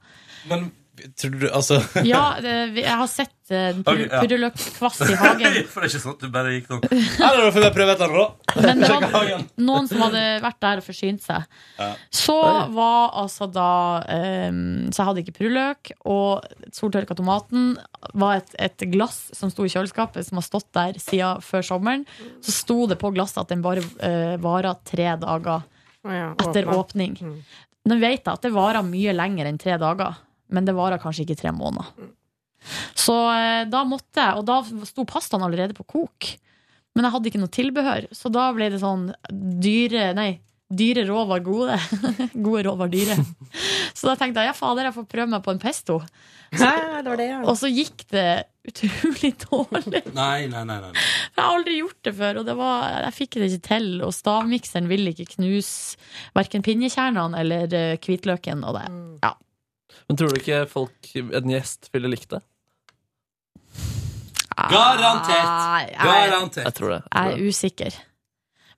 S2: Men tror du altså
S3: Ja, det, jeg har sett eh, pur,
S2: Ok, ja.
S3: purreløkkvass i hagen.
S2: For det er ikke sånn at du bare gikk sånn Ja, da får jeg prøve et eller annet, da.
S3: Men det var,
S2: Sjekk hagen.
S3: noen som hadde vært der og forsynt seg.
S2: Ja.
S3: Så var altså da ehm, Så jeg hadde ikke purreløk, og soltørka tomaten var et, et glass som sto i kjøleskapet, som har stått der siden før sommeren. Så sto det på glasset at den bare uh, varer tre dager
S11: Å ja,
S3: etter
S11: åpna.
S3: åpning.
S11: Mm.
S3: Nå vet jeg at det varer mye lenger enn tre dager, men det varer kanskje ikke tre måneder. Så eh, da måtte jeg, og da sto pastaen allerede på kok. Men jeg hadde ikke noe tilbehør, så da ble det sånn dyre Nei, dyre rå var gode. gode rå var dyre. Så da tenkte jeg ja, fader, jeg får prøve meg på en pesto.
S11: Hæ, det var det, ja.
S3: Og så gikk det utrolig dårlig.
S2: Nei, nei, nei. nei.
S3: Jeg har aldri gjort det før, og det var, jeg fikk det ikke til. Og stavmikseren ville ikke knuse verken pinjekjernene eller eh, hvitløken. Og det.
S2: Mm.
S7: Men tror du ikke folk, en gjest ville likt det?
S3: Nei,
S2: Garantert!
S3: Ah, jeg,
S7: Jeg
S2: Garantert.
S7: tror det. Jeg tror
S3: jeg er usikker.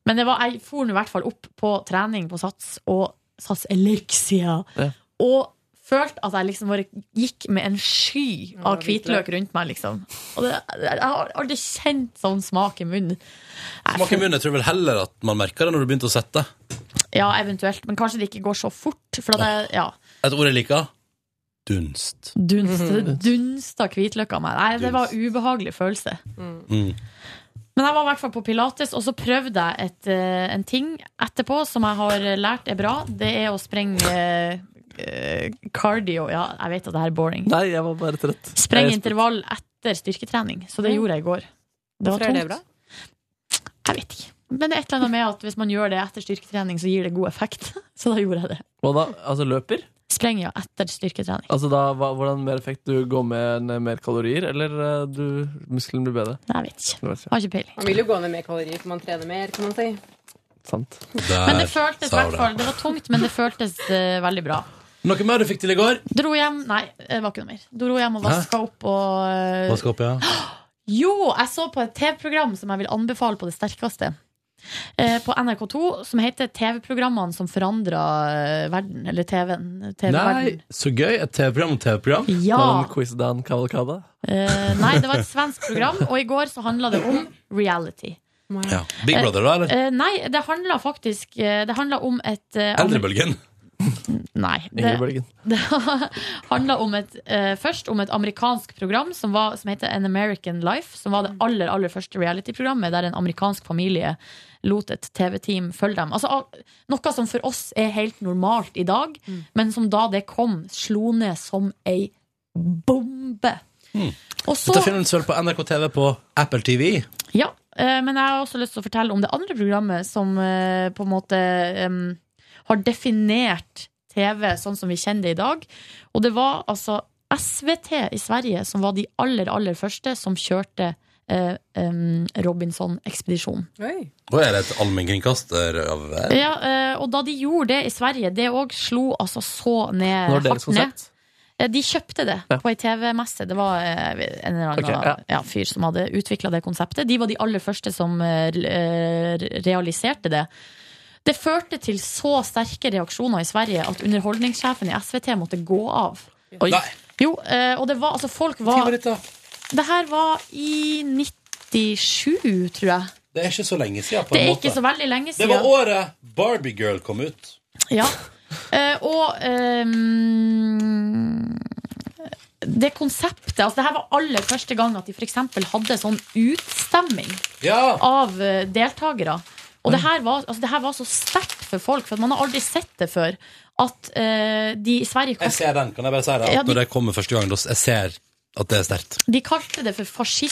S3: Men det var, jeg for nå i hvert fall opp på trening på Sats og Sats Elixia
S7: Ja.
S3: Og følte at jeg liksom bare gikk med en sky av
S11: hvitløk.
S3: hvitløk rundt meg, liksom. Og det, jeg har aldri kjent sånn smak i munnen.
S2: Smak i munnen, jeg tror vel heller at man merker det når du begynte å sette.
S3: Ja, eventuelt. Men kanskje det ikke går så fort. For at jeg, ja,
S2: Et ord jeg liker. Dunst.
S3: dunst, det dunsta hvitløk av meg. Nei, det var en ubehagelig følelse. Mm. Men jeg var i hvert fall på pilates, og så prøvde jeg et, eh, en ting etterpå som jeg har lært er bra. Det er å sprenge eh, eh, cardio. Ja, jeg vet at det her er boring.
S7: Nei, jeg var bare trøtt.
S3: Spreng
S7: Jeg-
S3: intervall etter styrketrening. Så det gjorde jeg i går. Mm. Det var
S11: Hvorfor er det
S3: tungt. Jeg vet ikke. Men det er et eller annet med at hvis man gjør det etter styrketrening, så gir det god effekt. Så da gjorde jeg det.
S7: Hva da? Altså løper?
S3: Spreng ja etter styrketrening.
S7: Altså da, hva, Hvordan mer effekt du går med en, mer kalorier, eller eh, du, muskelen blir bedre?
S3: Nei, jeg vet ikke.
S7: Det var ikke
S3: Har ikke peiling.
S11: Man vil jo gå ned mer kalorier, for man trener mer, kan man si.
S7: sant.
S3: Men det
S2: Der
S3: føltes
S2: sa hun
S3: hvert fall Det var tungt, men det føltes eh, veldig bra.
S2: Noe mer du fikk til i går?
S3: Dro hjem Nei, det var ikke noe mer. Dro hjem
S2: Hæ?
S3: og vaska opp og eh,
S2: Vask opp, ja.
S3: Jo, jeg så på et TV-program som jeg vil anbefale på det sterkeste. Eh, på NRK2, som heter TV-programmene som forandra eh, verden. Eller TV-en.
S2: Nei,
S3: TV-verden.
S2: så gøy. Et TV-program om TV-program.
S3: Ja!
S7: Var det en quiz-Dan Kavalkade?
S3: Eh, nei, det var et svensk program, og i går så handla det om reality.
S2: Ja. Big Brother, da? eller?
S3: Eh, nei, det handla faktisk eh, Det handla om et eh,
S2: Eldrebølgen.
S3: Nei. Det,
S7: Ingrid Bølgen.
S3: det handla om et, eh, først om et amerikansk program som, var, som heter An American Life. Som var det aller aller første reality-programmet der en amerikansk familie lot et TV-team følge dem. Altså, al- noe som for oss er helt normalt i dag, men som da det kom, slo ned som ei bombe. Og så-
S2: Mm. Dette finner du selv på NRK TV på Apple TV.
S3: Ja, eh, men jeg har også lyst til å fortelle om det andre programmet som eh, på en måte em, har definert TV sånn som vi kjenner det i dag. Og det var altså SVT i Sverige som var de aller, aller første som kjørte eh, em, Robinson-ekspedisjonen.
S11: Oi.
S2: Og er det et allmennkringkaster av hver?
S3: Ja, eh, og da de gjorde det i Sverige, det òg slo altså så ned
S7: Når deres
S3: hardt ned.
S7: konsept?
S3: Eh, De kjøpte det
S7: Ja.
S3: på ei TV-messe. Det var eh, en eller annen
S7: Ok, ja.
S3: ja, fyr som hadde utvikla det konseptet. De var de aller første som eh, re- eh, realiserte det. Det førte til så sterke reaksjoner i Sverige at underholdningssjefen i SVT måtte gå av.
S7: Oi.
S2: Nei.
S3: Jo, eh, og det var altså folk var Det her var i 97, tror jeg.
S2: Det er ikke så lenge siden, på
S3: Det
S2: en
S3: er
S2: måte.
S3: ikke så veldig lenge
S2: Det
S3: siden.
S2: var året Barbie Girl kom ut.
S3: Ja. Eh, og ehm, det konseptet altså Det her var aller første gang at de f.eks. hadde sånn utstemming
S2: Ja!
S3: av eh, deltakere. Og det
S2: Mm.
S3: her, var, altså det her var så sterkt for folk, for at man har aldri sett det før. At eh, de i Sverige
S2: Jeg
S3: kalte,
S2: ser den, kan jeg bare si det?
S3: Ja,
S2: At
S3: de-
S2: når det kommer første gang, da s- jeg ser at det er sterkt.
S3: de kalte det for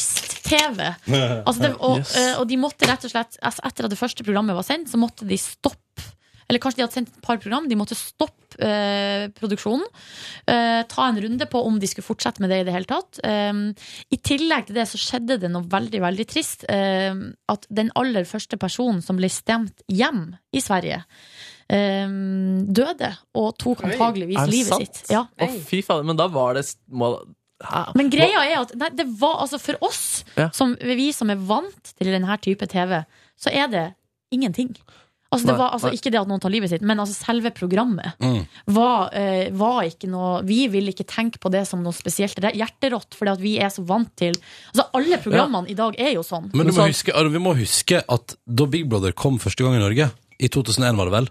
S3: fascist-TV. Altså det- og,
S7: Yes.
S3: eh, og de måtte rett og slett altså Etter at det første programmet var sendt, så måtte de stoppe. Eller kanskje de hadde sendt et par program. De måtte stoppe eh, produksjonen. Eh, ta en runde på om de skulle fortsette med det i det hele tatt. Eh, I tillegg til det så skjedde det noe veldig, veldig trist. Eh, at den aller første personen som ble stemt hjem i Sverige, eh, døde. Og tok antageligvis
S7: Er det
S3: livet
S7: sant?
S3: sitt. Ja.
S7: Å, fy fader. Men da var det s- må, Hæ?
S3: Men greia er at nei, det var altså for oss,
S7: Ja.
S3: som, vi som er vant til denne type TV, så er det ingenting. Altså, det
S7: Nei,
S3: var, altså,
S7: nei.
S3: ikke det at noen tar livet sitt, men altså, selve programmet
S2: Mm.
S3: var, eh, var ikke noe Vi ville ikke tenke på det som noe spesielt Det er hjerterått, fordi at vi er så vant til Altså, alle programmene i dag er jo sånn.
S2: Men du må
S7: Men sant.
S2: huske, Arve, vi må huske at da Big Brother kom første gang i Norge, i 2001 var det vel,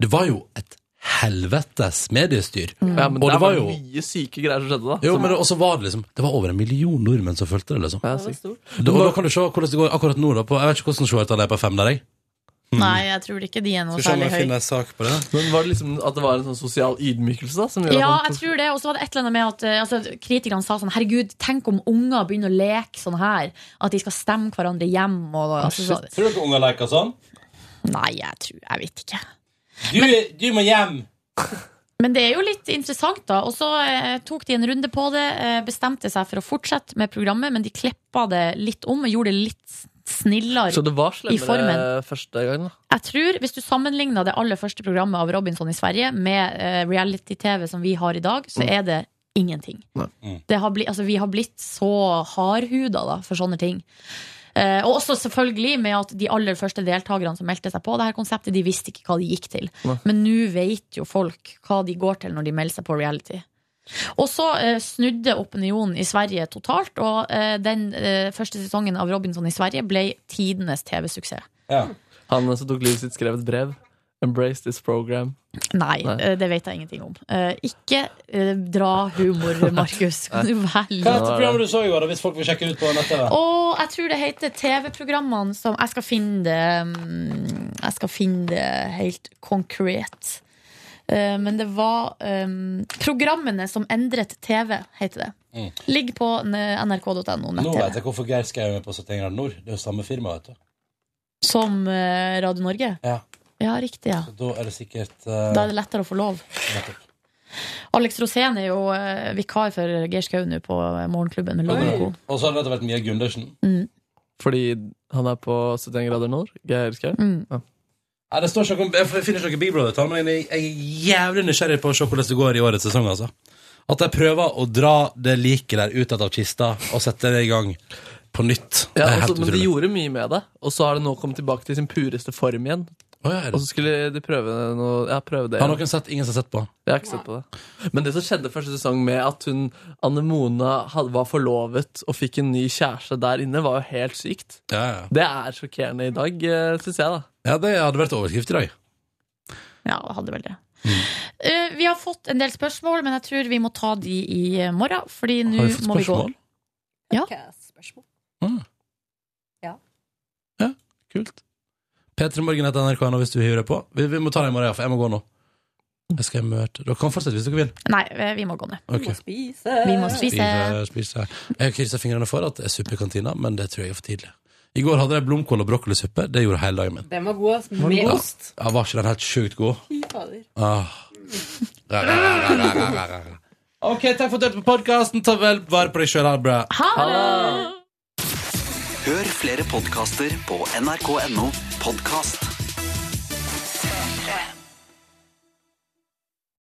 S2: det var jo et helvetes mediestyr.
S7: Mm. Ja, men
S2: Og det
S7: det var
S2: var
S7: det
S2: jo-
S7: mye syke greier som skjedde da.
S2: Jo, men det, også var det liksom Det var over en million nordmenn som fulgte det, liksom.
S7: Ja,
S11: Det var
S7: sykt.
S11: stort.
S2: Da, og da kan du se hvordan det går akkurat nå, da. På, jeg vet ikke hvordan seertallet er på fem der, jeg.
S3: Nei, jeg tror ikke de er noe særlig høye.
S2: en sak på det.
S7: Men var det liksom at det var en sånn sosial ydmykelse? da? Som gjorde
S3: Ja,
S7: at man-
S3: jeg tror det. Og så var det et eller annet med at eh, altså, kritikerne sa sånn Herregud, tenk om unger begynner å leke sånn her. At de skal stemme hverandre hjem. Og, altså, så,
S2: Tror dere unger leker sånn?
S3: nei, jeg tror Jeg vet ikke.
S2: Du, må hjem!
S3: Men det er jo litt interessant, da. Og så eh, tok de en runde på det. Eh, bestemte seg for å fortsette med programmet, men de klippa det litt om. og Gjorde det litt snillere.
S7: Så det var
S3: I formen.
S7: slemmere første gang, da?
S3: Jeg tror, Hvis du sammenligner det aller første programmet av Robinson i Sverige med eh, reality-TV som vi har i dag, så er det ingenting.
S7: Nei.
S2: Mm.
S3: Det har bli, altså, vi har blitt så hardhuda da, for sånne ting. Eh, Og også selvfølgelig med at de aller første deltakerne som meldte seg på det her konseptet, de visste ikke hva de gikk til.
S14: Nei.
S3: Men nå vet jo folk hva de går til når de melder seg på reality. Og så eh, snudde opinionen i Sverige totalt, og eh, den eh, første sesongen av Robinson i Sverige ble tidenes TV-suksess.
S7: Han eh, som tok livet sitt, skrev et brev. 'Embrace this program'.
S3: Nei,
S7: Nei.
S3: eh, det vet jeg ingenting om. Eh, Ikke eh, dra humor, Markus. Kan du være
S2: Hva er
S3: litt
S2: dette programmet du så i går, da, hvis folk vil sjekke ut på nett-TV?
S3: Og jeg tror det heter TV-programmene som Jeg skal finne det mm, Jeg skal finne det helt konkret. Eh, Men det var eh, Programmene som endret TV, heter det.
S2: Mm.
S3: Ligger på n- nrk.no
S2: Nå vet
S3: nett-TV.
S2: jeg hvorfor Geir Skau er med på 71 grader nord. Det er jo samme firma, vet du.
S3: Som eh, Radio Norge?
S2: Ja.
S3: Ja, riktig. ja
S2: Så da er det sikkert eh,
S3: Da er det lettere å få lov. Alex Rosén er jo eh, vikar for Geir Skau nå på eh, Morgenklubben med Loven og Co.
S2: Og så har det nettopp vært Mia Gundersen.
S3: Mm.
S7: Fordi han er på 71 grader nord? Geir Skau?
S3: Mm.
S7: Ja.
S2: Nei, det står ikke om, jeg finner ikke noe Big Brother, men jeg jeg er jævlig nysgjerrig på å se hvordan det går i årets sesong. altså. At de prøver å dra det liket der ut av kista og sette det i gang på nytt.
S7: Ja,
S2: altså, det er
S7: også,
S2: helt
S7: men de
S2: utrolig.
S7: gjorde mye med det, og så har det nå kommet tilbake til sin pureste form igjen.
S2: er det?
S7: og så skulle de prøve noe Ja, prøve det.
S2: Har
S7: igjen.
S2: noen sett? Ingen som har sett på?
S7: Jeg har ikke sett på det. Men det som skjedde første sesong med at hun Anne Mona had- var forlovet og fikk en ny kjæreste der inne, var jo helt sykt.
S2: Ja, ja.
S7: Det er sjokkerende i dag, syns jeg, da.
S2: ja, det hadde vært overskrift i dag.
S3: Ja, hadde vel det.
S2: Mm.
S3: Eh, vi har fått en del spørsmål, men jeg tror vi må ta de i eh, morgen. Fordi nå
S2: Har vi fått
S3: må vi gå.
S2: spørsmål?
S3: Ja.
S2: Kult. P3morgen.nrk.no hvis du hiver deg på. Vi, vi må ta det i morgen, ja, for jeg må gå nå. Jeg skal møte Dere kan fortsette hvis dere vil.
S3: Nei, eh, vi må gå ned.
S2: Ok.
S11: spise.
S3: Vi må
S2: Eh,
S3: spise.
S2: Spise, spise. Jeg krysser fingrene for at det er suppe i kantina, men det tror jeg er for tidlig. I går hadde jeg blomkål og brokkolisuppe. Det gjorde hele dagen min.
S11: Den var god, ass.
S2: Ja.
S11: Med ost.
S2: Ja, var ikke den helt sjukt god?
S11: Fy fader.
S2: Ah. Ra, ra, ra, ra, ra, ra, ra. OK, takk for at du hørte på podkasten. Ta vel vare på deg sjøl. Ha det bra.
S15: Hør flere podkaster på nrk.no podkast.